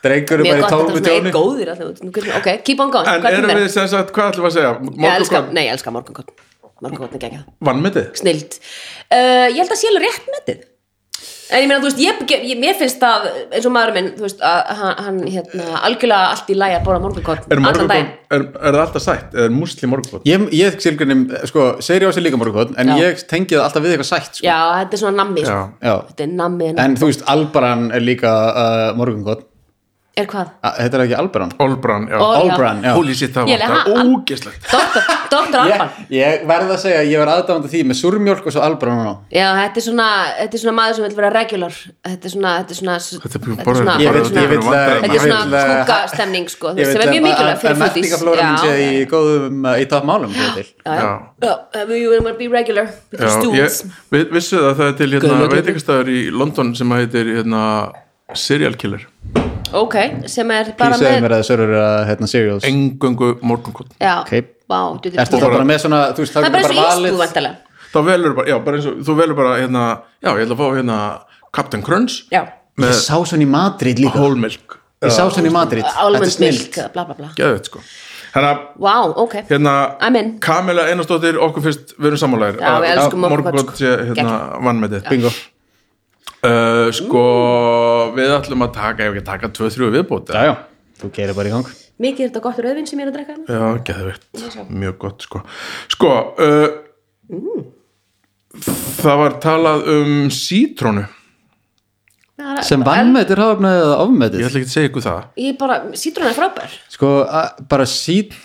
Speaker 3: drengurinn
Speaker 2: mjög
Speaker 3: bara í
Speaker 2: gott, þetta
Speaker 3: tómu
Speaker 2: er svona
Speaker 3: tjóni
Speaker 2: eitt góðir alltaf út. Nú getum- ok, keep on going,
Speaker 1: en
Speaker 2: hvað
Speaker 1: erum
Speaker 2: kemur
Speaker 1: við sem sagt, hvað ætlum við að segja
Speaker 2: ég elska,
Speaker 1: morgunkot,
Speaker 2: nei, ég elska morgunkotn morgunkotn er geggjað,
Speaker 1: vannmetið
Speaker 2: snild uh, ég held að sé alveg rétt metið en ég meina, þú veist, ég, ég, mér finnst það eins og maður minn, þú veist, að hann, hann hérna, algjörlega allt í lægi að bóra morgunkotn
Speaker 1: er, morgunkot,
Speaker 2: allan daginn,
Speaker 1: er, er það alltaf sætt, eða er músli morgunkot
Speaker 3: Ég, ég silgrinum, sko, seriós er líka morgun en
Speaker 2: Já.
Speaker 3: ég tengi það alltaf við eitthvað sætt sko.
Speaker 2: já, þetta er svona nammi
Speaker 1: já,
Speaker 2: sko.
Speaker 3: Já.
Speaker 2: þetta er nammi, en,
Speaker 3: En þú veist, Albaran er líka uh, morgungott
Speaker 2: er hvað?
Speaker 3: Þetta er ekki Albaran
Speaker 1: Olbran, já,
Speaker 2: Ó, já.
Speaker 3: Olbran, já
Speaker 1: holy shit það
Speaker 2: Ég
Speaker 1: var
Speaker 2: lega-
Speaker 1: það, ógeslegt
Speaker 2: Doktor, doktor
Speaker 3: ég,
Speaker 2: Alban
Speaker 3: ég verð að segja, að ég var aðdáðandi því með surmjólk og svo Albaran og ná
Speaker 2: Já, þetta er svona, þetta er svona maður sem vil vera regular Þetta er svona, þetta er svona
Speaker 1: Þetta er bara-
Speaker 3: Ég vil,
Speaker 1: Bara-
Speaker 3: ég uh, vil,
Speaker 1: Þetta
Speaker 2: þetta er
Speaker 1: Ég
Speaker 2: svona kúkastemning sko, þú veist, sem er
Speaker 3: uh,
Speaker 2: mjög mikilvæg fyrir foodies
Speaker 3: Mertingaflóran sé í
Speaker 2: já,
Speaker 3: góðum, uh, í toppmálum fyrir til
Speaker 2: já, já.
Speaker 1: Já.
Speaker 2: já, uh, we will be regular with the
Speaker 1: Já,
Speaker 2: stools
Speaker 1: ég, við vissu það að það er til hérna,
Speaker 2: Guðlaug.
Speaker 1: veitingastæður í London sem að heitir hérna, Serial Killer
Speaker 2: ok, sem er bara
Speaker 3: Písaði
Speaker 2: með
Speaker 3: mér að það sörur að hérna serials
Speaker 1: engöngu morgunkot
Speaker 2: já,
Speaker 3: Ok.
Speaker 2: vá, þetta er
Speaker 3: Ertu þá
Speaker 2: það
Speaker 3: bara með svona, þú veist, þá
Speaker 2: er bara
Speaker 3: getur
Speaker 2: eins og ísbúð
Speaker 3: bara valið
Speaker 2: vantarlega
Speaker 1: þá velur bara, já, bara eins og þú velur bara hérna, já, ég ætla að fá hérna Captain Crunch
Speaker 2: já,
Speaker 3: Ég
Speaker 1: með
Speaker 3: sá svona í Madrid líka
Speaker 1: whole milk
Speaker 3: Ég sá svona í Madrid Þetta er
Speaker 2: almond
Speaker 3: snilt
Speaker 2: milk, bla bla bla
Speaker 1: geðveit sko hérna,
Speaker 2: vá, ok,
Speaker 1: hérna
Speaker 2: I'm in.
Speaker 1: Kamila Einarsdóttir, okkur fyrst við erum sammálaðir
Speaker 2: Já, við elskum morgunkot,
Speaker 1: morgunkot
Speaker 2: sko.
Speaker 1: sé hérna, vannmetið
Speaker 3: Bingo
Speaker 1: uh, sko, við ætlum að taka ef ekki að taka 2-3 viðbóti
Speaker 3: Já, já, þú gerir bara í gang
Speaker 2: mikið er þetta gott rauðvin sem ég er að drekka hérna.
Speaker 1: Já, geðvitt, mjög gott sko Sko uh, Það var talað um sítrónu
Speaker 2: Það er-
Speaker 3: Sem vannmættir hafnaði eða
Speaker 1: Ég
Speaker 3: ofmættir
Speaker 1: ætla ekki að segja ykkur það
Speaker 2: ég bara, sítrun er frábær
Speaker 3: Sko, a- bara sít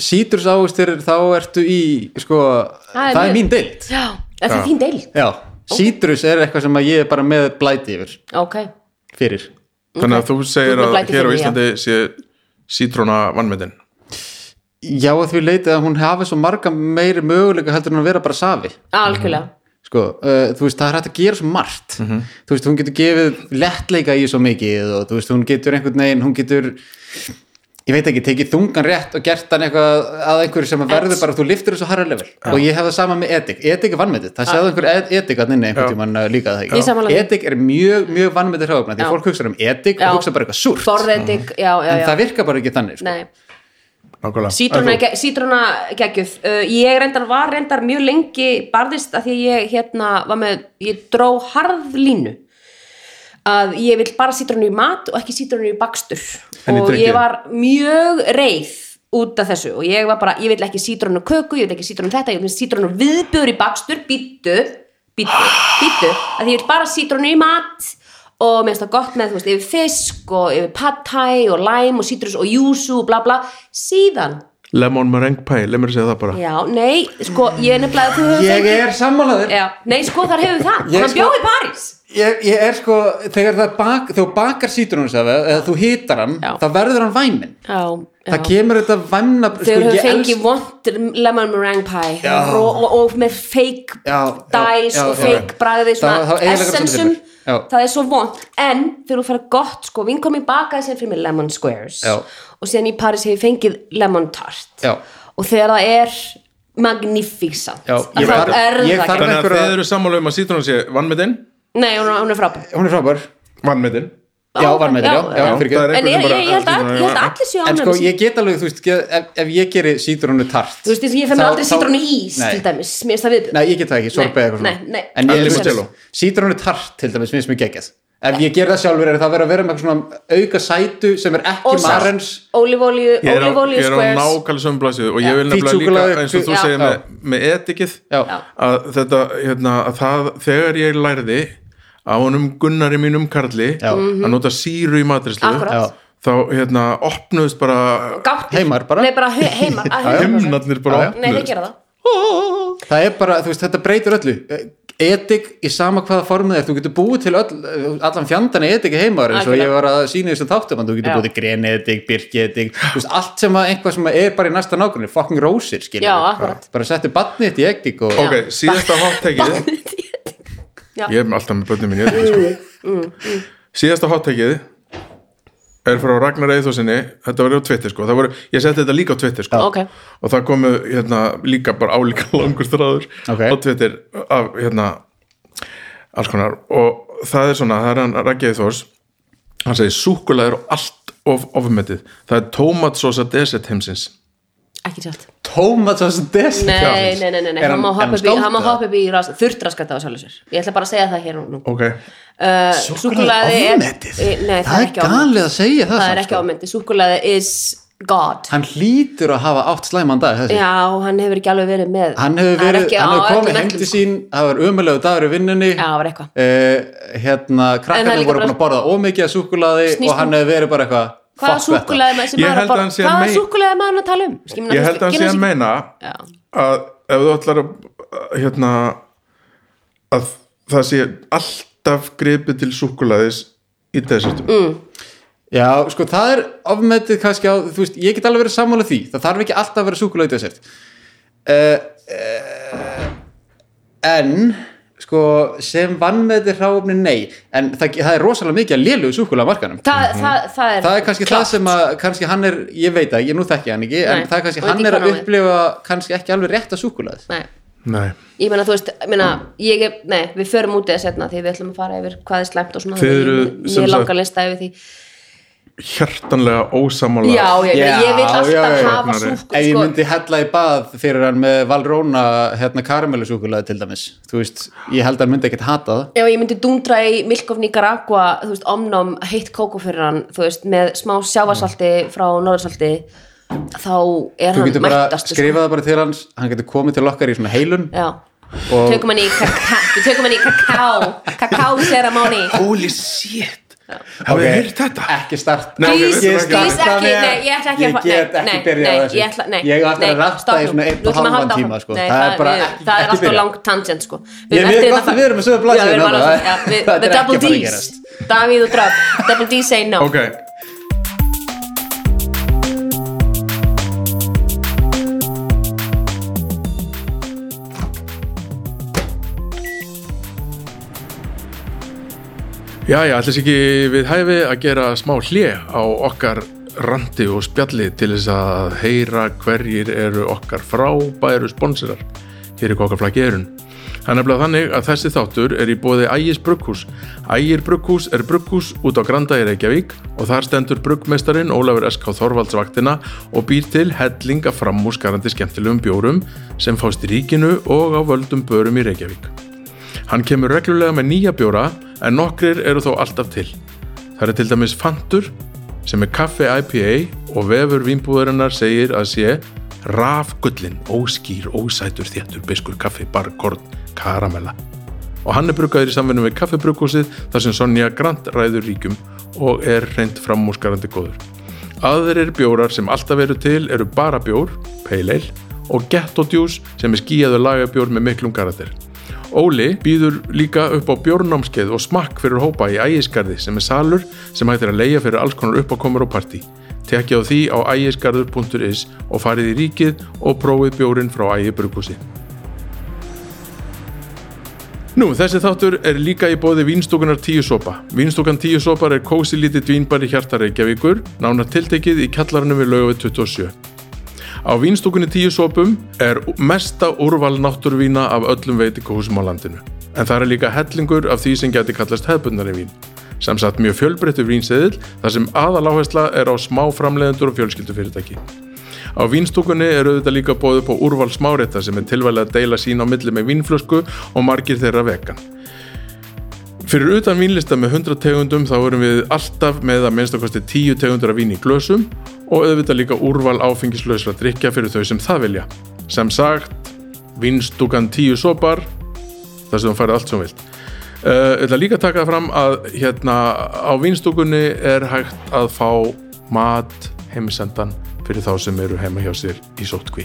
Speaker 3: Sítursávustir, þá ertu í Sko,
Speaker 2: Það er
Speaker 3: það er
Speaker 2: mjög-
Speaker 3: mín deild
Speaker 2: já, þetta er þín deil
Speaker 3: Já, sítrus er eitthvað sem að ég er bara með blæti yfir
Speaker 2: ok,
Speaker 3: Fyrir
Speaker 1: Þannig að þú
Speaker 2: Þú ert
Speaker 1: segir
Speaker 2: með
Speaker 1: að
Speaker 2: blæti
Speaker 1: hér á
Speaker 2: fyrir, já.
Speaker 1: Íslandi sé sítróna vannmyndin
Speaker 3: já að því leitið að hún hafi svo marga meiri möguleika heldur en að vera bara safi
Speaker 2: algjörlega
Speaker 3: sko, uh, þú veist, það er hægt að gera svo margt þú veist, hún getur gefið lettleika í svo mikið og þú veist, hún getur einhvern veginn, hún getur ég veit ekki, tekið þungan rétt og gert hann eitthvað að einhverju sem að verður bara þú liftir þessu harra level og ég hef það sama með etik, etik er vannmetið, það sagði einhver ed- etik að nynni einhvern
Speaker 1: Já.
Speaker 3: tímann uh, líka það
Speaker 2: Ég sammála
Speaker 3: ekki,
Speaker 2: því.
Speaker 3: etik er mjög, mjög vannmetið hráfna, því
Speaker 2: Já.
Speaker 3: að fólk hugsa um etik
Speaker 2: Já.
Speaker 3: og hugsa bara eitthvað súrt,
Speaker 2: borðetik, já, já,
Speaker 3: Mm. en
Speaker 2: já,
Speaker 3: það virkar bara ekki þannig sko.
Speaker 2: nei
Speaker 1: nákvæmlega
Speaker 2: Sítróna,
Speaker 1: En þú-
Speaker 2: ge- sítróna geggjuð uh, ég reyndar var reyndar mjög lengi barðist að því að ég hérna var með, ég dró harð línu að ég vil bara sítrónu í mat og ekki sítrónu í bakstur
Speaker 1: En í
Speaker 2: og
Speaker 1: drykki?
Speaker 2: ég var mjög reið út af þessu og ég var bara, ég vil ekki sítrónu köku, ég vil ekki sítrónu þetta, ég vil sítrónu viðbjör í bakstur, býttu býttu, býttu, að því ég vil bara sítrónu í mat og mér finnst það gott með, þú veist, yfir fisk og yfir pad thai og lime og sítrus og júsu og bla bla, síðan
Speaker 1: lemon meringue pie, leið mér að segja það bara
Speaker 2: Já, nei, sko, ég er nefnilega þú hefur
Speaker 3: ég er sammálaður
Speaker 2: Já, nei, sko, þar hefur það,
Speaker 3: Ég
Speaker 2: hann
Speaker 3: sko-
Speaker 2: bjó í París
Speaker 3: Ég, ég er sko, þegar það bak, þú bakar sítrónusafa eða þú hitar hann,
Speaker 2: Já.
Speaker 3: þá verður hann væminn.
Speaker 2: Já, já
Speaker 3: Það kemur þetta væmna,
Speaker 2: Þau
Speaker 3: sko,
Speaker 2: hefur
Speaker 3: ég
Speaker 2: fengið vond lemon meringue pie
Speaker 3: Já.
Speaker 2: og, og, og með fake
Speaker 3: Já, já,
Speaker 2: dæs
Speaker 3: já,
Speaker 2: og
Speaker 3: já.
Speaker 2: fake bragði
Speaker 3: Það- það
Speaker 2: svona
Speaker 3: eyðileggur þetta
Speaker 2: essensum
Speaker 3: fyrir mér. Já.
Speaker 2: það er svo vond, en þegar þú fara gott sko, vinkomi bakaði sér fyrir mig lemon squares
Speaker 3: Já.
Speaker 2: og síðan í París hefur fengið lemon tart
Speaker 3: Já.
Speaker 2: og þegar það er magnificent
Speaker 3: Já,
Speaker 2: að
Speaker 3: ég
Speaker 2: þá
Speaker 3: þarf-
Speaker 2: er
Speaker 3: ég
Speaker 2: það gegn-
Speaker 3: þarf-
Speaker 1: þannig að
Speaker 3: einhverja-
Speaker 1: þið eru sammála um að sítrónan sé vannmetinn,
Speaker 2: Nei, hún er- hún er frábæð
Speaker 3: Hún er frábær.
Speaker 1: vannmetinn
Speaker 3: Já, varmættir, já. já,
Speaker 2: já.
Speaker 3: já,
Speaker 1: Það er
Speaker 3: já
Speaker 2: en
Speaker 1: einhver
Speaker 2: ég,
Speaker 1: sem bara-
Speaker 2: ég, ég held að, ég held að allir séu
Speaker 3: en
Speaker 2: ánægð
Speaker 3: sko,
Speaker 2: með sín
Speaker 3: ég get alveg, þú veist, ge- ef, ef ég geri sítrónu tart.
Speaker 2: þú veist, eins og ég fem
Speaker 3: þá-
Speaker 2: aldrei
Speaker 3: þá-
Speaker 2: sítrónu í ís
Speaker 3: Nei.
Speaker 2: til dæmis, mér finnst það við
Speaker 3: Nei, ég get það ekki, sorbið
Speaker 2: Nei,
Speaker 3: eitthvað svona.
Speaker 2: nei, nei.
Speaker 3: En
Speaker 1: En
Speaker 3: ég,
Speaker 1: limoncello?
Speaker 3: sítrónu tart, til dæmis, finnst mér geggjað. Ef ég ger það sjálfur er það verið að vera með eitthvað svona auka sætu sem er ekki
Speaker 2: Og salt.
Speaker 3: marrens
Speaker 1: ég
Speaker 2: ólífólíu,
Speaker 1: er á, ég
Speaker 2: ólífólíu
Speaker 1: er á
Speaker 2: squares
Speaker 1: nákvæmlega sömu blasið og ég vil
Speaker 3: Já.
Speaker 1: nefnilega
Speaker 3: Hvít
Speaker 1: líka
Speaker 3: súkkulaði,
Speaker 1: eins og þú
Speaker 2: hvít-
Speaker 1: segir
Speaker 2: Já.
Speaker 1: með, með etikið
Speaker 3: Já.
Speaker 2: Já.
Speaker 1: að þetta, hérna, að það þegar ég lærði á honum Gunnari mínum Karli
Speaker 3: Já.
Speaker 1: að nota síru í matrislu
Speaker 2: Mhm. Akkúrat. Já.
Speaker 1: þá hérna opnuðust bara
Speaker 2: gáttir,
Speaker 3: heimar bara.
Speaker 2: nei bara he- heimar að heimar.
Speaker 1: himnarnir bara
Speaker 3: Já, já.
Speaker 2: nei, þeir
Speaker 1: opnuðust
Speaker 2: gera það
Speaker 3: það er bara, þú veist, þetta breytir öllu etik í sama hvaða formið er þú getur búið til öll, allan fjandan etik í heimaður eins og
Speaker 2: Algjörlega.
Speaker 3: ég var að sína þessum þáttum en þú getur
Speaker 2: Já.
Speaker 3: búið til greni etik, birki etik þú veist, allt sem að einhvað sem er bara í næsta nágrunni fucking rósir, skiljum
Speaker 2: Já, akkurat.
Speaker 3: bara settu batnið þitt í etik og
Speaker 1: ok, síðasta hottekið ég er alltaf með börnum mín
Speaker 2: Mm,
Speaker 1: í etikið sko. síðasta hottekið er frá Ragnar Eithósinni þetta var á Twitter sko, það voru, ég seti þetta líka á Twitter sko
Speaker 2: ok,
Speaker 1: og það komu hérna, líka bara álíka langur stráður
Speaker 3: Ok.
Speaker 1: á Twitter af hérna alls konar og það er svona, það er hann Rækjaði Þórs hann segir súkulega er allt of ofmetið það er tómatsósa desert heimsins
Speaker 2: ekki sjálft
Speaker 3: tómat svo sem desi
Speaker 2: nei, nei, nei, nei, nei,
Speaker 3: Er
Speaker 2: hann má
Speaker 3: hann-
Speaker 2: hoppa
Speaker 3: er hann
Speaker 2: upp í hann má
Speaker 3: skáld,
Speaker 2: hoppa upp í þurftraskatta á sjálfur sér ég ætla bara að segja það hér og nú
Speaker 1: ok,
Speaker 2: súkkulaði er-
Speaker 3: ofmetið
Speaker 2: Eh, nei,
Speaker 3: það er
Speaker 2: ofmetið.
Speaker 3: galið að segja það
Speaker 2: það er
Speaker 3: samt,
Speaker 2: ekki
Speaker 3: sko.
Speaker 2: ámyndi, súkkulaði is god
Speaker 3: hann hlýtur að hafa átt slæman dag þessi.
Speaker 2: já, hann hefur ekki alveg verið með
Speaker 3: hann hefur
Speaker 2: er
Speaker 3: verið,
Speaker 2: ekki á
Speaker 3: hann hefur
Speaker 2: öllum
Speaker 3: komið heim
Speaker 2: vellinum,
Speaker 3: til sín það var umöðlegu dagur í vinnunni
Speaker 2: Já, það var eitthvað.
Speaker 3: Eh, hérna,
Speaker 2: En það er
Speaker 3: krakkarnir
Speaker 2: líka
Speaker 3: voru búin að borða ómikið af súkkulaði
Speaker 2: Snýst
Speaker 3: og hann hefur verið bara eitthvað
Speaker 2: hvaða
Speaker 3: "Fuck þetta."
Speaker 2: súkkulaði maður sem
Speaker 1: Ég
Speaker 2: maður
Speaker 1: held
Speaker 2: að
Speaker 1: að
Speaker 2: borða
Speaker 1: hann sé að
Speaker 2: hvaða
Speaker 1: mei-
Speaker 2: súkkulaði maður að tala um Ég meina,
Speaker 1: ég
Speaker 2: þú
Speaker 1: held að
Speaker 2: veist,
Speaker 1: hann sé
Speaker 2: gefum
Speaker 1: að
Speaker 2: þessu-
Speaker 1: meina
Speaker 2: Já.
Speaker 1: að ef þú ætlar að hérna að það sé alltaf gripið til súkulaðis í desertum mm.
Speaker 3: já, sko það er ofmetið kannski á, þú veist, ég get alveg verið sammála því það þarf ekki alltaf að vera súkkulaði dessert uh, uh, en sko, sem vannmetið hráfni nei, en það, það er rosalega mikið að lélugu súkkulaði markanum
Speaker 2: það, það, það er,
Speaker 3: Mhm. það er kannski
Speaker 2: klárt.
Speaker 3: það sem að kannski hann er, ég veit það, ég nú þekki hann ekki
Speaker 2: Nei,
Speaker 3: en það er
Speaker 2: og
Speaker 3: kannski
Speaker 2: veit
Speaker 3: hann
Speaker 2: ekki
Speaker 3: er
Speaker 2: hvað
Speaker 3: að
Speaker 2: hann er.
Speaker 3: upplifa kannski ekki alveg rétt að súkkulaði
Speaker 2: Nei,
Speaker 1: nei,
Speaker 2: ég meina þú veist ég meina, ég, er- nei, við förum út eða setna því við ætlum að fara yfir hvað er slæmt og svona
Speaker 1: Þið eru, sem
Speaker 2: ég
Speaker 1: sagt-
Speaker 2: langar lista yfir því
Speaker 1: hjertanlega ósamála
Speaker 2: já, ég,
Speaker 3: Já,
Speaker 2: ég vil alltaf
Speaker 3: já, já,
Speaker 2: hafa
Speaker 1: Ragnari.
Speaker 2: súk
Speaker 3: ef ég
Speaker 2: sko,
Speaker 3: myndi hella í bað fyrir hann með valróna hérna karamellusúkulega til dæmis þú veist, ég held að hann myndi ekkert hata það
Speaker 2: ef ég myndi dúndra í Milk of Nicaragua þú veist, omnám heitt kókó fyrir hann þú veist, með smá sjávarsalti frá norðarsalti þá er
Speaker 3: Mm. þú
Speaker 2: hann
Speaker 3: getur bara
Speaker 2: mættast sko.
Speaker 3: skrifað það bara til hans hann getur komið til okkar í svona heilun
Speaker 2: já
Speaker 3: Og-
Speaker 2: Tökum hann í kaka- við tökum hann í kakao kakao ceremony
Speaker 1: holy shit hafið þið heyrt þetta?
Speaker 3: ekki start
Speaker 1: Nei, ok,
Speaker 2: Please,
Speaker 1: við
Speaker 3: Ég
Speaker 1: þurfum
Speaker 2: please
Speaker 1: ekki-
Speaker 3: starta
Speaker 2: ekki,
Speaker 3: með-
Speaker 2: nei, ég ætla ekki
Speaker 3: ég
Speaker 2: að-
Speaker 3: get
Speaker 2: nei,
Speaker 3: ekki
Speaker 2: nei,
Speaker 3: byrjað
Speaker 2: nei,
Speaker 3: á þessu.
Speaker 2: ég ætla- nei,
Speaker 3: Ég á eftir að
Speaker 2: nei,
Speaker 3: ratta
Speaker 2: stopp
Speaker 3: í
Speaker 2: nú.
Speaker 3: svona einn
Speaker 2: Nú
Speaker 3: og
Speaker 2: ætlum að
Speaker 3: hálfan
Speaker 2: halda áfram.
Speaker 3: tíma, sko.
Speaker 2: Nei,
Speaker 3: Það er bara
Speaker 2: við-
Speaker 3: ekki-
Speaker 2: það er
Speaker 3: ekki
Speaker 2: alltaf
Speaker 3: byrjað.
Speaker 2: lang tangent sko. Við
Speaker 3: Ég
Speaker 2: erum
Speaker 3: veit
Speaker 2: eftir
Speaker 3: gott
Speaker 2: þetta-
Speaker 3: að við erum með sömu blaðsíðu
Speaker 2: Já, við erum
Speaker 3: núna,
Speaker 2: alveg-
Speaker 3: það-
Speaker 2: já, við-
Speaker 3: þetta
Speaker 2: The
Speaker 3: er
Speaker 2: double
Speaker 3: ekki að fara að
Speaker 2: D's
Speaker 3: gerast.
Speaker 2: Davíð og Dröf Double D say no
Speaker 1: ok Já, já, ætlis ekki við hæfi að gera smá hlje á okkar randi og spjalli til þess að heyra hverjir eru okkar frábæru sponsorar fyrir kokkaflaki erun. Það er nefnilega þannig að þessi þáttur er í bóði Ægis Brugghús. Ægir Brugghús er brugghús út á Granda í Reykjavík og þar stendur bruggmestarin Ólafur S.K. Þorvaldsvaktina og býr til hellinga framúskarandi skemmtilegum bjórum sem fást í ríkinu og á völdum börum í Reykjavík. Hann kemur reglulega með nýja bjóra en nokkrir eru þó alltaf til. Það eru til dæmis Fantur sem er kaffe IPA og vefur vínbúðarinnar segir að sé rafgullin, óskýr, ósætur, þéttur, biskur, kaffi, bar, korn, karamella. Og hann er brukaður í samvinnu við kaffebrukúsið þar sem Sonja Grant ræður ríkjum og er reynd framúskarandi góður. Aðrir bjórar sem alltaf eru til eru bara bjór, pale ale og ghetto juice sem er skíjaður lagabjór með miklum karakter. Óli býður líka upp á bjórnámskeið og smakk fyrir hópa í ægisgarði sem er salur sem hættir að leia fyrir alls konar uppákomur og partí. Tekja á því á ægisgarður.is og farið í ríkið og prófið bjórin frá ægi brugghúsi. Nú, þessi þáttur er líka í bóði Vínstúkunar 10 sopa. Vínstúkan 10 sopar er kósi lítið vínbar í hjarta Reykjavíkur, nánar tiltekið í kjallarinu við lögu 27. Á Vínstúkunni 10 sopum er mesta úrval náttúruvína af öllum veitikóhúsum á landinu. En það er líka hellingur af því sem geti kallast hefbundari vín. Sem sagt mjög fjölbreyttu vínseðil þar sem aðaláhersla er á smá framleiðendur og fjölskyldufyrirtæki. Á vínstúkunni eru auðvitað líka bóðið upp á úrval smárétta sem er tilvælega að deila sín á milli með vínflösku og margir þeirra vegan. Fyrir utan vínlista með 100 tegundum þá erum við alltaf með að minnstakosti 10 tegundur af vín í glösum og auðvitað líka úrval áfengislausra drikja fyrir þau sem það vilja. Sem sagt, vínstúkan 10 sopar, þar sem þú færið allt sem þú vilt. Uh, Ég ætla líka að taka það fram að hérna á vinstúkunni er hægt að fá mat heimsendan fyrir þá sem eru heima hjá sér í sótkví.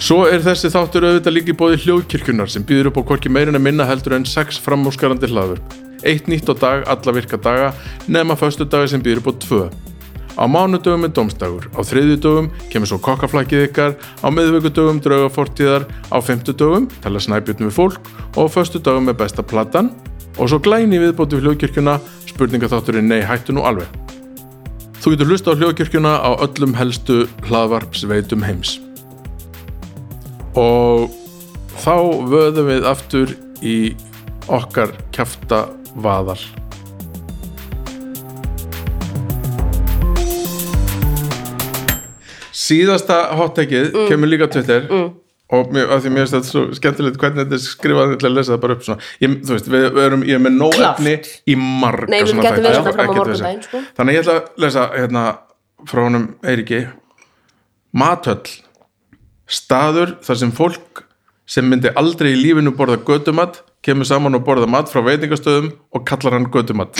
Speaker 1: Svo er þessi þáttur auðvitað líka í bóði hljóðkirkjunar sem býður upp á hvorki meirinn að minna heldur en sex framúskarandi hlaður. Eitt nýtt á dag, alla virka daga, nema föstu daga sem býður upp á tvö. Á mánudögum er domstagur, á þriðjudögum kemur svo kokkaflakið ykkar, á miðvíkudögum draugafortíðar, á fymtudögum tala snæbjörnum við fólk og á föstudögum er besta platan og svo glæni viðbóti við hljóðkirkjuna spurningaþátturinn nei hættu nú alveg. Þú getur hlusta á hljóðkirkjuna á öllum helstu hlaðvarpsveitum heims. Og þá vöðum við aftur í okkar kjafta vaðal. Síðasta hottekið kemur líka á Twitter og mér, af því mér finnst þetta svo skemmtilegt hvernig þetta er skrifað ég ætla að lesa það bara upp svona ég, þú veist, við, við erum, ég er með nóg
Speaker 2: Klárt.
Speaker 1: efni í marga
Speaker 2: Nei, við
Speaker 1: svona
Speaker 2: getum
Speaker 1: þætti,
Speaker 2: verið
Speaker 1: sko,
Speaker 2: það fram á
Speaker 1: ekki þessi.
Speaker 2: morgundaginn, sko.
Speaker 1: Þannig að ég ætla að lesa hérna frá honum Eiriki Mathöll staður þar sem fólk sem myndi aldrei í lífinu borða götumat kemur saman og borða mat frá veitingastöðum og kallar hann götumat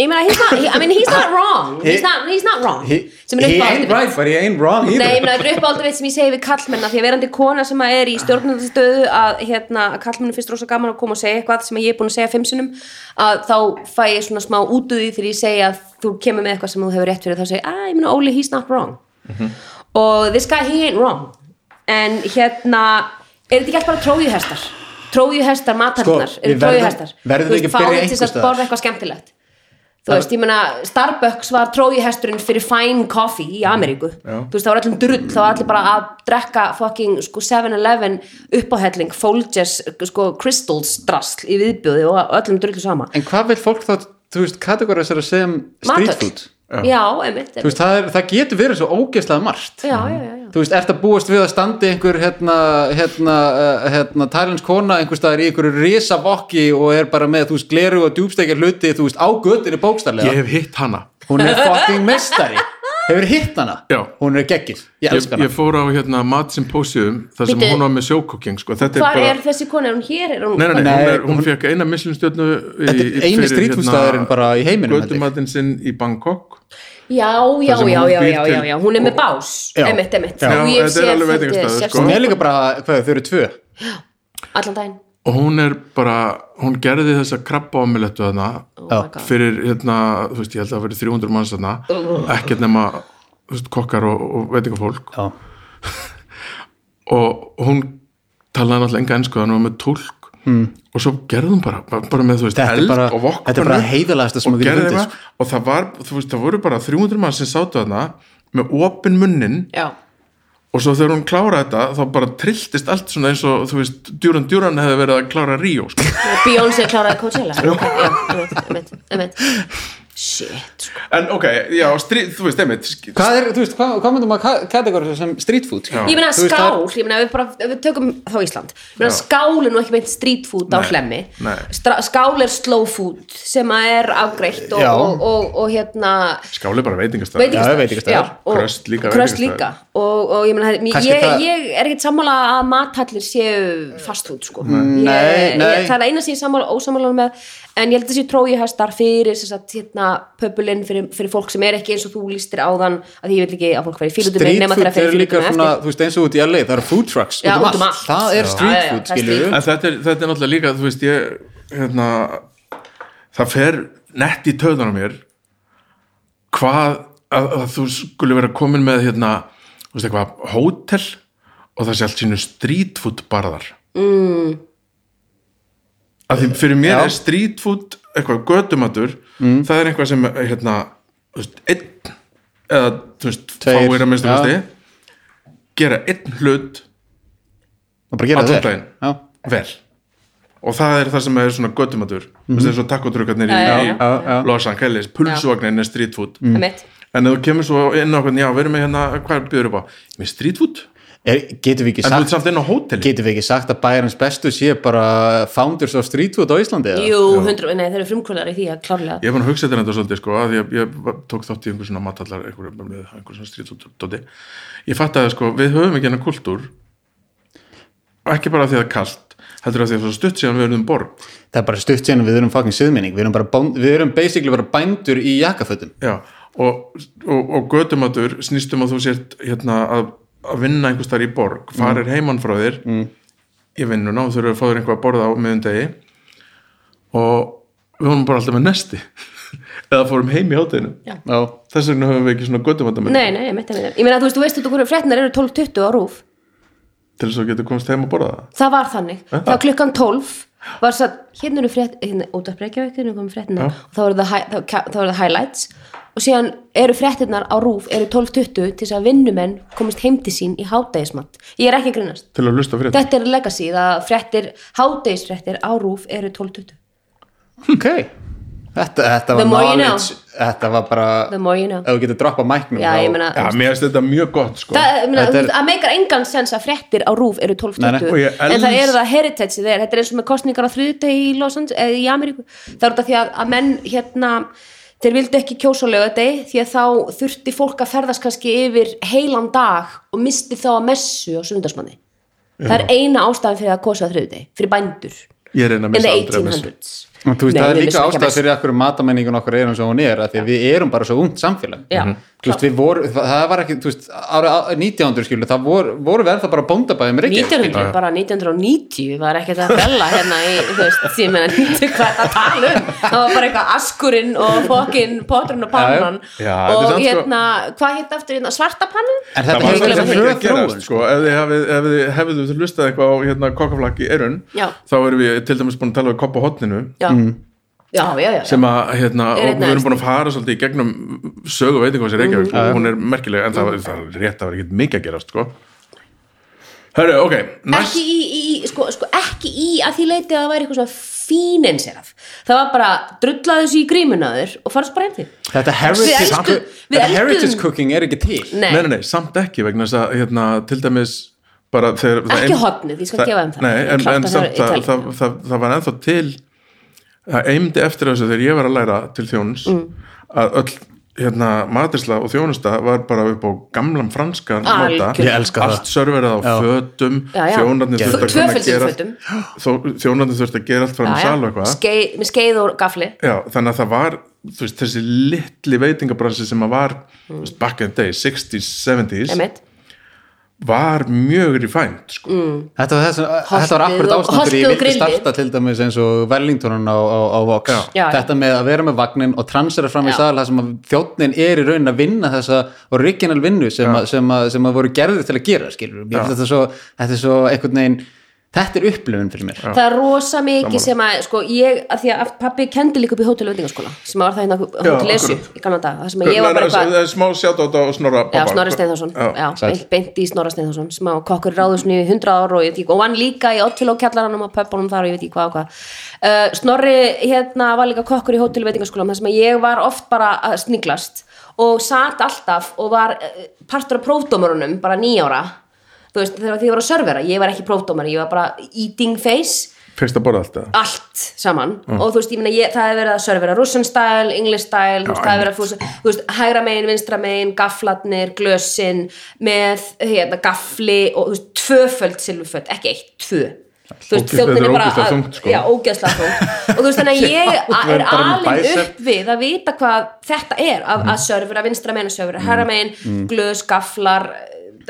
Speaker 2: Ég meina, he's not, he, I mean, he's not wrong He's not, he's not wrong
Speaker 3: He,
Speaker 2: Sem er
Speaker 3: he
Speaker 2: uppáhaldið
Speaker 3: ain't right, but he ain't wrong either
Speaker 2: Nei, ég meina, þetta er uppáldrið sem ég segi við kallmenna því að verandi kona sem að er í stjórnandastöðu að hérna, að kallmennu finnst rosa gaman að koma og segja eitthvað sem ég er búin að segja fimm sinnum að þá fæ ég svona smá útuði þegar ég segja að þú kemur með eitthvað sem þú hefur rétt fyrir þá segi, að ég meina, Óli, he's not wrong
Speaker 4: Mhm.
Speaker 2: og this guy, he ain't wrong en hérna er þetta ekki alltaf bara trójuhestar trójuhestar matarnar,
Speaker 4: Sko, við
Speaker 2: eru
Speaker 4: verðum-
Speaker 2: trójuhestar
Speaker 4: verðum
Speaker 2: Þú veist,
Speaker 4: ekki að
Speaker 2: fá
Speaker 4: byrja
Speaker 2: þig til þess
Speaker 4: einhvers
Speaker 2: að
Speaker 4: staðar.
Speaker 2: borða eitthvað skemmtilegt þú veist, ég meina Starbucks var trójuhesturinn fyrir fine coffee í Ameríku þú veist, það var öllum drull, það var allir bara að drekka fucking sko 7-Eleven uppáhelling, Folgers, sko Crystals drasl í viðbjöði og öllum drullu sama
Speaker 3: En hvað vil fólk þá, þú veist, kategóra sér að segja um street
Speaker 2: Matöll.
Speaker 3: food?
Speaker 2: já, einmitt
Speaker 3: Þú veist, það, er, það getur verið svo ógeðslega margt
Speaker 2: já, já, já, já.
Speaker 3: Þú veist, ert að búast við að standi einhver hérna, hérna, uh, hérna Thailands kona einhver staðar í einhverju risavokki og er bara með, þú veist, gleru og djúbstekja hluti þú veist, á göttinu bókstarlega
Speaker 1: ég hef hitt hana
Speaker 3: Hún er fucking mestari Hefur hitt hana?
Speaker 1: Já.
Speaker 3: Hún er geggir, ég
Speaker 1: ég,
Speaker 3: elskar hana
Speaker 1: ég fór á hérna matsimpósiðum þar sem
Speaker 2: Bíddu.
Speaker 1: hún var með sjókokking sko. þetta er
Speaker 2: hvar
Speaker 1: bara
Speaker 2: er þessi kona, er hún hér? Er hún,
Speaker 1: Nei, nei, nei, hún,
Speaker 3: Nei,
Speaker 1: er, hún,
Speaker 3: hún-
Speaker 1: fekk eina mislinstjörnu
Speaker 3: Þetta er eini street food staðurinn bara í heiminum, held ég.
Speaker 1: hérna, Götumatinn sinn í Bangkok
Speaker 2: já, já,
Speaker 1: Þar sem hún
Speaker 2: já, já,
Speaker 1: býr
Speaker 2: já,
Speaker 1: til-
Speaker 2: já, já hún er með bás,
Speaker 3: Já.
Speaker 2: einmitt, einmitt
Speaker 1: Já,
Speaker 2: Og ég
Speaker 1: þetta er
Speaker 2: sé
Speaker 1: alveg
Speaker 2: þetta
Speaker 1: veitingastaður,
Speaker 2: sérstakt.
Speaker 1: sko.
Speaker 3: Hún er líka bara, hvað, þau eru tvö
Speaker 2: allan daginn
Speaker 1: og hún er bara, hún gerði þessa krabba omelettu þarna
Speaker 2: oh my god
Speaker 1: fyrir hérna, þú veist, ég held að það fyrir 300 manns þarna,
Speaker 2: Oh.
Speaker 1: ekkert nema þú veist, kokkar og, og veitingafólk
Speaker 3: Já,
Speaker 1: og hún talaði náttúrulega enga ennsku þannig að hún var með tólk mm. og svo gerðum bara, bara- bara með þú veist,
Speaker 3: Hmm. Þetta er
Speaker 1: eld
Speaker 3: bara-
Speaker 1: og vokkabönnu
Speaker 3: þetta er bara heiðarlegasta sem
Speaker 1: og
Speaker 3: við getum
Speaker 1: gerðum
Speaker 3: fundið,
Speaker 1: eitthvað og það var, þú veist, það voru bara 300 mann sem sátu þarna með opin munnin
Speaker 2: já,
Speaker 1: og svo þegar hún kláraði þetta þá bara trilltist allt svona eins og þú veist, Duran Duran hefði verið að klára Ríó sko.
Speaker 2: Beyoncé kláraði Coachella já, emitt, emitt shit, sko.
Speaker 1: en ok, já, strí, þú veist, einmitt sk-
Speaker 3: Hvað er, þú veist, hvað, hvað myndum að kategóra sem street food? skilur?
Speaker 2: ég meina
Speaker 3: Þú veist,
Speaker 2: skál, ég meina ef við bara ef við tökum þá Ísland, ég meina
Speaker 1: Já.
Speaker 2: skál er nú ekki meint street food á
Speaker 1: Nei,
Speaker 2: hlemmi
Speaker 1: nei.
Speaker 2: Stra- skál er slow food sem að er afgreitt og,
Speaker 3: Já.
Speaker 2: og, og, og hérna
Speaker 1: skáli bara veitingastæð
Speaker 3: Já, veitingastaður.
Speaker 2: Já, og
Speaker 1: Kröst líka
Speaker 2: Kröst
Speaker 1: veitingastaður.
Speaker 2: líka og, og ég, meina, ég,
Speaker 3: Kannski
Speaker 2: ég,
Speaker 3: það-
Speaker 2: ég er ekkert sammála að mathallir séu fast út sko. ég,
Speaker 3: Nei, nei.
Speaker 2: Ég, það er eina sem ég er sammála, ósammála með en ég held að þessi trói hestar fyrir sem sagt, hérna, pöbulinn fyrir, fyrir fólk sem er ekki eins og þú lístir áðan að því ég vil ekki að fólk færi fílutum
Speaker 3: Street food er líka svona, þú veist, eins og út í LA, það eru food trucks
Speaker 2: Já,
Speaker 3: út um
Speaker 2: út um allt.
Speaker 3: allt. Það er
Speaker 2: Já. Já,
Speaker 3: street
Speaker 2: já,
Speaker 3: food,
Speaker 2: það er
Speaker 3: skilur
Speaker 2: street
Speaker 1: en þetta er, þetta er náttúrulega líka þú veist ég hérna, það fer nett í töðan á mér hvað að, að þú skulle vera komin með hérna, þú veist eitthvað, hótel og það sé allt sínu street food barðar mm. að því fyrir mér
Speaker 3: Já.
Speaker 1: er street food eitthvað götumatur það er eitthvað sem hérna, þú veist, einn eða þú veist,
Speaker 3: Tveir,
Speaker 1: fáir að minnstu
Speaker 3: já.
Speaker 1: kosti gera einn hlut
Speaker 3: og bara gera
Speaker 1: Allan
Speaker 3: það
Speaker 1: daginn. vel og það er það sem er svona göttumatur mm -hmm. eins og takkotrukarnir í
Speaker 2: Já, já, já.
Speaker 3: Mhm. Já, já.
Speaker 1: í Los Angeles pulsvagnin er street food
Speaker 2: mm.
Speaker 1: en ef þú kemur svo inn á okkur já, við erum með hérna, hvað býður upp á með street food,
Speaker 3: Er- Getum við ekki
Speaker 1: en þú ert
Speaker 3: sagt
Speaker 1: samt inn á hóteli
Speaker 3: getum við ekki sagt að bæjarins bestu sé bara founders of street food á Íslandi eða?
Speaker 2: jú, hundru, nei, þeir eru frumkvölar í því að klárlega
Speaker 1: ég er búin að hugsa þetta þetta svolítið sko, að ég, ég tók þátt í einhver svona matallar einhver, einhver svona street food dóti. ég fatt að sko, við höfum ekki hennar kultúr ekki bara af því að það er kalt heldur af því að það er svo stutt síðan við erum borg
Speaker 3: það er bara stutt sérna við erum fucking siðmenning við erum, bara, bán- við erum basically bara bændur í jakkafötum
Speaker 1: Já, og, og, og götumatur snýstum að þú sért hérna, að, að vinna einhvers þar í borg farir heimann frá þér mm. í vinnuna og þurfur að fá þér einhvað að borða á miðundegi og við vorum bara alltaf með nesti eða fórum heim í hátinu
Speaker 3: Já.
Speaker 1: þess vegna höfum við ekki svona götumatamönd
Speaker 2: nei, nei, emitt, emitt. ég meina, þú veist, þú veist út okkur fréttnar eru 12.20 á rúf
Speaker 1: til þess að geta komast heim að borða það
Speaker 2: það var þannig, það var klukkan 12 var satt, hérna eru frétt hérna, út af Reykjavík, hérna komum fréttina og þá eru það, hi- þá, þá eru það highlights og síðan eru fréttinnar á rúf eru 12.20 til þess að vinnumenn komist heim til sín í hádegismat ég er ekki að grunast,
Speaker 1: til að lusta fyrir þetta
Speaker 2: þetta er legacy það fréttir, hádegisfréttir á rúf eru 12.20,
Speaker 3: ok þetta, þetta
Speaker 2: Hm. The
Speaker 3: var
Speaker 2: more you know.
Speaker 3: knowledge þetta var bara
Speaker 2: the more you know
Speaker 3: ef þú getur droppa mæknum
Speaker 2: já, ég
Speaker 3: þá-
Speaker 2: meina,
Speaker 1: Já, mér finnst þetta mjög gott sko
Speaker 2: það, meina,
Speaker 3: Þetta er-
Speaker 2: það meikar engan sens að fréttir á rúf eru
Speaker 3: Nei, nei.
Speaker 2: 12.20
Speaker 1: Og ég
Speaker 2: en það
Speaker 1: els-
Speaker 2: eru það heritage þeir, þetta er eins og með kostningar á þriðutegi í Los Angeles eða í Ameríku, það er út af því að, að menn hérna, þeir vildu ekki kjósa á lögadegi því að þá þurfti fólk að ferðast kannski yfir heilan dag og misti þá að messu á sundarsmanni það er eina ástæðan fyrir að kosa á þriðutegi fyrir bændur
Speaker 1: Ég reyna að
Speaker 2: in the
Speaker 1: missa aldrei að missa
Speaker 2: 1800s
Speaker 3: Og Þú veist,
Speaker 2: Nei,
Speaker 3: það er
Speaker 2: við
Speaker 3: líka
Speaker 2: missum ekki að
Speaker 3: ástæð
Speaker 2: missa.
Speaker 3: fyrir akkur matamenningun okkar er eins og hún er að því að við erum bara svo ungt samfélag
Speaker 2: Já.
Speaker 3: Mhm. Þú veist, við voru, það var ekki, þú veist, ára 1900 skilu, það voru, voru við ennþá bara um bóndabæðum
Speaker 2: 1900, bara 1990 var ekkert að fella hérna í, þú veist, ég meina 90 hvað það tala um það var bara eitthvað askurinn og fokkin poturinn og pannan
Speaker 1: Já, já. Já, þetta er
Speaker 2: og
Speaker 1: samt sko-
Speaker 2: hérna, hvað hétt aftur hérna, svarta pannan?
Speaker 3: En
Speaker 1: Það
Speaker 3: þetta
Speaker 1: var
Speaker 3: hefur
Speaker 1: það
Speaker 3: verið
Speaker 1: sem
Speaker 3: svona
Speaker 1: ekki
Speaker 3: hröð
Speaker 1: að
Speaker 3: þróun
Speaker 1: gerast sko. ef þið hefði, ef þið hefðu þið lustað eitthvað á hérna, kokkaflakki erun
Speaker 2: Já.
Speaker 1: þá erum við til dæmis búin að tala við kopp á hotninu
Speaker 2: Já, já, já, já,
Speaker 1: Mm. sem að hérna,
Speaker 2: Er
Speaker 1: og
Speaker 2: einn
Speaker 1: við erum
Speaker 2: neðst.
Speaker 1: búin að fara svolítið í gegnum sögu veitingum sem
Speaker 3: Mhm.
Speaker 1: Reykjavík mm. hún er merkileg en það, það er rétt að vera ekkert mikið að gerast sko. Hörru, ok næst,
Speaker 2: ekki í, í, í sko, sko, ekki í að því leiti að það væri eitthvað svona fínenserað það var bara, drullaðu þessu í grímunaður og farst bara heim til
Speaker 3: Þetta
Speaker 2: Við
Speaker 3: heritage,
Speaker 2: elskum- við
Speaker 3: þetta
Speaker 2: elskum-
Speaker 3: heritage cooking er ekki til
Speaker 2: Nei,
Speaker 1: nei, nei, nei, samt ekki vegna þess að hérna, til dæmis bara þegar það
Speaker 2: Ekki
Speaker 1: ein-
Speaker 2: hornið, ég skal gefa þeim það.
Speaker 1: nei, en,
Speaker 2: Klárt að
Speaker 1: en
Speaker 2: það
Speaker 1: samt
Speaker 2: er
Speaker 1: það,
Speaker 2: Ítalía.
Speaker 1: það, það, það var ennþá til það eimdi eftir þessu þegar ég var að læra til þjóns
Speaker 2: Mm.
Speaker 1: að öll hérna, matursla og þjónusta var bara upp á gamlan franskan
Speaker 2: Algjörlega.
Speaker 1: máta.
Speaker 2: Ég
Speaker 3: elska það.
Speaker 1: allt serverið á fötum
Speaker 2: Já, já.
Speaker 1: þjónarnir
Speaker 2: Tvö-
Speaker 1: þurft að kunna
Speaker 2: tvöföldum
Speaker 1: gera
Speaker 2: fötum.
Speaker 1: þó- þjónarnir þurft að gera allt fram í
Speaker 2: Já, já.
Speaker 1: sal og eitthvað
Speaker 2: Skeið- með skeið og gafli
Speaker 1: Já, þannig að það var þú veist, þessi litli veitingabransi sem að var mm. back in the day, 60s, 70s
Speaker 2: einmitt.
Speaker 1: var mjög rifænt sko. mm.
Speaker 3: Þetta var, þess, þetta var
Speaker 2: Holtið
Speaker 3: akkurat
Speaker 2: og-
Speaker 3: ástand fyrir
Speaker 2: holtið
Speaker 3: ég
Speaker 2: og
Speaker 3: vildi
Speaker 2: grillið.
Speaker 3: starta til dæmis eins og Wellingtonan á, á, á Vox
Speaker 2: Já. Já, já.
Speaker 3: Þetta með að vera með vagnin og transera fram í
Speaker 2: Já.
Speaker 3: sal það sem að þjóttin er í raun að vinna þessa original vinnu sem, að, sem, að, sem að voru gerðið til að gera skilur. Þetta, er svo, þetta er svo einhvern veginn þetta er upplifun fyrir mér
Speaker 2: það er rosa mikið sem að sko, ég, að því að pabbi kendi líka upp í hótelvendingaskóla sem var það hérna hótelesu
Speaker 1: akkurat.
Speaker 2: í gamla dag, það sem að ég var bara
Speaker 1: það
Speaker 2: eitthvað
Speaker 1: er smá sjátt á þetta og snorra
Speaker 2: Já,
Speaker 1: Bobba.
Speaker 2: Snorri Steinþórsson,
Speaker 1: Já.
Speaker 2: já,
Speaker 3: Sæll.
Speaker 2: beint- beint í Snorra Steinþórsson sem á kokkur ráðusni í 100 ár og ég veit ekki, og hann líka í Ottfélag kjallaranum og pöppunum þar og ég veit ekki hvað og hvað uh, Snorri hérna var líka kokkur í hótelveitingaskólam þar sem að ég var oft bara að sniglast og sat alltaf og var uh, partur af prófdómurunum bara nýjára þú veist, þegar því ég var að servera, ég var ekki prófdómur ég var bara eating face
Speaker 1: fyrst að borða allt eða?
Speaker 2: allt saman og þú veist, ég meina, ég, það hefur verið að servera Russian style, English style, þú veist, það hefur verið að fúsa, þú veist, hægra megin, vinstra megin, gaflatnir, glösin með, hérna, gafli og þú veist, tvöföld silfurföld, ekki eitt, tvö þú
Speaker 1: Ógeðslega- þetta er ógeðslega
Speaker 2: að-
Speaker 1: þungt, sko.
Speaker 2: já, ógeðslega þungt og þú veist, þannig að ég
Speaker 3: það
Speaker 2: er
Speaker 3: er bara með
Speaker 2: alin
Speaker 3: bicep.
Speaker 2: upp við að vita hvað þetta er að, að servera, vinstra megin, servera, hægra megin
Speaker 1: Mm.
Speaker 2: glös, gaflar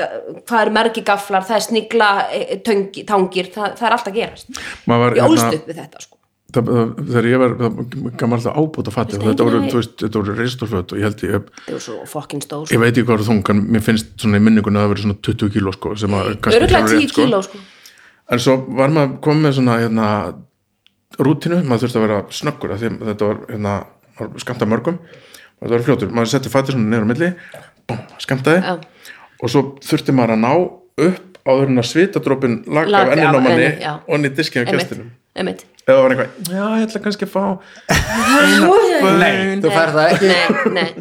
Speaker 2: eh, hvað er mergi gaflar, það er snigla eh, töngi, tangir, það, það er allt að gerast
Speaker 1: Maður var,
Speaker 2: ég
Speaker 1: hérna-
Speaker 2: ólst upp við þetta sko
Speaker 1: það, það, þegar ég var það- gammal alltaf ábúta fatti
Speaker 2: Veistu,
Speaker 1: þetta voru,
Speaker 2: enginn-
Speaker 1: þú veist, þetta voru reistorföt og ég held ég,
Speaker 2: Þau eru svo fokkin stór sko.
Speaker 1: ég veit ekki hvað eru þung en mér finnst svona í minningunni að það verið svona 20 kíló sko, sem að kannski
Speaker 2: Öruglega
Speaker 1: ekki alveg
Speaker 2: 10
Speaker 1: rétt,
Speaker 2: kíló sko
Speaker 1: en svo var maður komið með svona hérna, rútinu, maður þurfti að vera snöggur af því að þetta var, hérna, var skamta mörgum og þetta var fljótur, maður setti fatið svona neður á milli, búm, skamtaði
Speaker 2: Já.
Speaker 1: og svo þurfti maður að ná upp áður en að svitadrópin lag af
Speaker 2: Lak-
Speaker 1: enninn á
Speaker 2: af
Speaker 1: manni
Speaker 2: enni, já.
Speaker 1: og inn í diskið á
Speaker 2: Einmitt,
Speaker 1: gestinum
Speaker 2: einmitt
Speaker 1: eða það var eitthvað, já ég ætla kannski að fá
Speaker 3: Nei, þú færð það ekki
Speaker 2: Nei, nei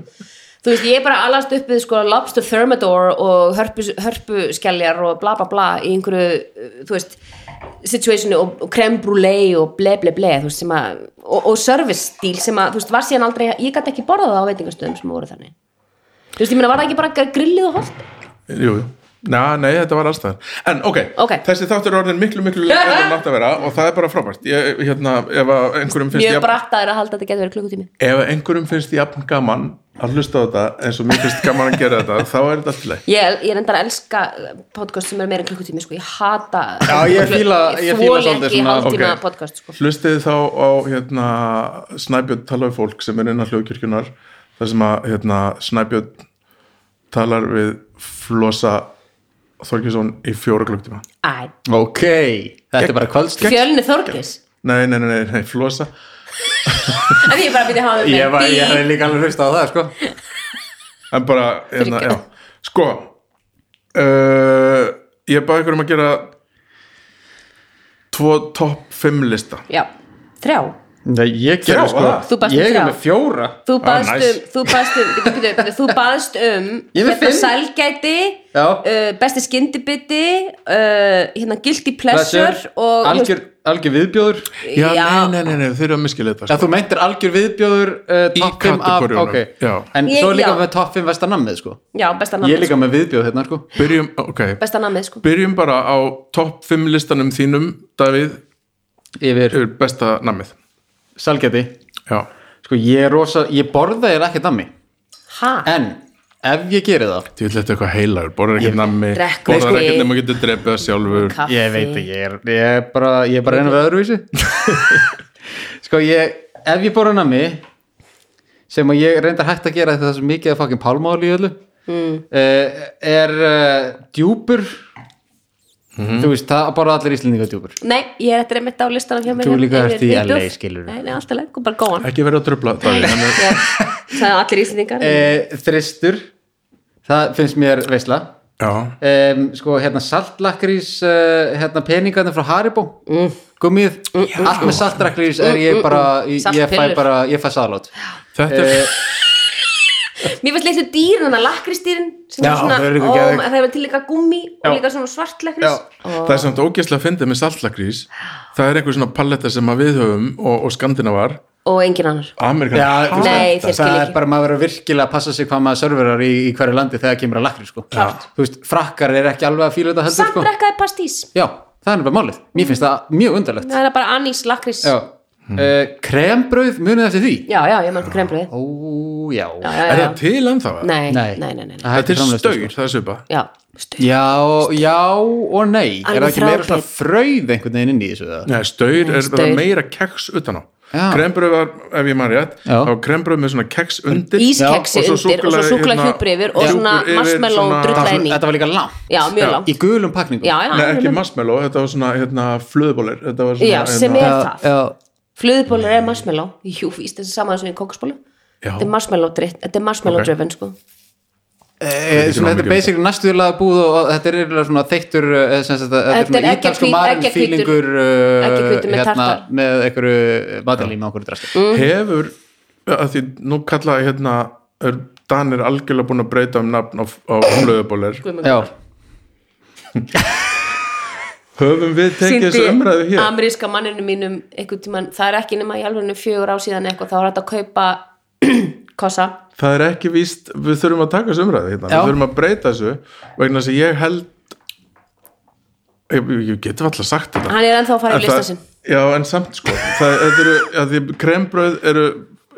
Speaker 2: Þú veist, ég er bara allast upp við sko lobster thermidor og hörpu, hörpuskelljar og bla bla bla í einhverju, uh, þú veist situationu og, og creme brulee og ble ble ble, þú veist, sem að og, og service stíl sem að, þú veist, var síðan aldrei ég gæti ekki borðað það á veitingastöðum sem voru þannig Þú veist, ég meina, var það ekki bara grillið og holt?
Speaker 1: Jú, jú. Na, nei, þetta var allstæðar En ok,
Speaker 2: Ok.
Speaker 1: þessi þáttur er orðin miklu, miklu lengur en nátt að vera og það er bara frábært ég, hérna, ef að einhverjum finnst
Speaker 2: Mjög
Speaker 1: jafn-
Speaker 2: bratt að er að halda að þetta getur verið klukkutími
Speaker 1: ef að einhverjum finnst jafn gaman að hlusta á þetta eins og mér finnst gaman að gera þetta þá er þetta alltaf leik
Speaker 2: Ég, ég reyndar að elska eh, podcast sem er meira en klukkutími sko. ég hata
Speaker 3: Já, ég fíla- ég fíla
Speaker 2: þoli
Speaker 3: svolítið
Speaker 2: ekki
Speaker 3: svona-
Speaker 2: hálftíma
Speaker 1: ok.
Speaker 2: podcast sko.
Speaker 1: Hlustið þá á hérna, Snæbjörn talar við fólk sem er innan hljóðkirkjunar þar sem að hérna, Snæbjörn talar við Flosa Þorkjesson í fjóra klukktíma
Speaker 2: Æ,
Speaker 3: Ok, þetta er bara kvöldstund
Speaker 2: fjölni Þorgis
Speaker 1: Nei, nei, nei, nei, nei Flosa
Speaker 2: af því ég bara byrja að hafa
Speaker 3: Ég
Speaker 2: með
Speaker 3: var- ég
Speaker 2: bíl
Speaker 3: hefði líka alveg hlustað á það sko
Speaker 1: en bara hérna,
Speaker 2: Þriggja.
Speaker 1: já. sko uh, ég baði ykkur um að gera tvo topp 5 lista
Speaker 2: Já, þrjá
Speaker 3: Nei, ég
Speaker 1: Þrjá,
Speaker 3: gerði sko
Speaker 1: eða?
Speaker 2: Þú baðst um
Speaker 3: Ég
Speaker 2: þrjá.
Speaker 3: er með fjóra
Speaker 2: Þú
Speaker 1: Ah,
Speaker 2: baðst
Speaker 1: nice.
Speaker 2: um, þú baðst um, byrju, byrju, byrju, þú baðst um
Speaker 3: Ég er með fimm.
Speaker 2: sælgæti
Speaker 3: Já.
Speaker 2: uh, besti skyndibiti uh, hérna guilty pleasure og
Speaker 3: algjör, algjör viðbjóður
Speaker 1: já,
Speaker 2: Já.
Speaker 1: nei, nei, nei, nei, þeir eru að miskila þetta
Speaker 3: Já,
Speaker 1: sko.
Speaker 3: þú meintir algjör viðbjóður uh, top 5 af,
Speaker 1: kategóriunum,
Speaker 3: ok
Speaker 1: já.
Speaker 3: En
Speaker 2: Ég-
Speaker 3: svo er líka
Speaker 2: já.
Speaker 3: með top 5 vestanammið sko
Speaker 2: já, besta
Speaker 3: Ég er
Speaker 2: namið
Speaker 3: líka með viðbjóð hérna sko
Speaker 1: byrjum, ok,
Speaker 2: besta namið sko
Speaker 1: byrjum bara á topp 5 listanum þínum, Davíð
Speaker 3: Yfir
Speaker 1: er besta namið
Speaker 3: salgæti
Speaker 1: já,
Speaker 3: Sko ég er rosa, ég borða þér ekkert nammi
Speaker 2: ha,
Speaker 3: En ef ég geri það
Speaker 1: því vil þetta eitthvað heilagur borðar
Speaker 3: Ég-
Speaker 1: ekkert nami,
Speaker 2: Drekkur
Speaker 1: borðar
Speaker 2: ekki.
Speaker 1: ekkert nema getur drepið það sjálfur
Speaker 2: kaffi
Speaker 3: Ég veit ekki, ég er, ég er bara Ég er bara einu við öðruvísi Sko ég, ef ég borða nammi Sem að ég reyndar hægt að gera þetta sem mikið að fokkin pálmáli í öllu mm. Er uh, djúpur Þú veist, það borða allir íslendingar djúpur
Speaker 2: Nei, ég er eftir einmitt á listanum hjá mér
Speaker 3: Þú
Speaker 2: hérna
Speaker 3: líka
Speaker 2: yfir
Speaker 3: ert í
Speaker 2: viðbjóð.
Speaker 3: LA, skilurðu.
Speaker 2: Nei, nei, alltaf lengur, bara góðan
Speaker 1: ekki verið að tröfla Davíð hann er-
Speaker 2: Sæði allir íslendingar
Speaker 3: uh, Þristur Það finnst mér veisla
Speaker 1: já,
Speaker 3: um, sko, hérna saltlakrís uh, hérna peningarnir frá Haribo mm. gummið, allt með saltlakrís er ég bara, ég, ég fæ
Speaker 2: Saltpillur.
Speaker 3: bara ég fæ saðlát
Speaker 1: þetta er
Speaker 2: Mér finnst litlu dýrin, þannig að lakristýrin sem
Speaker 3: Já,
Speaker 2: er svona,
Speaker 3: þau eru líka
Speaker 2: ó,
Speaker 3: geðveik.
Speaker 2: það er til líka gummi og
Speaker 3: Já.
Speaker 2: líka svona
Speaker 3: Já.
Speaker 2: svartlakrist
Speaker 1: það er samt ógeðslega fyndið með saltlakrís það er einhver svona paletta sem að við höfum og, og skandinavar,
Speaker 2: og engin annar
Speaker 1: Amerikan
Speaker 2: þú veist, Nei, þeir
Speaker 3: það
Speaker 2: skilja
Speaker 3: er
Speaker 2: ekki.
Speaker 3: bara maður verður virkilega að passa sig hvað maður serverar í, í hverju landi þegar kemur að lakrís sko.
Speaker 2: Klárt.
Speaker 3: þú veist, frakkar er ekki alveg að fíla þetta heldur
Speaker 2: Samt
Speaker 3: sko.
Speaker 2: drekkaði pastís
Speaker 3: já, það er bara málið, mér finnst það mjög undarlegt
Speaker 2: Það er bara anís lakrís
Speaker 3: já,
Speaker 2: Já,
Speaker 1: Hmm.
Speaker 3: uh, krembrauð munið eftir því
Speaker 2: já, ég mann krembrið
Speaker 3: ó, já,
Speaker 2: Já, já,
Speaker 1: Er
Speaker 2: já
Speaker 1: það til ennþá?
Speaker 2: Nei, nei,
Speaker 3: Nei.
Speaker 2: nei, nei, nei.
Speaker 3: Það
Speaker 1: Þetta
Speaker 3: hættir
Speaker 1: er sko.
Speaker 3: framleiðslu, sko.
Speaker 1: staur, það er svipa
Speaker 2: Já, stuð
Speaker 3: Já, já og nei Er
Speaker 2: Alveg
Speaker 3: það ekki meira
Speaker 2: þráðbeint.
Speaker 3: svona fröð einhvern veginn inn í þessu það?
Speaker 1: Nei, staur er
Speaker 2: staur.
Speaker 1: bara meira keks utan á
Speaker 3: Já.
Speaker 1: krembröð var, ef ég maður rétt
Speaker 3: Já.
Speaker 1: þá var krembröð með svona keks undir
Speaker 2: Ískeksi
Speaker 1: Já. Og svo
Speaker 2: undir og
Speaker 1: súkkulaði,
Speaker 2: svo súkla
Speaker 1: hérna,
Speaker 2: hjúpri yfir og
Speaker 1: já.
Speaker 2: svona
Speaker 1: Hjúpur yfir,
Speaker 2: marshmallow
Speaker 1: svona-
Speaker 2: drulla inn í
Speaker 3: þetta var líka langt
Speaker 2: Já, mjög
Speaker 1: Já.
Speaker 2: langt
Speaker 3: í gulum pakningum
Speaker 2: Já, já,
Speaker 1: Nei, ekki
Speaker 2: alveg.
Speaker 1: marshmallow, þetta var svona hérna, flöðbólir þetta var svona,
Speaker 2: Já, sem
Speaker 1: hérna,
Speaker 2: er
Speaker 3: Já,
Speaker 2: það.
Speaker 3: já,
Speaker 2: Flöðbólur er marshmallow Jú, víst þessi saman sem í kokosbólu
Speaker 1: Já.
Speaker 2: Þetta er marshmallow dritt, þetta er marshmallow
Speaker 1: Ok.
Speaker 2: driven sko.
Speaker 3: Eh, svona, þetta er basically næstuðurlega búð og og þetta er eiginlega svona þeittur eh, sem sagt, að-
Speaker 2: Þetta
Speaker 3: þetta
Speaker 2: er
Speaker 3: er svona ítalsku
Speaker 2: eggjahvít-
Speaker 3: marinn
Speaker 2: eggjahvítur-
Speaker 3: fílingur
Speaker 2: eggjahvítur með
Speaker 3: hérna,
Speaker 2: tartar. Mm.
Speaker 3: með einhverju matalínu og einhverju drasti
Speaker 1: hefur að því nú kallaði hérna er Danir algjörlega búin að breyta um nafn á, á flöðbólir
Speaker 2: Guð minn
Speaker 3: já,
Speaker 1: höfum við tekið
Speaker 2: Sýndi
Speaker 1: þessu umræðu hér
Speaker 2: ameríska manninu mínum einhvern tímann, það er ekki nema í alveg fjögur á síðan eitthvað, þá var þetta að kaupa kossa,
Speaker 1: það er ekki víst, við þurfum að taka þessu umræðu hérna.
Speaker 3: Já.
Speaker 1: við þurfum að breyta þessu vegna þess að ég held ég, ég getum alltaf sagt þetta
Speaker 2: hann er ennþá að fara
Speaker 1: En
Speaker 2: í lista
Speaker 1: það-
Speaker 2: sinn
Speaker 1: já, en samt sko það, þetta eru, að því krembröð eru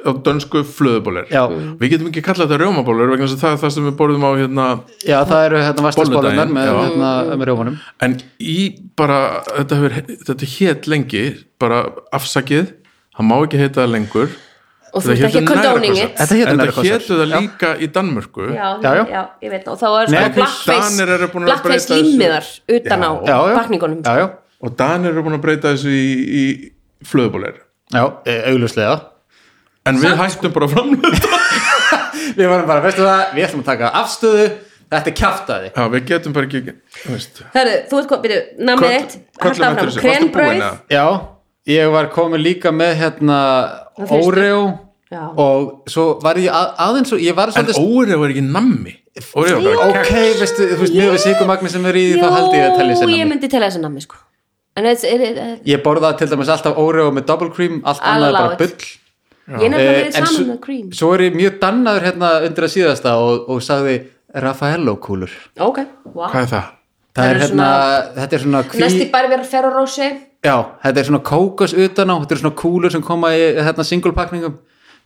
Speaker 1: á dönsku flöðubólir
Speaker 3: Já.
Speaker 1: við getum ekki kallað þetta rjómabólir vegna þess að það er það sem við borðum á hérna
Speaker 3: já, það eru hérna vastasbólunar
Speaker 1: Bolludaginn,
Speaker 3: með,
Speaker 1: já.
Speaker 3: hérna, með rjómanum
Speaker 1: en í bara, þetta, hefur, þetta hét lengi bara afsakið það má ekki heita það lengur
Speaker 2: og þú ert ekki að condoning it
Speaker 3: Þetta
Speaker 1: en
Speaker 3: hétu
Speaker 1: það
Speaker 3: nærbuxar.
Speaker 1: hétu það
Speaker 3: Já.
Speaker 1: líka í Danmörku
Speaker 2: já,
Speaker 3: Já, já.
Speaker 2: já, ég veit það, og þá er
Speaker 3: Nei,
Speaker 2: sko
Speaker 3: ok,
Speaker 1: Danir eru búin að breyta
Speaker 2: blackface blackface
Speaker 1: þessu.
Speaker 2: límiðar utan á
Speaker 3: já, já,
Speaker 2: pakningunum
Speaker 3: já, já,
Speaker 1: og Danir eru búin að breyta þessu í, í flöðubólir
Speaker 3: já, e, augljóslega
Speaker 1: en við
Speaker 3: sko.
Speaker 1: hættum bara framlega
Speaker 3: við varum bara, veistu það, við ætlum að taka afstöðu þetta er kjaftaði
Speaker 1: já, við getum bara ekki þú veist.
Speaker 2: Herru, þú veit hvað, byrju, namið
Speaker 1: Köll-
Speaker 2: eitt
Speaker 1: köllum eftir þessu, varstu búin
Speaker 2: krenbröð
Speaker 1: eða?
Speaker 3: já, ég var komin líka með hérna
Speaker 2: Það fyrstu.
Speaker 3: Oreo
Speaker 2: Já.
Speaker 3: og svo var ég að, aðeins og ég var
Speaker 1: En
Speaker 3: svolítið
Speaker 1: Óreo er ekki nammi Óreo er bara
Speaker 3: ok, veistu, þú veist, mjög við síkumagni sem er í því, þá held ég að telja
Speaker 2: jú,
Speaker 3: sér
Speaker 2: ég
Speaker 3: nammi
Speaker 2: myndi telja þessi namið sko en þetta er, er, er,
Speaker 3: ég borða til dæmis alltaf Oreo með double cream allt
Speaker 2: I'll
Speaker 3: annað er
Speaker 2: allow
Speaker 3: bara
Speaker 2: it.
Speaker 3: bull
Speaker 2: ég er nefnilega
Speaker 3: Eh,
Speaker 2: verið
Speaker 3: en
Speaker 2: saman
Speaker 3: svo-
Speaker 2: með cream
Speaker 3: svo er ég mjög dannaður hérna undir að síðasta og, og sagði Raffaello kúlur
Speaker 2: ok, wow
Speaker 1: Hvað er það?
Speaker 3: það
Speaker 2: Það
Speaker 3: er
Speaker 2: eru
Speaker 3: hérna, þetta er svona kví,
Speaker 2: næsti bæri verið ferro rósi
Speaker 3: já, þetta er svona kókos utan á, þetta er svona kúlur sem koma í hérna singlepakningum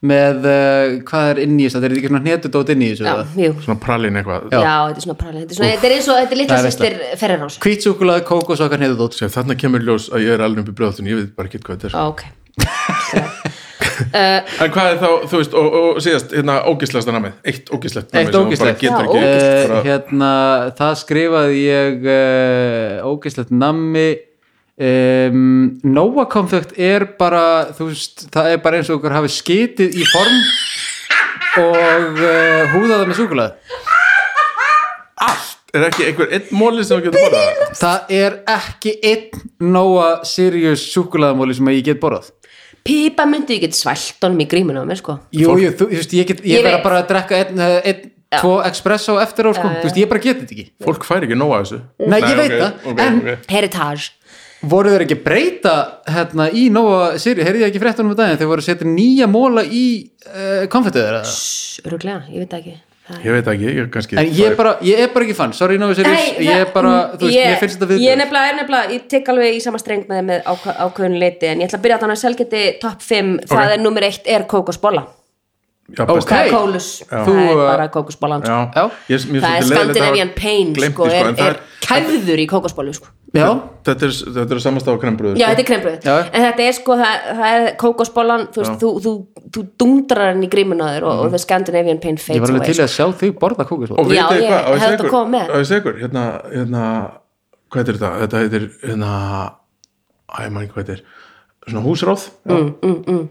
Speaker 3: með uh, hvað er inn í þessu, þetta er ekki svona hnetudót inn í þessu
Speaker 2: já,
Speaker 3: eða?
Speaker 2: jú,
Speaker 1: Svona pralin eitthvað
Speaker 2: já, þetta er svona pralið þetta er, svona, þetta er eins og, þetta er litla
Speaker 3: Það er
Speaker 2: sýstir ferrarás
Speaker 3: hvít súkulaði, kókos og okkar hnetudót
Speaker 1: Sér, Þarna kemur ljós að ég er alveg upp í brjóðatun Ég veit bara ekki hvað þetta
Speaker 2: ok,
Speaker 1: er En hvað er þá, þú veist, og, og síðast hérna ógislasta namið, eitt ógislegt namið
Speaker 3: Eitt
Speaker 1: sem þú
Speaker 3: ógislegt.
Speaker 1: bara
Speaker 2: Já,
Speaker 1: getur ekki
Speaker 3: Eh,
Speaker 1: bara,
Speaker 3: hérna, það skrifaði ég uh, ógæslegt nammi um, Nóa konfekt er bara þú veist, það er bara eins og okkur hafi skitið í form og uh, húðaða með súkulað
Speaker 1: Er ekki einhver einn móli sem þú getur bara
Speaker 3: það er ekki einn Nóa Sirius súkulaðamóli sem ég get borðað
Speaker 2: pípa myndi ég get svælt honum í grímuna á mér sko
Speaker 3: Jú, jú, þú, þú veist, ég get, ég,
Speaker 2: Ég
Speaker 3: verð
Speaker 2: veit.
Speaker 3: bara að drekka einn, eh, einn, tvo espresso eftir á, sko, þú veist, ég bara get þetta ekki
Speaker 1: Fólk fær ekki nóa þessu
Speaker 3: Nei, ég veit
Speaker 1: ok,
Speaker 3: það,
Speaker 1: ok,
Speaker 3: en-
Speaker 1: ok.
Speaker 2: heritage,
Speaker 3: voru þeir ekki að breyta hérna í Nóa Siri, heyrði ég ekki fréttunum um daginn, þeir voru að setja nýja móla í uh, konfettið þeirra
Speaker 2: öruglega, ég veit það ekki Það er-
Speaker 1: Ég veit ekki, ég er kannski
Speaker 3: en ég er bara, ég er bara ekki fann, sorry Nóa Siri
Speaker 2: Nei,
Speaker 3: ég
Speaker 2: það-
Speaker 3: er
Speaker 2: mm,
Speaker 3: bara, þú veist,
Speaker 2: ég-
Speaker 3: mér finnst þetta við
Speaker 2: ég er nefnilega, er nefnilega, ég tek alveg í sama streng með, með ákva- ákveðinu leiti en ég ætla að byrja þannig að selgeti top 5
Speaker 1: Ok.
Speaker 2: það er nummer 1 er kókosbolla
Speaker 1: Já, best-
Speaker 3: Ok.
Speaker 2: það
Speaker 3: Hey.
Speaker 2: er kólus, það
Speaker 3: Þú,
Speaker 2: er
Speaker 3: eh,
Speaker 2: bara kókosbollan sko.
Speaker 1: Já,
Speaker 3: Já.
Speaker 1: Ég- mér finnst
Speaker 2: það er
Speaker 1: leiðilegt að hafa
Speaker 2: Scandinavian pain
Speaker 1: gleymt
Speaker 2: sko,
Speaker 1: því,
Speaker 2: er,
Speaker 1: en það
Speaker 2: er kæfður í kókosbollu sko.
Speaker 3: já,
Speaker 1: Þetta er, þetta er samastá á krembröðu
Speaker 2: Já, þetta er krembröð
Speaker 3: Já.
Speaker 2: En þetta er sko, það, það er kókosbollan þú, veist, þú, þú, þú dundrar hann í grímunaður og, og the Scandinavian pain
Speaker 3: Mhm. ég
Speaker 2: fades
Speaker 3: var alveg
Speaker 2: away
Speaker 3: til í
Speaker 2: sko.
Speaker 3: að sjá þig borða kókisvóla
Speaker 1: og
Speaker 2: Já,
Speaker 1: vitið þið
Speaker 2: ég
Speaker 1: hvað, á ég
Speaker 2: held
Speaker 1: segur
Speaker 2: að koma með.
Speaker 1: á ég segur, hérna, hérna hvað heitir þetta, þetta heitir hérna, æ, mann hvað heitir svona húsráð mm, mm, mm.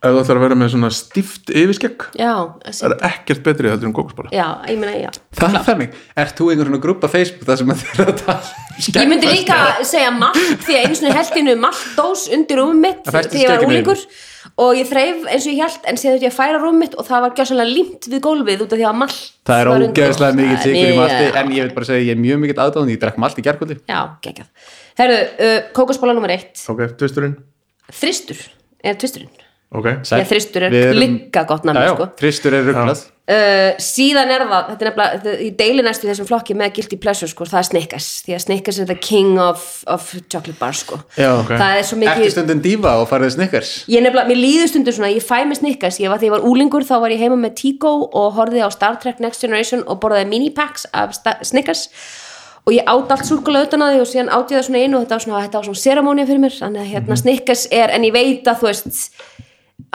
Speaker 1: ef það ætlar að vera með svona stíft yfirskegg,
Speaker 2: Já, þessi-
Speaker 1: það er ekkert betri heldur en kókusbóla
Speaker 2: já, ég meina, já
Speaker 3: það er þannig, ert þú einhver svona grúpa Facebook þar sem að þeirra að tala
Speaker 2: Ég myndi líka segja malt því að einu sinni heldinu maltdós undir rúmum mitt
Speaker 3: Það festist
Speaker 2: því ég var
Speaker 3: ekki með
Speaker 2: úlingur og ég þreif eins og ég held en séð þetta ég að færa rúmum mitt og það var gjössalega límt við gólfið út af því að malt
Speaker 3: það er
Speaker 2: var undir.
Speaker 3: ógeðslega mikið sigur í malti
Speaker 2: Já.
Speaker 3: en ég vil bara segja, ég er mjög mikið aðdáðan ég drakk malt í gerkvöldi
Speaker 2: Já, geggjað Herðu, uh, kókosbóla nummer eitt
Speaker 1: ok, tvisturinn,
Speaker 2: Þristur, er tvisturinn?
Speaker 1: ok
Speaker 2: Já, þristur er líka gott nafn, sko.
Speaker 3: þristur er rugglað
Speaker 2: Uh, síðan er það, þetta er nefnilega þetta- ég deili næstu þessum flokki með guilty pleasure sko, það er Snickers, því að Snickers er the king of, of chocolate bar sko.
Speaker 3: Já, ok.
Speaker 2: það er svo
Speaker 3: ertu
Speaker 2: mikið
Speaker 3: stundin dífa og farið snikkars
Speaker 2: ég nefnilega, mér líður stundum svona, ég fæ mig Snickers ég var þegar ég var úlingur, þá var ég heima með Tigo og horfði á Star Trek Next Generation og borðaði minipacks af sta- Snickers og og ég át allt súkulega utan að því og síðan át ég það svona inn og þetta var svona, þetta var svona seramónið fyrir mér þannig að
Speaker 3: Mhm.
Speaker 2: hérna Snickers er, en ég veit að þú veist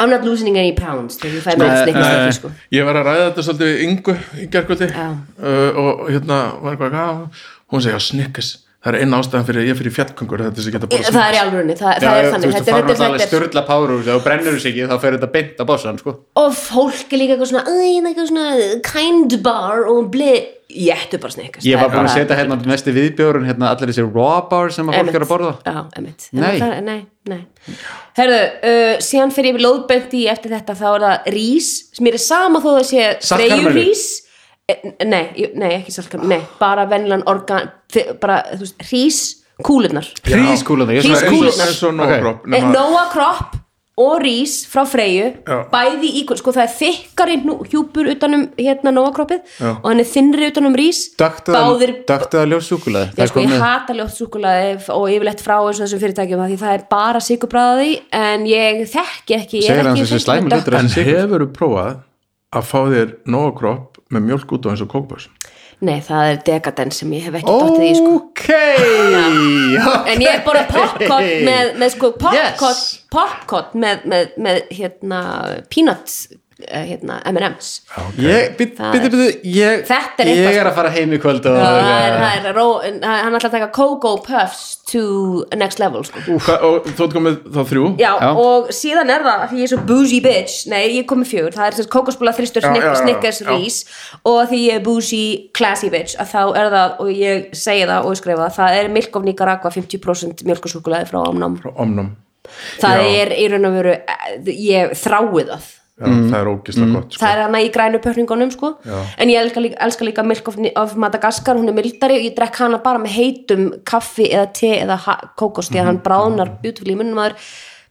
Speaker 2: I'm not losing any pounds þegar ég fæ mér
Speaker 3: Nei,
Speaker 2: Snickers
Speaker 1: Nei,
Speaker 2: ekki sko
Speaker 1: ég var að ræða þetta svolítið við Ingu í gerkvöldi
Speaker 2: Já.
Speaker 1: uh, og hérna var eitthvað að hún segja snikkes, það er einn ástæðan fyrir að ég fyrir fjallköngur þetta sem geta bara
Speaker 2: það er í alvörunni, það, það er þannig þetta er, þetta er, þetta er,
Speaker 3: styrla párur og brennur sig ekki þá fer þetta beint á bossan sko.
Speaker 2: og fólk er líka eitthvað svona, "Æ, hérna eitthvað svona kind bar og blið ég ættu bara Snickers
Speaker 3: ég
Speaker 2: það
Speaker 3: var
Speaker 2: er
Speaker 3: búin að
Speaker 2: bara-
Speaker 3: setja hérna mest í viðbjörun hérna, allir þessi raw bar sem að fólk er að borða
Speaker 2: já, emitt
Speaker 3: Nei.
Speaker 2: nei, nei. Herðu, uh, síðan fyrir ég lóðböndi í eftir þetta þá er það rís sem mér er sama þó það sé
Speaker 3: Saltkarmelur?
Speaker 2: freyjurís Eh, nei, ég- nei, ekki salkarmur nei, bara venlan organ þi- bara, þú veist, rís kúlunar
Speaker 3: prískúluna
Speaker 1: Það er eins og-
Speaker 2: Kúlurnar.
Speaker 1: eins og
Speaker 3: Ok.
Speaker 1: nógrop
Speaker 2: Eh, Nóa kropp og rís frá freyju
Speaker 1: Já.
Speaker 2: bæði í, sko það er þykkari hnú- hjúpur utanum hérna Nóa kroppið
Speaker 1: Já.
Speaker 2: og hann er þinnri utanum rís báðir
Speaker 3: döktu að ljóð súkulaði
Speaker 2: Já, sko, ég hata ljótt súkulaði og yfirleitt frá eins og þessum fyrirtækjum af því það er bara sigurbræði en ég þekki ekki ég er
Speaker 3: Segir hann
Speaker 2: ekki
Speaker 3: þessi
Speaker 2: fylgd með
Speaker 3: slæmi
Speaker 2: dökk-
Speaker 3: litur
Speaker 1: en hefur þú prófað að fá þér nógróp með mjölk út á eins og kókbás
Speaker 2: Nei, það er dekadens sem ég hef ekki dottið í sko.
Speaker 3: ok
Speaker 2: En ég er bara popcorn með, með sko, popcorn,
Speaker 3: Yes.
Speaker 2: popcorn með, með, með hérna, peanuts eh, hérna, M&M's
Speaker 3: ég, bytt,
Speaker 2: Það
Speaker 3: bytt,
Speaker 2: er-
Speaker 3: bytt ég,
Speaker 2: Þetta er
Speaker 3: ég
Speaker 2: eitthvað, sko.
Speaker 3: er að fara heim í kvöld og,
Speaker 2: Það er, það er ró, en hann ætla að taka Cocoa Puffs to next level sko.
Speaker 1: Hva- og þú ert komið þá þrjú
Speaker 2: Já,
Speaker 3: Já.
Speaker 2: og síðan er það, því ég er svo bougie bitch Nei, ég kom með fjögur, það er þess kókosbúla þristur
Speaker 1: Já,
Speaker 2: snick,
Speaker 1: já, já,
Speaker 2: snickers
Speaker 1: já.
Speaker 2: rís og því ég er bougie classy bitch að þá er það, og ég segi það og ég skrifa það, það er milk of Nicaragua 50% mjölkusúkulaði frá ámnám
Speaker 1: omnum
Speaker 2: það
Speaker 1: Já.
Speaker 2: er í raun og veru, eh, ég þrái það
Speaker 1: Já, það er ógislega gott sko.
Speaker 2: það er hana í grænu pörningunum sko. en ég elska líka, elska líka Milk of, of Madagaskar hún er mildari og ég drekk hana bara með heitum kaffi eða te eða ha- kókos því
Speaker 1: Mhm,
Speaker 2: að hann bráðnar beautiful í munnum aður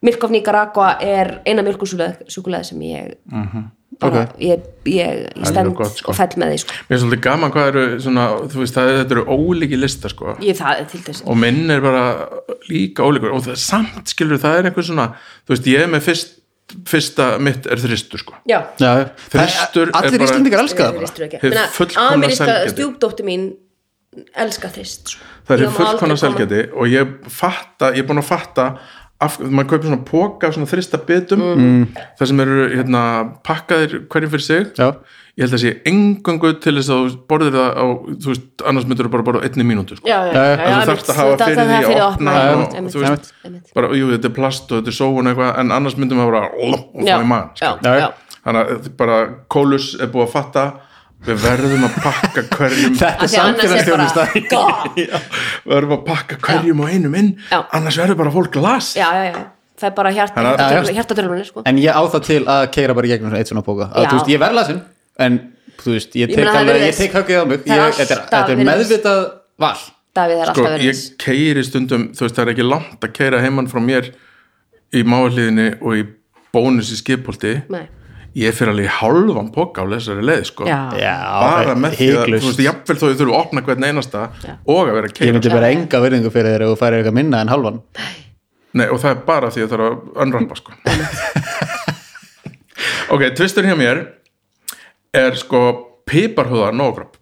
Speaker 2: Milk of Nicaragua er eina mjölkusúkulaði sem ég bara, ég, ég, ég
Speaker 1: Mhm. er
Speaker 2: stend
Speaker 1: mjög gott, sko.
Speaker 2: og fell með því sko.
Speaker 1: mér er svolítið gaman hvað eru svona, þú veist, það, þetta eru ólíki listar sko.
Speaker 2: ég það er til þess
Speaker 1: og minn er bara líka ólíkur og það, samt skilur það er einhver svona þú veist, ég er með fyrst, fyrsta mitt er þristur sko
Speaker 2: já
Speaker 3: Já, já.
Speaker 1: Þristur er
Speaker 3: allir
Speaker 1: bara-
Speaker 3: íslendingar elska það bara
Speaker 2: Þristur ekki.
Speaker 1: Hið
Speaker 2: Meina,
Speaker 1: fullkomna
Speaker 2: ameríska
Speaker 1: sælgæti.
Speaker 2: stjúpdóttir mín elska þrist sko.
Speaker 1: það
Speaker 2: Ég
Speaker 1: er
Speaker 2: má
Speaker 1: fullkona
Speaker 2: aldrei koma-
Speaker 1: selgæti og ég fatta, ég er búin að fatta af, maður kaupir svona póka af svona þrista bitum,
Speaker 2: Mm.
Speaker 1: það sem eru hérna, pakkaðir hverjum fyrir sig
Speaker 3: Já.
Speaker 1: ég held að sé engöngu til þess að þú borðir það á, þú veist, annars myndir þú bara borða á einni mínútu sko.
Speaker 2: já, já,
Speaker 1: þú
Speaker 2: já, já,
Speaker 1: þarft
Speaker 2: einmitt.
Speaker 1: að hafa
Speaker 2: Þú þarft
Speaker 1: fyrir því að opna
Speaker 2: já,
Speaker 1: og,
Speaker 2: einmitt,
Speaker 1: þú veist,
Speaker 2: einmitt.
Speaker 1: bara, jú, þetta er plast og þetta er sóun eitthvað, en annars myndum við bara ó, og
Speaker 2: já,
Speaker 1: fá í sko." mann
Speaker 2: já,
Speaker 3: Já, já.
Speaker 2: já.
Speaker 1: þannig að bara Kólus er búið að fatta við verðum að pakka hverjum
Speaker 3: þetta
Speaker 2: Af
Speaker 3: er
Speaker 2: því að annars er bara-
Speaker 3: samfélagsþjónusta
Speaker 2: God.
Speaker 1: við verðum að pakka hverjum og einum inn
Speaker 2: Já.
Speaker 1: annars verður bara fólk las
Speaker 2: já, já, já, það er bara hjarta,
Speaker 1: Þannig að-
Speaker 2: hjarta,
Speaker 3: Já,
Speaker 2: hjarta,
Speaker 3: já.
Speaker 2: sko.
Speaker 3: en ég á það til að keira bara í gegnum svona eitt svona póka að,
Speaker 2: Já.
Speaker 3: þú veist, ég verð lasin en þú veist,
Speaker 2: Ég
Speaker 3: ég tek,
Speaker 2: meina, það er
Speaker 3: alveg, ég
Speaker 2: virðist.
Speaker 3: tek höggið á mig
Speaker 2: Það er
Speaker 3: ég, þetta, er,
Speaker 2: alltaf
Speaker 3: þetta er
Speaker 2: virðist.
Speaker 3: meðvitað val
Speaker 2: Davíð er
Speaker 1: sko,
Speaker 2: alltaf verið
Speaker 1: ég
Speaker 2: þess
Speaker 1: keiri stundum þú veist, það er ekki langt að keira heimann frá mér í máliðinni og í bónus í skipholti
Speaker 2: Nei.
Speaker 1: ég fyrir alveg í hálfan poka á þessari leið sko.
Speaker 2: Já.
Speaker 3: já,
Speaker 1: bara með því að,
Speaker 3: hiklaust.
Speaker 1: þú veist, jafnvel þó ég þurfum að opna hvern einasta og að vera að
Speaker 3: ég
Speaker 1: keira
Speaker 3: myndi bara enga verðingu fyrir þér ef þú færir eitthvað minna en halvan
Speaker 1: Nei, og það er bara því að það er að önrampa sko. ok, tvistur hjá mér er sko piparhúða nógrop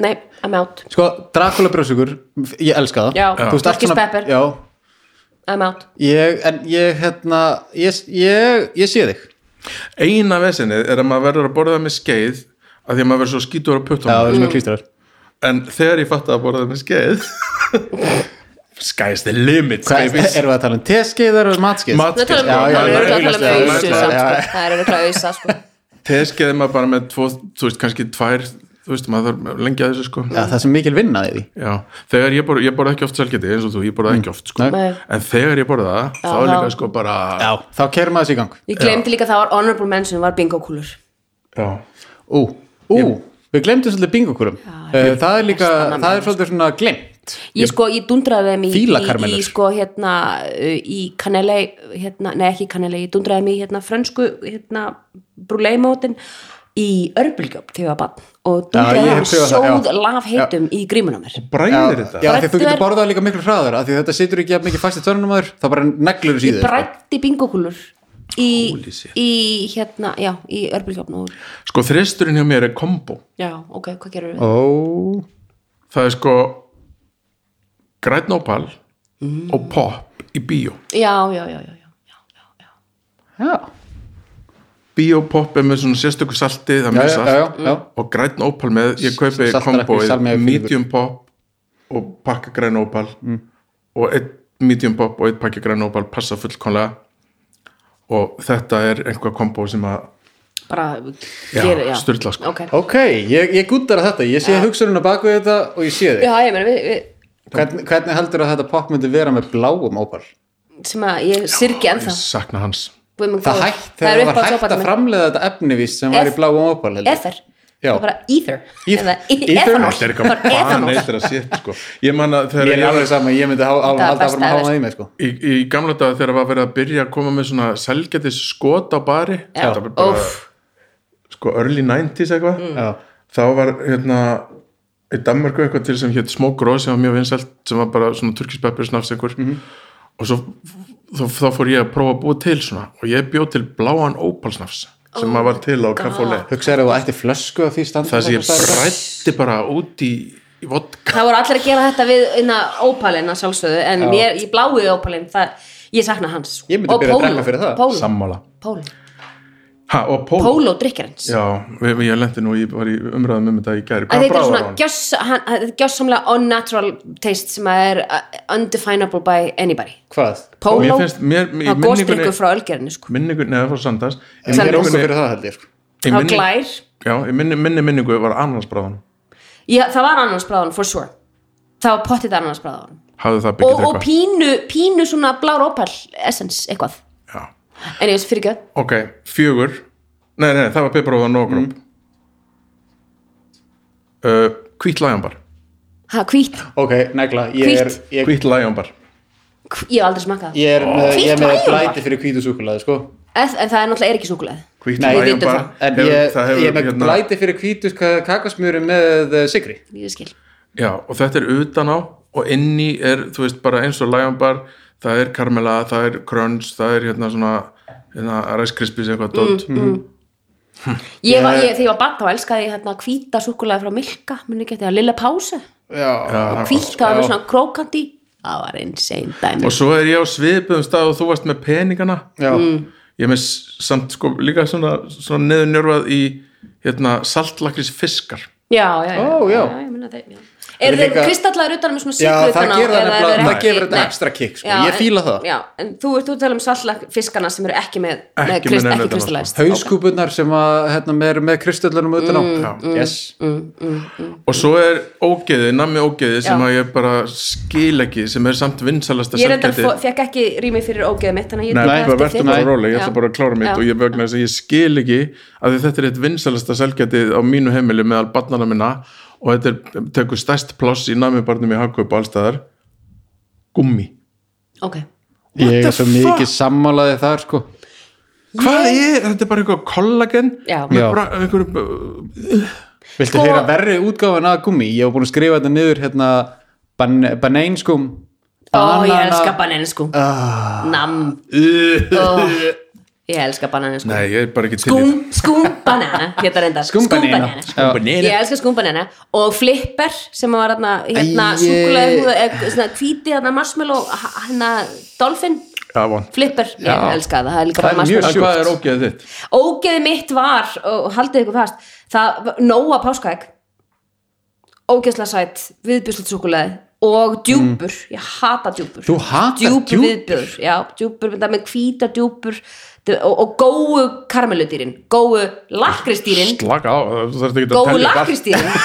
Speaker 2: nei, I'm out,
Speaker 3: sko, Dracula brjósugur, ég elska það
Speaker 2: Já,
Speaker 3: Þú veist, allt
Speaker 2: Dökkis
Speaker 3: svona-
Speaker 2: pepper.
Speaker 3: já,
Speaker 2: I'm out
Speaker 3: ég, en ég hérna ég, ég, ég sé þig
Speaker 1: eina vesinið er að maður verður að borða það með skeið af því að maður verður svo skítur á
Speaker 3: já, það
Speaker 1: puttunum
Speaker 3: er
Speaker 2: Mm.
Speaker 3: svona klístrar
Speaker 1: en þegar ég fatt að borða það með skeið sky's the limit
Speaker 3: Hvað-
Speaker 1: babies.
Speaker 3: erum við að tala um teskeiðar og matskeið
Speaker 1: Matskeið.
Speaker 2: Nú tala um-
Speaker 1: Já, já,
Speaker 2: það er
Speaker 1: já,
Speaker 2: örugglega að tala um
Speaker 1: augljóslega,
Speaker 2: ausu samt,
Speaker 1: augljóslega,
Speaker 2: sko. það er auðvitað auðsa sko.
Speaker 1: teskeið er maður bara með tvo, þú veist, kannski tvær þú veist, maður þarf lengi að þessu sko
Speaker 3: Já, það sem mikil vinnaði því
Speaker 1: já, þegar ég borða, ég borða ekki oft selgeti eins og þú, ég borða ekki oft sko
Speaker 3: Nei.
Speaker 2: Nei.
Speaker 1: en þegar ég borða það, þá er
Speaker 2: Já,
Speaker 1: líka
Speaker 2: þá-
Speaker 1: sko bara
Speaker 3: Já, þá keirum maður þessi í gang
Speaker 2: ég glemdi líka að það var honorable mention var bingokúlur
Speaker 1: já.
Speaker 3: Ú, ú, við glemdum svolítið bingokurum uh, Það er líka, það er
Speaker 2: sko.
Speaker 3: svolítið svona glemt
Speaker 2: ég sko, ég dundraði þeim í,
Speaker 3: Fíla
Speaker 2: í,
Speaker 3: karmelur.
Speaker 2: í sko, hérna uh, í kanelei, hérna, nei ekki kanelei ég dundraði þeim í hérna frönsku hérna brúleimótin í örbulgjöp þegar ég var bann og
Speaker 3: Já,
Speaker 2: dundraði
Speaker 3: ég
Speaker 2: þeim
Speaker 3: hef prófað það, já.
Speaker 2: sjóð laf heitum í grímunum mér
Speaker 1: bræðir þetta
Speaker 3: Já, af því að þú
Speaker 2: Þetta
Speaker 3: getur
Speaker 2: er-
Speaker 3: borðað líka miklu hraðar af því að þetta situr ekki jafn mikið fast í törnum aður þá bara neglur þessi í
Speaker 2: ég
Speaker 3: þér sko.
Speaker 2: brætti bingokúlur í,
Speaker 1: Holy shit.
Speaker 2: í hérna, já, í örbulgjófn og
Speaker 1: sko þristurinn hjá mér er kombo
Speaker 2: já, ok, hvað gerir við?
Speaker 3: Ó,
Speaker 1: það er sko grænn opal og pop í bíó
Speaker 2: Já, já, já, já, já, já, já, já.
Speaker 3: já
Speaker 1: bíópop er með svona sérstöku salti það er
Speaker 3: Já,
Speaker 1: mjög
Speaker 3: já,
Speaker 1: salt
Speaker 3: já, já.
Speaker 1: og grænn opal með, ég kaupi
Speaker 3: Saltar ekki,
Speaker 1: komboið
Speaker 3: salmiaði fyrir.
Speaker 1: medium pop og pakka grænn opal
Speaker 3: Mm.
Speaker 1: og eitt medium pop og eitt pakka grænn opal passa fullkomlega og þetta er einhver kombo sem að
Speaker 2: bara
Speaker 1: Já,
Speaker 2: gerir, já,
Speaker 1: sturla, sko.
Speaker 2: ok,
Speaker 3: Ok, ég, ég gúttar að þetta, ég sé hugsununa bak við þetta og ég sé þig
Speaker 2: já, ég meina við, við
Speaker 3: Hvern, Hvernig heldur að þetta pop myndi vera með bláum ópal?
Speaker 2: sem að ég syrgi
Speaker 1: ég
Speaker 2: ennþá
Speaker 1: sakna hans
Speaker 2: Guð minn
Speaker 3: Það
Speaker 2: góður.
Speaker 3: hætt, þegar það
Speaker 2: uppáhalds
Speaker 3: var hætt
Speaker 2: ópallinn
Speaker 3: að
Speaker 2: minn.
Speaker 3: framleiða þetta efnivíst sem var
Speaker 2: Eth-
Speaker 3: í bláum ópal heldur.
Speaker 2: Ether
Speaker 3: Já.
Speaker 2: Það er bara ether
Speaker 3: Eth-
Speaker 2: Eða e-
Speaker 3: ether?
Speaker 2: ethanol.
Speaker 1: þetta er
Speaker 2: Bara
Speaker 1: eitthvað
Speaker 2: ethanol.
Speaker 1: baneitir að sétt sko. ég man að þegar
Speaker 3: Mér er
Speaker 1: ég
Speaker 3: alveg sama, ég myndi há, á,
Speaker 2: Þetta var
Speaker 3: halda áfram
Speaker 2: besta
Speaker 3: að háa
Speaker 2: ever.
Speaker 3: það í mig sko.
Speaker 1: í, í gamla daga þegar var verið að byrja að koma með svona selgetis skot á bari
Speaker 2: Já.
Speaker 1: þetta var bara
Speaker 2: Óff.
Speaker 1: sko early 90s eitthvað
Speaker 3: Já.
Speaker 1: þá var hérna í Danmarku eitthvað til sem hétt Smógróð sem var mjög vinsælt sem var bara svona turkispepper snafsengur og svo þá, þá fór ég að prófa að búa til svona og ég bjóð til bláan ópalsnafs sem oh var til á kaffóle
Speaker 3: Hugsaðu að þú ætti flösku af því standa
Speaker 1: það sem ég brætti bara út í, í vodka
Speaker 2: Það voru allir að gera þetta við inna ópalinn að sjálfsögðu en mér, ég blái ópalinn það, ég sakna hans
Speaker 3: Ég myndi
Speaker 2: Og
Speaker 3: byrja að
Speaker 2: Póló,
Speaker 3: drekka fyrir það.
Speaker 2: Póló,
Speaker 1: sammála
Speaker 2: Póló,
Speaker 1: ha, og pól,
Speaker 2: Póló drikkjarins
Speaker 1: Já, við, við- ég lendi nú, ég var í umræðum um þetta í gæri
Speaker 2: að
Speaker 1: Hvað
Speaker 2: þetta er
Speaker 1: bráðar
Speaker 2: svona
Speaker 1: hann?
Speaker 2: gjöss- hann- þetta er gjörsamlega unnatural taste sem að er uh, undefinable by anybody
Speaker 3: Hvað?
Speaker 1: Mér
Speaker 2: Póló,
Speaker 1: finnst- mér- í
Speaker 2: það var
Speaker 1: minningunni-
Speaker 2: góðstrykkur frá ölgerinu sko.
Speaker 1: Minningu, neða frá Sandars Í
Speaker 3: Ég er
Speaker 2: Selfoss.
Speaker 3: ósku fyrir það held ég sko.
Speaker 1: í
Speaker 2: það var
Speaker 1: minni-
Speaker 2: glær
Speaker 1: Já, í minni, minni minningu var annarsbráðan
Speaker 2: Já, það var annars for sure það var pottið annars
Speaker 1: Hafðu það
Speaker 2: og,
Speaker 1: byggit
Speaker 2: og pínu, pínu svona blár ópall essence eitthvað
Speaker 1: Já,
Speaker 2: en ég veist fyrir ekki
Speaker 1: ok, fjögur Nei, nei, það var pipróðan og gróp mm. uh, Hvít lægjambar
Speaker 2: ha, hvít,
Speaker 3: Ok, negla, ég er,
Speaker 2: Hvítt.
Speaker 3: ég,
Speaker 1: Hvít lægjambar
Speaker 2: Hv- ég hef aldrei smakað það
Speaker 3: ég er, með, ég er með
Speaker 2: Hvítt blæjum.
Speaker 3: blæti fyrir hvítu súkulaði sko.
Speaker 2: en, en það er náttúrulega er ekki súkulega
Speaker 1: Hvít
Speaker 3: Nei, við vitum
Speaker 1: lægjambar
Speaker 2: það.
Speaker 3: En ég, ég er með
Speaker 1: hérna-
Speaker 3: blæti fyrir hvítu ka- kakasmjöri með eh, sigri
Speaker 2: ég skil
Speaker 1: Já, og þetta er utan á og inni er, þú veist, bara eins og lægjambar það er karmela, það er crunch það er hérna svona hérna, Rice Krispies eitthvað dót
Speaker 2: Mm, ég var, ég, þegar ég var barn þá elskaði ég hérna hvíta súkulega frá Milka minni ekki þetta, Lilla Pása
Speaker 3: Já,
Speaker 1: Já,
Speaker 2: hvít, það var
Speaker 3: já.
Speaker 2: með svona krókandi það var insane dæmi
Speaker 1: og svo er ég á svipuðum stað og þú varst með peningana
Speaker 3: já
Speaker 1: ég er með s- samt sko líka svona, svona neðunjörfað í hérna, saltlakris fiskar
Speaker 2: já, já, já,
Speaker 3: Ó, já.
Speaker 2: ég meina þeim já. eru
Speaker 3: Ég
Speaker 2: þeir
Speaker 3: líka-
Speaker 2: kristallar utan með svona
Speaker 3: Já,
Speaker 2: sykru
Speaker 3: það
Speaker 2: utan á,
Speaker 3: gerir það
Speaker 2: eða
Speaker 3: nefnilega-
Speaker 2: eru
Speaker 3: það
Speaker 2: ekki-
Speaker 3: gefur þetta
Speaker 2: Nei.
Speaker 3: extra kick, sko.
Speaker 2: Já,
Speaker 3: Ég fíla
Speaker 2: en-
Speaker 3: það.
Speaker 2: já, en þú ert út að tala um sallfiskana sem eru ekki með
Speaker 1: Ekki
Speaker 2: með
Speaker 1: með
Speaker 2: krist-
Speaker 1: neinu utan
Speaker 2: ekki
Speaker 1: á, sko.
Speaker 2: kristallæst
Speaker 3: Hauðskúpunar sem að hérna, með, með kristöllunum utan á
Speaker 1: Mm,
Speaker 3: Yes,
Speaker 1: og svo er ógeðið, nammi ógeðið sem
Speaker 2: Já.
Speaker 1: að ég bara skil ekki sem er samt vinsalasta
Speaker 2: ég reyndar
Speaker 1: selgæti
Speaker 2: fó- fékk ekki rými fyrir ógeða mitt þannig að ég
Speaker 1: Nei,
Speaker 2: tók
Speaker 1: bara
Speaker 2: það
Speaker 1: verður
Speaker 2: eftir
Speaker 1: bara
Speaker 2: þig.
Speaker 1: róleg, ég ætla
Speaker 2: Já.
Speaker 1: bara að klára mitt
Speaker 2: Já.
Speaker 1: og ég vegna þess að ég skil ekki að þetta er eitt vinsalasta selgætið á mínu heimili meðal barnana minna og þetta er, tekur stærst pláss í nami barnum í hagkaup allstæðar gummi
Speaker 2: ok,
Speaker 3: ég er
Speaker 1: the
Speaker 3: svo
Speaker 1: fuck?
Speaker 3: mikið sammálaði þar sko.
Speaker 1: Hvað er, þetta er bara eitthvað kollagen
Speaker 2: Já.
Speaker 1: með
Speaker 3: Já.
Speaker 1: bara einhverju
Speaker 3: Viltu
Speaker 2: Sko-
Speaker 3: heyra verri útgáfan að gummi? Ég hef búin að skrifa þetta niður hérna, ban, sko. baneinskum
Speaker 2: ó ég elska bananinsku
Speaker 3: Ah.
Speaker 2: nam Ó, ég elska bananinsku
Speaker 1: Nei, ég er bara ekki til í
Speaker 2: skúm, skúm banana hérna reyndar,
Speaker 3: Skúmbanana.
Speaker 2: skúmbanana.
Speaker 1: sko.
Speaker 2: ég elska skúmbanana og flipper sem var hérna, hérna
Speaker 3: Æi.
Speaker 2: súkulega húða eða svona hvíti hérna marshmallow h- hérna dolphin
Speaker 1: Já, von
Speaker 2: flipper, ég
Speaker 3: Já.
Speaker 2: elska það það er líka
Speaker 3: Það
Speaker 2: bara
Speaker 3: er mjög
Speaker 1: En
Speaker 2: marshmallow
Speaker 3: sjúkt.
Speaker 1: hvað er ógeðið þitt?
Speaker 2: ógeði mitt var og haldið ykkur fast það, nóa páskaegg ógeðslega sætt, viðbjörnslitsúkuleði og djúpur, ég hata djúpur
Speaker 3: Mm. Þú hatar
Speaker 2: djúpur
Speaker 3: djúpur?
Speaker 2: viðbjörn, já, djúpur það með hvíta djúpur og, og góu karmeludýrin góu lakristýrin
Speaker 1: Slaka á, þú þarfst ekki að
Speaker 2: góu
Speaker 1: tellja allt.
Speaker 2: lakristýrin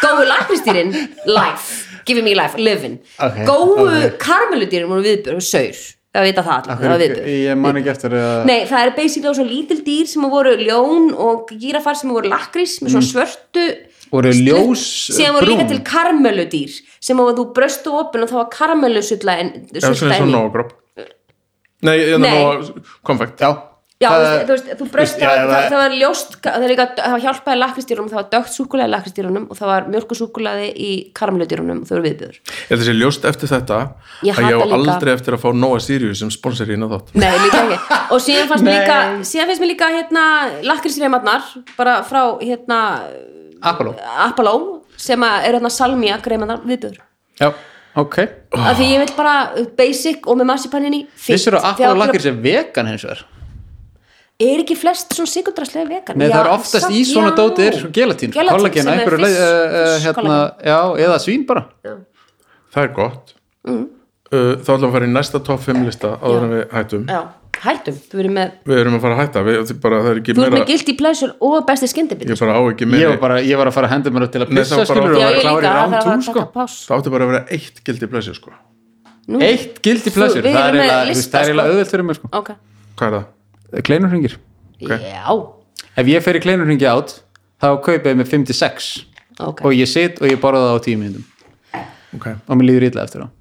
Speaker 2: góu lakristýrin, life give me life, living
Speaker 3: Ok,
Speaker 2: góu
Speaker 3: ok.
Speaker 2: karmeludýrin voru viðbjörn, saur það vita það allir, það var viðbjörn
Speaker 3: Ég man ekki eftir að
Speaker 2: Nei, það eru basically svo lítil dýr sem voru ljón og gírafar sem voru lakrís með svona svörtu
Speaker 3: Voru
Speaker 2: slitt-
Speaker 3: ljós, eh,
Speaker 2: sem voru líka
Speaker 3: brún?
Speaker 2: til karmeludýr sem að þú bröstu opin og þá var karmelusulla en
Speaker 1: Já, svona
Speaker 2: sulla
Speaker 1: eins og
Speaker 2: inn í
Speaker 1: nógróp Nei, ég er
Speaker 2: Nei.
Speaker 1: nóg konfekt
Speaker 3: Já,
Speaker 2: Já, þú
Speaker 3: Það-
Speaker 2: veist, þú veist, þú braust
Speaker 4: Já,
Speaker 2: það,
Speaker 4: ef
Speaker 2: það,
Speaker 4: það-
Speaker 2: það var ljóst, það, er líka, það var hjálpaði lakristýrunum, það var dögt súkulaði lakristýrunum og það var mjölkusúkulaði í karamlutýrunum og þau eru viðbjöður.
Speaker 1: Ég þessi ljóst eftir þetta
Speaker 2: Ég
Speaker 1: að ég á
Speaker 2: hata líka-
Speaker 1: aldrei eftir að fá Nóa Sirius sem sponsor í þátt
Speaker 2: Nei, líka ekki. Og síðan fannst mér
Speaker 3: Nei.
Speaker 2: líka, síðan finnst mér líka hérna lakristýrreimarnar, bara frá hérna
Speaker 3: Apollo
Speaker 2: Apollo, sem að eru hérna salmiak reimarnar viðbjöður.
Speaker 3: Já, ok
Speaker 2: Af því ég vil bara basic og með marsipaninni fyrst.
Speaker 3: Vissir að Apollo lakir sem vegan hins vegar
Speaker 2: Er ekki flest svona sigurdraslega vegan?
Speaker 3: Nei,
Speaker 2: Já,
Speaker 3: það er oftast í
Speaker 2: samt-
Speaker 3: svona
Speaker 2: já.
Speaker 3: dóti er svo gelatín,
Speaker 2: Gelatín
Speaker 3: kollagen
Speaker 2: sem er
Speaker 3: einhverju
Speaker 2: fisk-
Speaker 3: leið, uh, uh, hérna,
Speaker 2: fiskkollagen.
Speaker 3: já, eða svín bara
Speaker 1: Það er gott uh, Þá ætlum við að fara í næsta top 5 lista áður en við hættum
Speaker 2: Já, hættum, þú erum með
Speaker 1: Við erum að fara að hætta, við, bara, það er ekki
Speaker 2: Þú erum
Speaker 1: meira
Speaker 2: með guilty pleasure og besti skyndibit
Speaker 1: Ég bara á ekki
Speaker 3: ég
Speaker 1: meira
Speaker 3: var, bara, ég var að fara að henda mér upp til að Nei,
Speaker 1: það
Speaker 3: pissa
Speaker 1: var bara-
Speaker 3: skilur og
Speaker 1: Já,
Speaker 3: að
Speaker 2: ég
Speaker 3: vera klári
Speaker 2: líka, það
Speaker 3: rám
Speaker 2: þarf
Speaker 3: tún
Speaker 2: að
Speaker 3: sko
Speaker 2: taka pás
Speaker 1: Það átti bara að vera eitt gildi blessi sko.
Speaker 2: Nú,
Speaker 3: Eitt guilty pleasure,
Speaker 2: Þú- við
Speaker 3: það er
Speaker 2: erum með
Speaker 3: eiginlega þú veist,
Speaker 2: lista,
Speaker 3: það er eiginlega
Speaker 2: sko.
Speaker 3: auðvelt fyrir mér sko
Speaker 2: ok,
Speaker 1: Hvað er það?
Speaker 3: Eh, Kleinurringir,
Speaker 2: já
Speaker 3: ef ég fer í kleinurringi átt þá kaupa ég með 56
Speaker 2: ok,
Speaker 3: og ég sit og ég borða það á 10 minnum
Speaker 1: Okay.
Speaker 3: og mér líður illa eftir það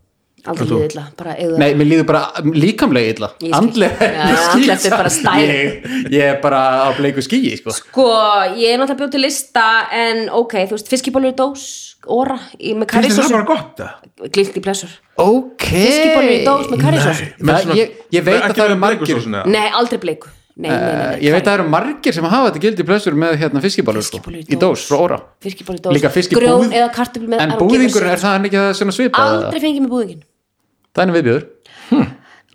Speaker 2: aldrei liðið illa bara eigðu
Speaker 3: Nei, mér líður bara líkamlega illa
Speaker 2: Ég skil.
Speaker 3: Andlega
Speaker 2: Já, andlegt er bara stæl.
Speaker 3: ég, ég er bara á bleiku skýi sko.
Speaker 2: það sko, ég er náttúrulega bjóð til lista en ok, þú veist, fiskibólur í dós óra, í- með
Speaker 1: Finnst þér það
Speaker 2: karisósu
Speaker 1: bara gott það?
Speaker 2: guilty pleasure,
Speaker 3: Ok
Speaker 2: fiskibólur í dós með karisósu
Speaker 3: Það- ég- ég veit að það eru margir-
Speaker 1: Nei,
Speaker 2: nei, aldrei bleiku nei, nei, nei, nei,
Speaker 3: Eh, Ég veit að það eru margir sem hafa þetta gildi plössur með hérna fiskibólur sko,
Speaker 2: Fiskibólur í
Speaker 3: í dós frá óra
Speaker 2: fiskibólur í dós,
Speaker 3: Líka fiskibúð-
Speaker 2: grjón eða kartöflu með
Speaker 3: En
Speaker 2: I don't give a
Speaker 3: búðingur er
Speaker 2: shit.
Speaker 3: það hann ekki að svona svipa
Speaker 2: aldrei fengið með búðingin
Speaker 3: Þannig viðbjöður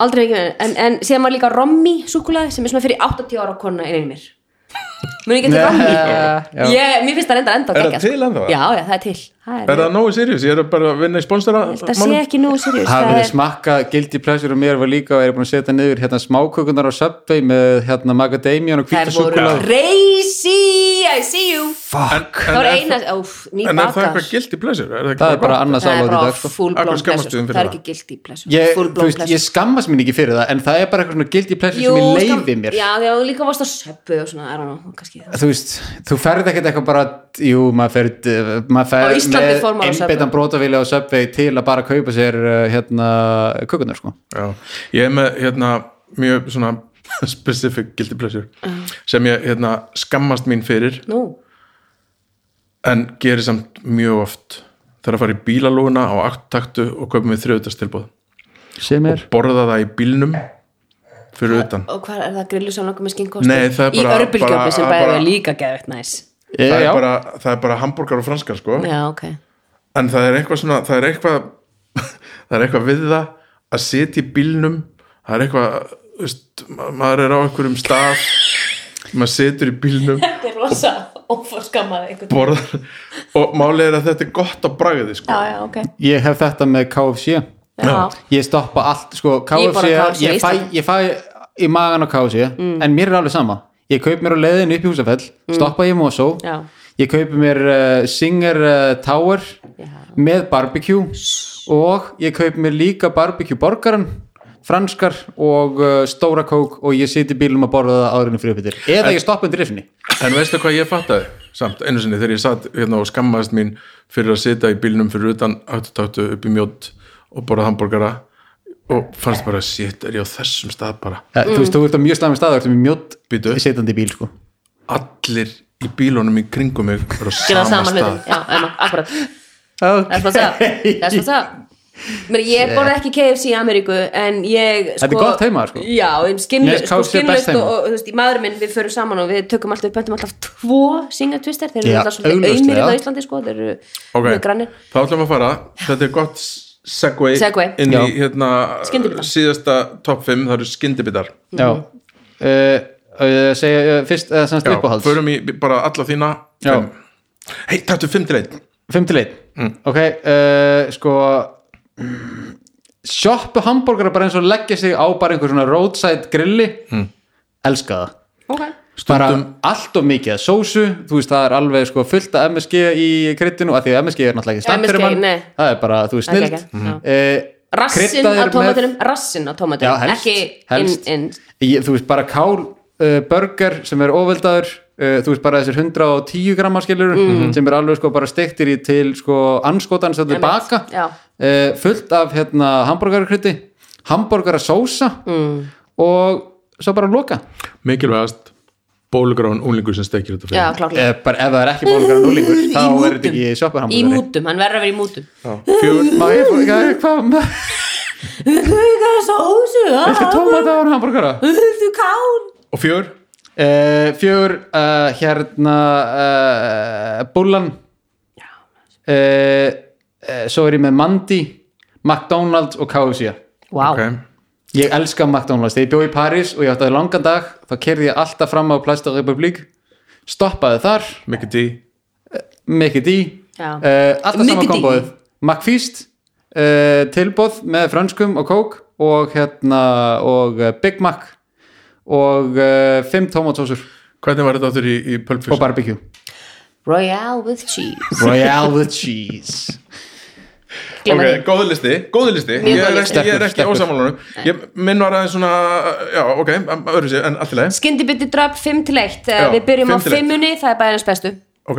Speaker 2: aldrei fengið með, en, en síðan var líka rommi súkulaði sem er svona fyrir 80 ára kona inn í mér mun ekki til rommi
Speaker 3: Já.
Speaker 2: ég, mér finnst það enda enda
Speaker 1: Er það til ennþá?
Speaker 2: sko. Já, já, það er til það
Speaker 1: Er
Speaker 2: er,
Speaker 1: það nógu seriós? Ég er bara að vinna í sponsora
Speaker 2: það sé ekki nú seriós
Speaker 3: Hafið
Speaker 2: það
Speaker 3: þið
Speaker 2: er,
Speaker 3: smakkað guilty pleasure og mér var líka og er búin að setja niður hérna smákökunar á Subway með hérna macadamian og
Speaker 2: það
Speaker 3: hvíta súkulag
Speaker 2: crazy, I see you
Speaker 1: Fuck
Speaker 2: það var eina, óf, ný
Speaker 1: En er það
Speaker 2: bakar
Speaker 1: eitthvað gildi blessur? Er það, ekki
Speaker 3: Það er bara
Speaker 1: gott?
Speaker 3: annars
Speaker 2: það er
Speaker 3: álóð í dag
Speaker 2: bara
Speaker 3: sko.
Speaker 2: full
Speaker 1: Af hverju
Speaker 2: blown
Speaker 1: skammast þú þín
Speaker 2: pleasure
Speaker 1: fyrir
Speaker 2: það
Speaker 1: það?
Speaker 2: er ekki guilty pleasure
Speaker 3: ég,
Speaker 2: full
Speaker 3: þú
Speaker 2: blown
Speaker 3: veist,
Speaker 2: pleasure
Speaker 3: ég skammast mín ekki fyrir það en það er bara eitthvað svona guilty pleasure sem ég
Speaker 2: skam-
Speaker 3: leiði mér
Speaker 2: já, já, líka varst á söppu og svona, I don't know, kannski
Speaker 3: þú veist, þú ferð ekkert eitthvað bara jú, maður ferð, uh, maður
Speaker 2: Á
Speaker 3: ferð
Speaker 2: Íslandi fór maður á Subway.
Speaker 3: einbeitan brotavili á Subway til að bara kaupa sér uh, hérna, kökunar sko
Speaker 1: Já, ég er með hérna mjög svona specific guilty pleasure sem ég hérna skammast mín fyrir
Speaker 2: nú,
Speaker 1: en gerir samt mjög oft þegar að fara í bílalóguna á 8 taktu og kaupa mig þriðutastilbúð
Speaker 3: sem er
Speaker 1: borða það í bílnum fyrir utan
Speaker 2: og hvað er það grillu samlokum með skinkosti
Speaker 1: Nei, það er
Speaker 2: í
Speaker 1: bara- bara-
Speaker 2: örbylgjöpi sem bæði
Speaker 1: bara-
Speaker 2: var líka geðvægt næs
Speaker 3: e,
Speaker 1: það er,
Speaker 3: já,
Speaker 1: bara, það er bara hambúrgar og franskar sko
Speaker 2: já, ok,
Speaker 1: en það er eitthvað svona það er eitthvað, það er eitthvað við það að sitja í bílnum það er eitthvað þú veist, ma- maður er á einhverjum stað maður situr í bílnum
Speaker 2: þetta er rosa óforskammað einhvern
Speaker 1: borðar, og málið er að þetta er gott á bragði sko.
Speaker 2: já, já, ok
Speaker 3: ég hef þetta með KFC
Speaker 2: já,
Speaker 3: ég stoppa allt, sko
Speaker 2: Ég
Speaker 3: KFC,
Speaker 2: borða KFC
Speaker 3: ég,
Speaker 2: í
Speaker 3: fæ,
Speaker 2: Íslandi. Mm.
Speaker 3: ég fæ í magan á KFC en mér er alveg sama, ég kaup mér á leiðinu upp í húsafell, stoppa ég í Mosó
Speaker 2: Já.
Speaker 3: ég kaupi mér uh, Singer uh, Tower með barbecue og ég kaupi mér líka barbecue borgaran franskar og uh, stóra kók og ég siti í bílum að borða það áriðinu fyrirbyttir eða ég stoppa undir rifni
Speaker 1: en veistu hvað ég fattaði samt einu sinni þegar ég satt hérna og skammaðist mín fyrir að sitja í bílnum fyrir utan aftutáttu upp í mjótt og borða hambúrgara og fannst bara shit er ég á þessum stað bara
Speaker 3: mm. þú veist, þú ert á mjög slæmi staðar sem er mjótt
Speaker 1: Bíddu.
Speaker 3: sitandi í bíl sko.
Speaker 1: allir í bílunum í kringum mig eru á
Speaker 2: gera
Speaker 1: sama,
Speaker 2: saman
Speaker 1: stað
Speaker 2: hlutin já, emma, akkurat That's what's up, that's what's
Speaker 3: okay.
Speaker 2: up Mér, ég borði ekki KFC í Ameríku en ég sko,
Speaker 3: Þetta er gott heima, sko.
Speaker 2: já, en
Speaker 3: Mér
Speaker 2: skinnlu,
Speaker 3: finnst
Speaker 2: sko,
Speaker 3: KFC best
Speaker 2: skinnlust
Speaker 3: heima.
Speaker 2: og, og þú veist, í maður minn við förum saman og við tökum alltaf, við pöntum alltaf tvo singatvistar, þeir eru
Speaker 3: Já,
Speaker 2: alltaf svolítið
Speaker 3: augljóslega.
Speaker 2: auðmýrið á Íslandi sko, þeir eru
Speaker 1: Ok,
Speaker 2: mjög grannir
Speaker 1: þá ætlum við að fara Þetta er gott segway
Speaker 2: Segway.
Speaker 1: inn í
Speaker 3: Já.
Speaker 1: hérna,
Speaker 2: Skyndibita.
Speaker 1: síðasta top 5, það eru skyndibitar
Speaker 3: já uh, uh, segja uh, fyrst uh, semst
Speaker 1: Mhm. Já,
Speaker 3: uppáhalds
Speaker 1: förum í bara alla þína
Speaker 3: Já.
Speaker 1: Fimm. Hei, tættu 5 til 1
Speaker 3: 5 til 1
Speaker 1: Mm.
Speaker 3: ok, uh, sko shoppu hambúrgara bara eins og leggja sig á bara einhver svona roadside grilli
Speaker 1: Mm.
Speaker 3: elska það
Speaker 2: okay.
Speaker 3: bara allt of mikið af sósu þú veist það er alveg sko fullt af MSG í kryddinu af því að MSG er náttúrulega ekki stand
Speaker 2: MSG,
Speaker 3: fyrir mann
Speaker 2: nei.
Speaker 3: það er bara, þú veist,
Speaker 2: Það er
Speaker 3: snilt
Speaker 2: ekki, já.
Speaker 3: Eh,
Speaker 2: Rassin á
Speaker 3: rassin
Speaker 2: tómatinum, rassin á
Speaker 3: Já,
Speaker 2: tómatinum
Speaker 3: helst,
Speaker 2: ekki
Speaker 3: helst.
Speaker 2: inn,
Speaker 3: ég, þú veist bara kál uh, burger sem er ofveldaður uh, þú veist bara þessir 110 grammar skilur
Speaker 2: Mm.
Speaker 3: sem er alveg sko bara stektir í til sko anskotan sem þau
Speaker 2: Einmitt,
Speaker 3: baka
Speaker 2: já.
Speaker 3: uh, fullt af hérna hambúrgarkrytti hambúrgarasósa mm. og svo bara að loka
Speaker 1: mikilvægast bólugrán úlingur sem stekir þetta
Speaker 2: já,
Speaker 1: fyrir
Speaker 2: kláklega
Speaker 3: eða Eh, bara ef það er ekki bólugar núlingur þá er þetta ekki
Speaker 2: í
Speaker 3: sjopparhambúðari
Speaker 2: mútum, hann verður að vera í mútum
Speaker 1: fjögur,
Speaker 3: Má ég fór, hvað, hvað,
Speaker 2: það er svo ósu
Speaker 3: viltu tómata ára hambúrgara?
Speaker 2: þú kán
Speaker 1: og fjögur
Speaker 3: Uh, fjögur, uh, hérna uh, Bullan uh, uh, Svo er ég með Mandy McDonalds og KFC
Speaker 2: wow.
Speaker 1: ok,
Speaker 3: Ég elska McDonalds, þegar ég bjóð í París og ég átti langan dag, þá kerði ég alltaf fram á Plasta Republik, stoppaði þar
Speaker 1: mikið dí
Speaker 3: Mickey D
Speaker 2: Já.
Speaker 3: uh, Alltaf
Speaker 2: Mickey
Speaker 3: sama
Speaker 2: D.
Speaker 3: komboð McFeast, uh, tilbóð með frönskum og kók og hérna og eh, Big Mac og uh, fimm tomatsósur
Speaker 1: hvernig var þetta áttur í, í Pulp
Speaker 3: og
Speaker 1: Fiction?
Speaker 3: barbecue
Speaker 2: Royale with cheese
Speaker 3: Royale with cheese
Speaker 2: Glemma
Speaker 1: ok, góðu listi, góðu listi ég
Speaker 2: Mjög
Speaker 1: er
Speaker 2: góður
Speaker 1: ekki, ég er ekki
Speaker 3: Sterkur, sterkur.
Speaker 1: ósamálunum ég minn var aðeins svona já, ok, öðru sér, en alltilega
Speaker 2: Skyndibiti drop 5 til 1
Speaker 1: Já,
Speaker 2: Við byrjum á
Speaker 1: fimm til eitt.
Speaker 2: 5 unni, það er bæðinans bestu
Speaker 1: ok,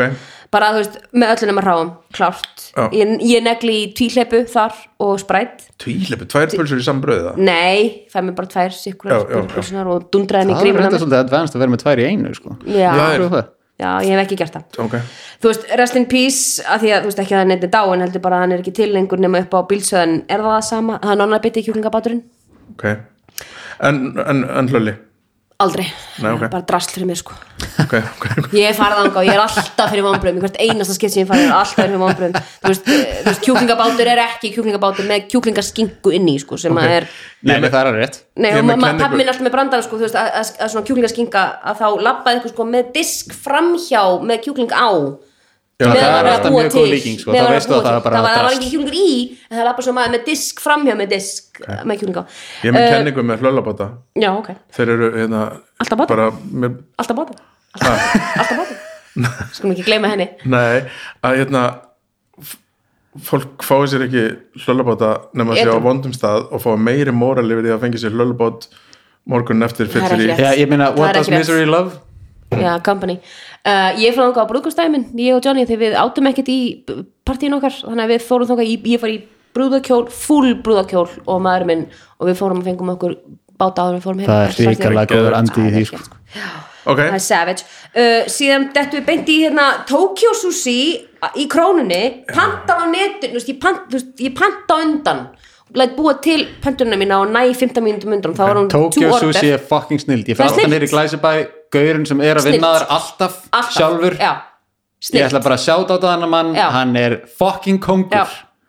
Speaker 2: bara þú veist, með öllum að hráum klárt,
Speaker 1: Já.
Speaker 2: ég, ég negli í tvíhleipu þar og sprætt,
Speaker 1: tvílepi, tvær pulsur í sambröðu það
Speaker 2: nei fæ mér bara tvær
Speaker 1: Já,
Speaker 2: sikkurar
Speaker 1: já, já.
Speaker 2: spurpulsunar og dundraðin í
Speaker 3: Það er
Speaker 2: grímuna
Speaker 3: reynda
Speaker 2: mér.
Speaker 3: svolítið advanced að vera með tvær í einu sko.
Speaker 1: Það
Speaker 2: já,
Speaker 1: er-
Speaker 3: Prófa það.
Speaker 2: já, ég hef ekki gert það
Speaker 1: ok,
Speaker 2: þú veist, rest in peace, að því að þú veist ekki að hann eitthvað dáin, heldur bara að hann er ekki til lengur nema upp á bílsöðan, er það það sama það er nonnar bitið kjúklingabáturinn,
Speaker 1: ok en, en, en hlöli
Speaker 2: aldrei
Speaker 1: Nei, ok.
Speaker 2: bara drasl fyrir mér sko
Speaker 1: ok, ok, ok
Speaker 2: ég er farið anga og ég er alltaf fyrir vonbröðum hvert einasta skipt sem ég farið er alltaf fyrir vonbröðum þú veist, eh, þú veist, kjúklingabátur er ekki kjúklingabátur með kjúklingaskingu inni sko, sem að er
Speaker 3: Nei, nei, það er alveg rétt
Speaker 2: Nei,
Speaker 1: Ég er
Speaker 2: og
Speaker 1: með
Speaker 2: ma-
Speaker 1: kenningu.
Speaker 2: pappi minn alltaf með brandarann sko, þú veist, að, að, að svona kjúklingaskinga að þá labbaði eitthvað sko með disk framhjá með kjúkling á
Speaker 1: Já,
Speaker 2: Meðan
Speaker 1: það
Speaker 2: var
Speaker 1: er
Speaker 2: að
Speaker 3: alltaf
Speaker 2: búa
Speaker 3: mjög
Speaker 2: til,
Speaker 3: góð líking, sko,
Speaker 2: meðan
Speaker 3: þá
Speaker 2: var að
Speaker 3: veistu
Speaker 2: búa
Speaker 3: að það
Speaker 2: til.
Speaker 3: er bara
Speaker 2: það var, það var
Speaker 3: drasl.
Speaker 2: ekki kjúklingur í, en það labbaði svo maður með disk framhjá með disk eh, með kjúkling á Eh,
Speaker 1: ég er með kenningu með hlölabáta
Speaker 2: Já, ok,
Speaker 1: þeir eru hérna
Speaker 2: Alltaf báta.
Speaker 1: bara með,
Speaker 2: alltaf báta alltaf, alltaf báta skulum ekki gleyma henni
Speaker 1: nei, að hérna f- fólk fái sér ekki hlölabáta nema að sé á
Speaker 2: Edrú.
Speaker 1: vondum stað og fái meiri móral yfir því að fengi sér hlölabát morgun eftir
Speaker 2: Það er
Speaker 1: fyllir í
Speaker 2: ekki rétt.
Speaker 3: Já, ég meina,
Speaker 2: Það
Speaker 3: what
Speaker 2: er
Speaker 3: does
Speaker 2: ekki rétt.
Speaker 3: misery love?
Speaker 2: Já, company. Uh, ég fór þangað á brúðkastæmin, ég og Johnny, þegar við átum ekkert í partíin okkar, þannig að við fórum þangað, í, ég fór í brúðakjól, full brúðakjól og maður minn og við fórum og fengum okkur báta áður en við fórum heim.
Speaker 3: Það er hrikalega góður andi í því sko.
Speaker 1: ok,
Speaker 2: Það er savage. Uh, síðan dettu við beint í hérna Tokyo Sushi uh, í krónunni, panta á netinu, þú veist, ég, pant, þú veist, ég panta á undan, læt búa til pöntunum mína og næ 15 mínútum undan, þá var hún
Speaker 3: Tokyo
Speaker 2: to order.
Speaker 3: Sushi er fucking snild Ég
Speaker 2: Það er
Speaker 3: fer alltaf
Speaker 2: snillt.
Speaker 3: neyri glæsibæ Gaurinn sem er að vinna
Speaker 2: Snillt.
Speaker 3: þar alltaf,
Speaker 2: Alltaf.
Speaker 3: sjálfur
Speaker 2: Já,
Speaker 3: Ég
Speaker 2: snilt.
Speaker 3: ætla bara að sjáta á það hann mann
Speaker 2: Já.
Speaker 3: Hann er fucking
Speaker 2: Já,
Speaker 3: kongur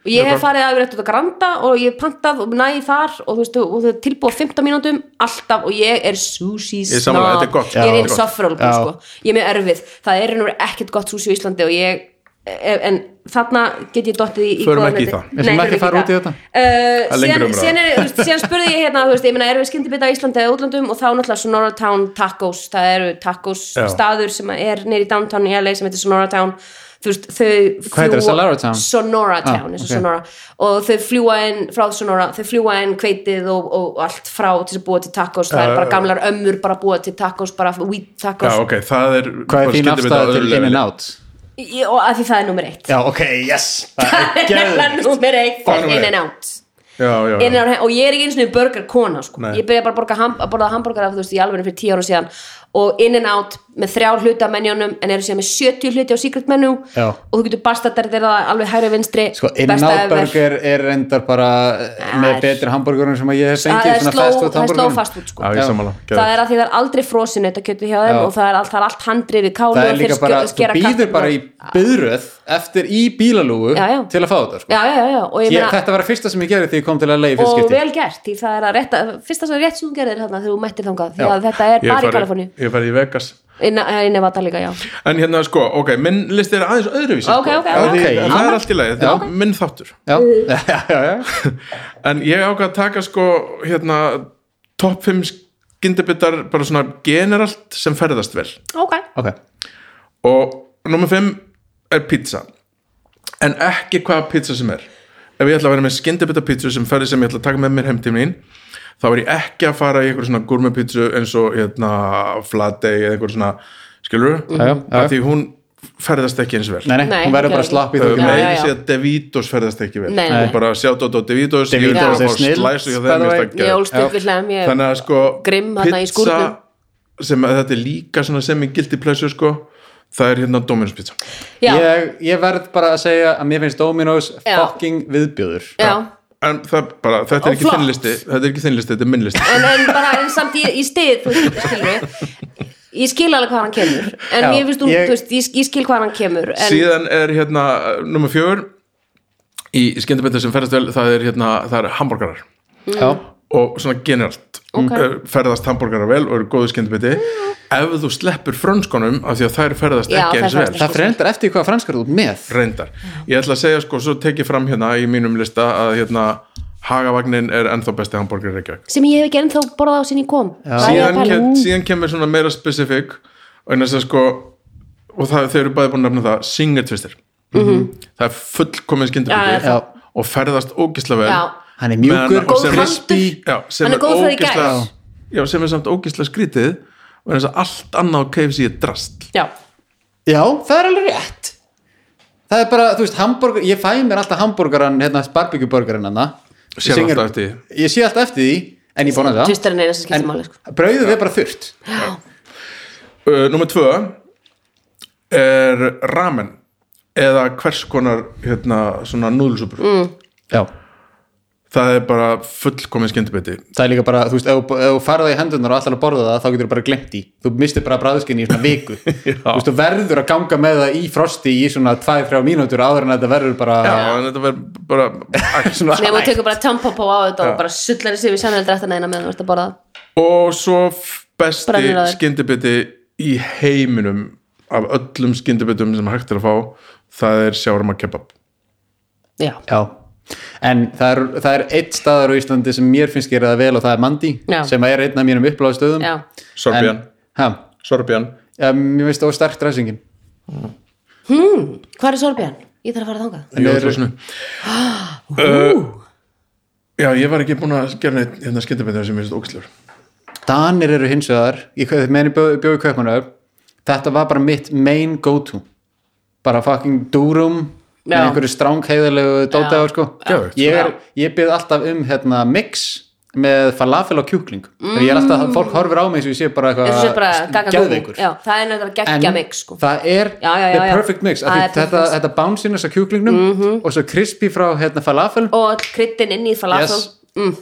Speaker 2: og ég hef farið að vera eftir þetta granda og ég hef pantað og næði þar og þú veist, og það er tilbúið á 15 mínútum alltaf og ég er sushi
Speaker 1: er sammála, þetta er
Speaker 2: snob
Speaker 1: gott.
Speaker 2: ég
Speaker 1: Já.
Speaker 2: er insufferable
Speaker 3: Já.
Speaker 2: sko, ég er mjög erfið það er einhver ekkert gott sushi á Íslandi og ég eh, en þarna get ég dottið í, í
Speaker 1: Förum
Speaker 2: góðan
Speaker 1: ekki í
Speaker 2: þetta.
Speaker 1: það.
Speaker 3: Við skulum
Speaker 2: Nei, förum
Speaker 3: ekki fara út í
Speaker 2: það.
Speaker 3: þetta.
Speaker 2: Uh,
Speaker 1: Það er lengri
Speaker 2: síðan,
Speaker 1: umræða.
Speaker 2: síðan, er, þú veist, síðan spurði ég hérna, þú veist, ég meina erum við skyndibita á Íslandi eða útlöndum og þá náttúrulega Sonora Town Tacos, það eru tacos
Speaker 1: Já.
Speaker 2: staður sem er neyri downtown í LA sem heitir Sonora Town þú veist, þau
Speaker 3: Hvað heitir það,
Speaker 2: fljúga-
Speaker 3: Sonora Town?
Speaker 2: Sonora Town,
Speaker 3: Ah,
Speaker 2: eins og
Speaker 3: ok.
Speaker 2: Sonora og þau fljúa inn frá Sonora þau fljúa inn kveitið og, og allt frá til að búa til tacos,
Speaker 1: Já,
Speaker 2: það
Speaker 1: já,
Speaker 2: eru
Speaker 3: Uh,
Speaker 2: bara
Speaker 1: já.
Speaker 2: gamlar ömmur bara að búa til tacos, bara wheat
Speaker 1: já,
Speaker 2: tacos
Speaker 1: ok, það er
Speaker 3: Hvað er þín
Speaker 1: skyldi við það
Speaker 3: afstæða til
Speaker 1: öðru level.
Speaker 3: In-N-Out?
Speaker 2: Ég- og að því það er nummer eitt
Speaker 3: Já, ok, yes
Speaker 2: það er nefnilega nummer eitt
Speaker 1: Hvað er númer
Speaker 2: in
Speaker 1: eitt?
Speaker 2: and out
Speaker 1: já, já,
Speaker 2: Inn
Speaker 1: já,
Speaker 2: á- og ég er ekki eins og niður burger kona sko.
Speaker 1: Nei.
Speaker 2: ég byrja bara að, borga, ham- að borða hambúrgar þú veist í alveg fyrir tíu ára síðan og in and out með þrjá hluti af menjónum en eru síðan með 70 hluti á secret menu
Speaker 3: Já.
Speaker 2: og þú getur bastardir þeirra alveg hægri vinstri
Speaker 3: Sko, In-N-Out burger er reyndar bara eh, með
Speaker 2: er-
Speaker 3: betri hambúrgurum sem að ég hef
Speaker 2: það
Speaker 3: fengið
Speaker 2: er
Speaker 3: svona
Speaker 2: slow-
Speaker 3: fast food
Speaker 2: það er slow
Speaker 3: hambúrgurum
Speaker 2: fast food sko.
Speaker 1: já,
Speaker 3: Já.
Speaker 1: ég sammála
Speaker 2: það er að því það er aldrei frosinu þetta kjötu hjá þeim
Speaker 3: Já.
Speaker 2: og það er allt, það er allt handrið við kálu
Speaker 3: það er líka bara, þú býður bara í byðröð eftir í bílalúgu
Speaker 2: Já, já.
Speaker 3: til að fá þetta sko.
Speaker 2: já, já, já, já. og ég
Speaker 3: ég,
Speaker 2: meina
Speaker 3: þetta var að fyrsta sem ég gerði þegar ég kom til að leið fyrst
Speaker 2: og
Speaker 3: skipti
Speaker 2: vel gert, því það er að rétta fyrsta sem rétt sem þú gerir þarna þegar þú mættir þangað því
Speaker 3: Já.
Speaker 2: að þetta er
Speaker 1: ég
Speaker 2: bara í
Speaker 1: hef
Speaker 2: Kaliforni
Speaker 1: farið- ég hef farið í Vegas
Speaker 2: inn af að líka, já
Speaker 1: en hérna sko, ok, minn listi er aðeins öðruvísi
Speaker 2: Ok,
Speaker 1: sko.
Speaker 2: ok,
Speaker 1: Af því-
Speaker 3: ok.
Speaker 1: en það er allt í lagi, þetta
Speaker 3: Já.
Speaker 1: er minn þáttur
Speaker 3: já. já, já, já.
Speaker 1: en ég ákvað að taka sko hérna topp 5 skyndibittar bara svona generalt sem ferðast vel
Speaker 2: ok,
Speaker 3: ok
Speaker 1: og nummer 5 er pizza en ekki hvaða pizza sem er ef ég ætla að vera með skyndibittar pizza sem ferði sem ég ætla að taka með mér heim til mín þá er ég ekki að fara í einhver svona gourmet pizza eins og hérna flatei eða einhver svona skilur
Speaker 3: já, já.
Speaker 1: því hún ferðast ekki eins vel
Speaker 3: nei, nei,
Speaker 2: Nei,
Speaker 3: hún
Speaker 2: hún
Speaker 3: verður bara
Speaker 2: gerði
Speaker 3: slapp í
Speaker 2: ekki.
Speaker 1: Uh,
Speaker 3: þau
Speaker 2: Já,
Speaker 1: meiri
Speaker 2: já.
Speaker 1: sé að Davidos ferðast ekki vel
Speaker 2: Nei, nei.
Speaker 1: Og bara sjá Dótó Davidos ég vil
Speaker 3: Davidos
Speaker 1: bara
Speaker 3: er
Speaker 1: fá
Speaker 3: snill,
Speaker 1: slæsu hjá
Speaker 3: by
Speaker 1: þeim,
Speaker 3: the
Speaker 1: mér finnst
Speaker 3: way.
Speaker 1: það
Speaker 2: ég
Speaker 1: geggjað.
Speaker 2: ólst upp við hlæm ég
Speaker 1: þannig að sko
Speaker 2: grimm þarna í
Speaker 1: pizza
Speaker 2: skúrnum.
Speaker 1: sem að þetta er líka svona sem ég gildi plessu sko það er hérna Dominus pizza
Speaker 2: já,
Speaker 3: ég, ég verð bara að segja að mér finnst Dominos
Speaker 2: Já.
Speaker 3: fucking viðbjöður
Speaker 2: já.
Speaker 1: en það bara, þetta
Speaker 2: Og
Speaker 1: er ekki
Speaker 2: flott.
Speaker 1: þinnlisti þetta er ekki þinnlisti, þetta er minnlisti
Speaker 2: En, en bara en samt í, í stið þú veist, skilur við ég skil alveg hvað hann kemur en
Speaker 3: Já,
Speaker 2: mér finnst hún,
Speaker 3: ég-
Speaker 2: þú veist, ég, ég skil hvað hann kemur en
Speaker 1: síðan er hérna nummer fjögur í skemmtibættu sem ferðast vel það er hérna, það er hambúrgarar
Speaker 3: já,
Speaker 2: Mm.
Speaker 1: og svona generalt
Speaker 2: Ok. Mm.
Speaker 1: Eh, ferðast hambúrgarar vel og eru góðu skemmtibætti ef þú sleppur frönskunum af því að þær ferðast
Speaker 2: Já,
Speaker 1: ekki
Speaker 2: þær
Speaker 1: eins
Speaker 2: ferðast
Speaker 1: vel
Speaker 3: það frendar eftir hvað franskar þú ert með
Speaker 1: reyndar. Ég ætla að segja sko, svo tek ég fram hérna í mínum lista að hérna Hagavagnin er ennþá besti hambúrgar í Reykjavík.
Speaker 2: sem ég hef ekki ennþá borðað á sinni kom Hvað er ég að um?
Speaker 1: Síðan,
Speaker 2: pæla?
Speaker 1: kem, síðan kemur svona meira specific og einnig að sko og það, þeir eru bæði búin að nefna það singertvistir. Það er fullkomin
Speaker 2: Mhm. Já,
Speaker 1: skyndibiti
Speaker 3: já.
Speaker 1: og ferðast ógisla vel.
Speaker 2: já,
Speaker 3: hann er mjúkur,
Speaker 1: Meðan- og sem-
Speaker 3: crispy
Speaker 1: Já, sem
Speaker 2: Hann er
Speaker 1: er,
Speaker 2: góð frá því
Speaker 1: ógisla
Speaker 2: gær.
Speaker 1: já, sem er samt ógisla skrítið og einnig að allt annað á KFC er drast.
Speaker 2: já,
Speaker 3: já, það er alveg rétt það er bara, þú veist, hamburger ég fæ mér alltaf hamburgeran, hérna, barbecue burgerin hann
Speaker 1: Sér alltaf eftir því.
Speaker 3: ég sé alltaf eftir því, en ég bóna það
Speaker 2: Tvistar er eina sem skiptir máli, sko.
Speaker 3: brauðið er bara þurrt
Speaker 1: Uh, Númer tvö er ramen eða hvers konar hérna, svona núðlusúpur mm.
Speaker 3: já,
Speaker 1: það er bara fullkomin skemmtibiti
Speaker 3: það er líka bara, þú veist, ef þú- ef þú farið það í hendunar og allar að borða það, þá getur þú bara glemt í þú mistir bara bræðskinni í svona viku þú veist, þú verður að ganga með það í frosti í svona 2-3 mínútur áður en þetta verður bara
Speaker 1: Já, en þetta verður bara
Speaker 3: svona
Speaker 2: nema þú tekur bara tampapó á þetta og bara sullar þessi við sannhaldrættina eina meðan þú ert að borða það.
Speaker 1: og svo f- besti
Speaker 2: Brennir á þér.
Speaker 1: skemmtibiti í heiminum af öllum skyndibitum sem hægt er að fá það er sjárma kebab
Speaker 2: já,
Speaker 3: Já, en það er, það er eitt staðar á Íslandi sem mér finnst gera það vel og það er Mandi,
Speaker 2: Já.
Speaker 3: sem er einn af mínum uppláðstöðum
Speaker 2: já,
Speaker 1: Sorbian, Sorbian
Speaker 3: Mér finnst það óstærkt ræsingin
Speaker 2: hvað er Sorbjörn? ég þarf að fara þangað
Speaker 1: í jólhúsinu uh, Já, ég var ekki búin að gera neitt hérna skyndibitur sem ég finnst ógæslegur
Speaker 3: Danir eru hins vegar ég kveði meðan ég bjó- bjó í Kaupmannöf þetta var bara mitt main go to bara fucking durum með
Speaker 2: Já.
Speaker 3: einhverju strángheðilegu dótaður sko
Speaker 1: Geðveikt.
Speaker 3: ég, er, ég byrð alltaf um hérna, mix með falafel og kjúkling mm. ég er alltaf, fólk horfir á mig eins og ég sé bara
Speaker 2: Ég sé bara
Speaker 3: eitthvað
Speaker 2: gaga
Speaker 3: geðveikur
Speaker 2: gúgú. Já, það er nefnilega geggja mix sko.
Speaker 3: það er
Speaker 2: Já, já, já,
Speaker 3: the
Speaker 2: já.
Speaker 3: perfect mix af
Speaker 2: Það
Speaker 3: því
Speaker 2: er perfect
Speaker 3: þetta,
Speaker 2: mix. Mhm.
Speaker 3: þetta bounciness af kjúklingnum og svo crispy frá hérna, falafel
Speaker 2: og all kryddin inn í falafel
Speaker 3: Yes.
Speaker 2: Mm.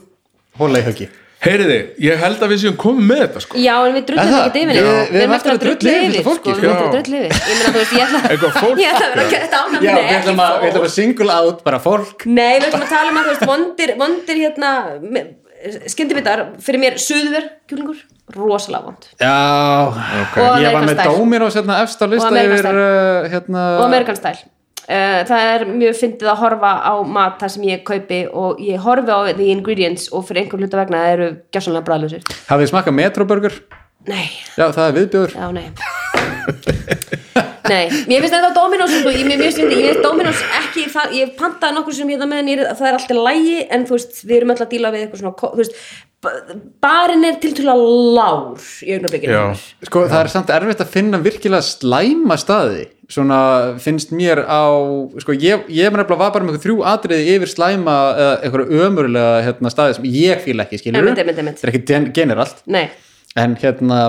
Speaker 3: hóla í höggi
Speaker 1: Heyriði, ég held að við séum komið með þetta sko
Speaker 2: já, en við drullum
Speaker 3: Er það?
Speaker 2: þetta ekki yfir
Speaker 3: Já.
Speaker 2: neitt.
Speaker 3: Við erum eftir að
Speaker 2: drulla
Speaker 3: drulla yfir þessu fólki,
Speaker 2: sko,
Speaker 1: sko.
Speaker 2: við erum eftir að
Speaker 1: Já.
Speaker 2: drulla yfir ég meina þú veist, ég
Speaker 1: Eitthvað
Speaker 2: ætla
Speaker 1: fólk,
Speaker 2: ég ætla að vera að gera þetta
Speaker 3: já, við
Speaker 2: ánæmni
Speaker 3: ætlum að, við ætlum að single out bara fólk
Speaker 2: sko. nei, við ætlum að tala um að þú veist vondir, vondir hérna skindibitar fyrir mér suður kjúlingur, rosalega vond
Speaker 3: já,
Speaker 2: Og
Speaker 3: ég var
Speaker 2: American
Speaker 3: með
Speaker 2: Style.
Speaker 3: Dominos hérna, efst á lista
Speaker 2: American
Speaker 3: yfir
Speaker 2: Style.
Speaker 3: uh, hérna,
Speaker 2: og American Style Uh, það er mjög fyndið að horfa á mat þar sem ég kaupi og ég horfi á the ingredients og fyrir einhver hluta vegna það eru gjásanlega bræðlusir
Speaker 3: hafið þið smakkað metroburger
Speaker 2: nei,
Speaker 3: já, það er viðbjöður
Speaker 2: Já, nei Nei, mér finnst þetta Dominos sko, ég, mér mér finnst, ég finnst Dominos ekki það, ég pantaði nokkur sem hérna meðan ég, er- það er alltaf lægi en þú veist, við erum öll að díla við eitthvað svona ko- þú veist, ba- barinn er tiltúrulega lár í augnablikinu
Speaker 1: Já.
Speaker 2: hennar.
Speaker 3: sko, það er samt erfitt að finna virkilega slæma staði svona finnst mér á sko, ég, ég mér nefnilega var bara með einhver þrjú atriði yfir slæma uh, einhverja ömurlega hérna, staði sem ég fíla ekki, skilur
Speaker 2: Einmitt, einmitt, einmitt.
Speaker 3: það er ekki gen- generalt
Speaker 2: Nei,
Speaker 3: en hérna,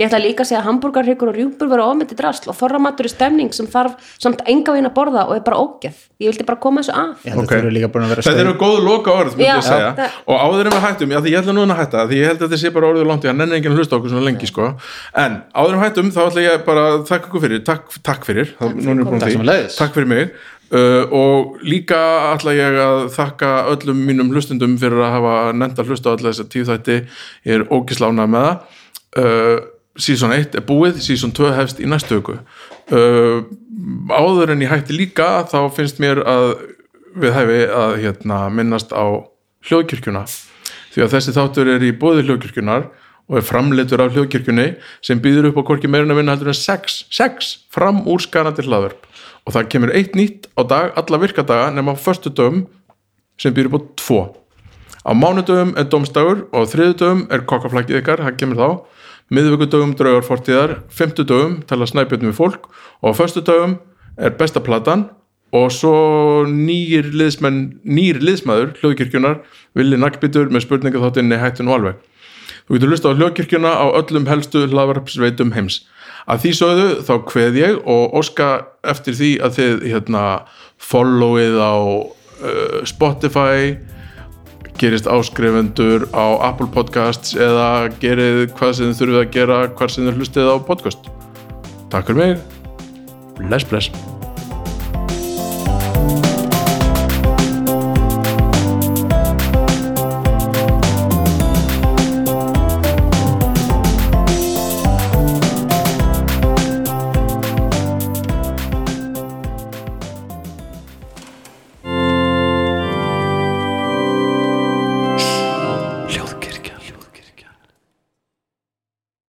Speaker 2: ég ætla líka að segja að hambúrgarhyggur og rjúpur vera ofmyndi drasl og forramatur er stemning sem þarf samt enga veginn að borða og er bara ógeð ég vildi bara koma þessu af
Speaker 3: ég held
Speaker 1: Ok.
Speaker 3: að það eru líka búin að vera
Speaker 1: Þetta
Speaker 3: stöð
Speaker 1: eru góð loka orð, myndi
Speaker 2: Já,
Speaker 1: ég að segja
Speaker 2: það-
Speaker 1: og áður en við hættum, já því ég ætla núna að hætta því ég held að þetta sé bara orðið langt í, hann enn enginn að hlusta á okkur svona lengi sko, en áður en við hættum þá ætla ég bara að þakka ykkur fyrir takk, takk fyrir, takk fyrir,
Speaker 3: Takk sömuleiðis.
Speaker 1: takk fyrir mig uh, og líka ætla ég að þakka öllum mínum hlustendum fyrir að hafa nefnt að hlusta á alla þessa tíu þætti ég er ógislánað með það uh, season 1 er búið, season 2 hefst í næstu öku uh, áður en ég hætti líka þá finnst mér að við hæfi að hérna, minnast á hljóðkirkjuna því að þessi þáttur er í bóði hljóðkirkjunar og er framleitur af hljóðkirkjunni sem býður upp á hvorki meirinn að vinna heldur en sex, sex fram úr skanandi hlaðverp og það kemur eitt nýtt á dag, alla virkadaga nema á förstu dögum sem býður upp á tvo á mánudögum er domstagur og á þriðudögum er kokkaflækið ykkar, það kemur þá miðvíkudögum draugar fortíðar, fimmtudögum tala snæbjörnum við fólk og á föstudögum er besta platan og svo nýr, liðsmenn, nýr liðsmaður hljóðkirkjunar villi naglbítur með spurninga þáttinni hættun og alveg. Þú getur lusta á hljóðkirkjuna á öllum helstu hlaðvarpsveitum heims. Að því sögðu þá kveð ég og óska eftir því að þið hérna, followið á uh, Spotify, gerist áskrifendur á Apple Podcasts eða gerið hvað sem þið þurfið að gera hvar sem þið hlustið á podcast. Takk fyrir mig. Bless, bless.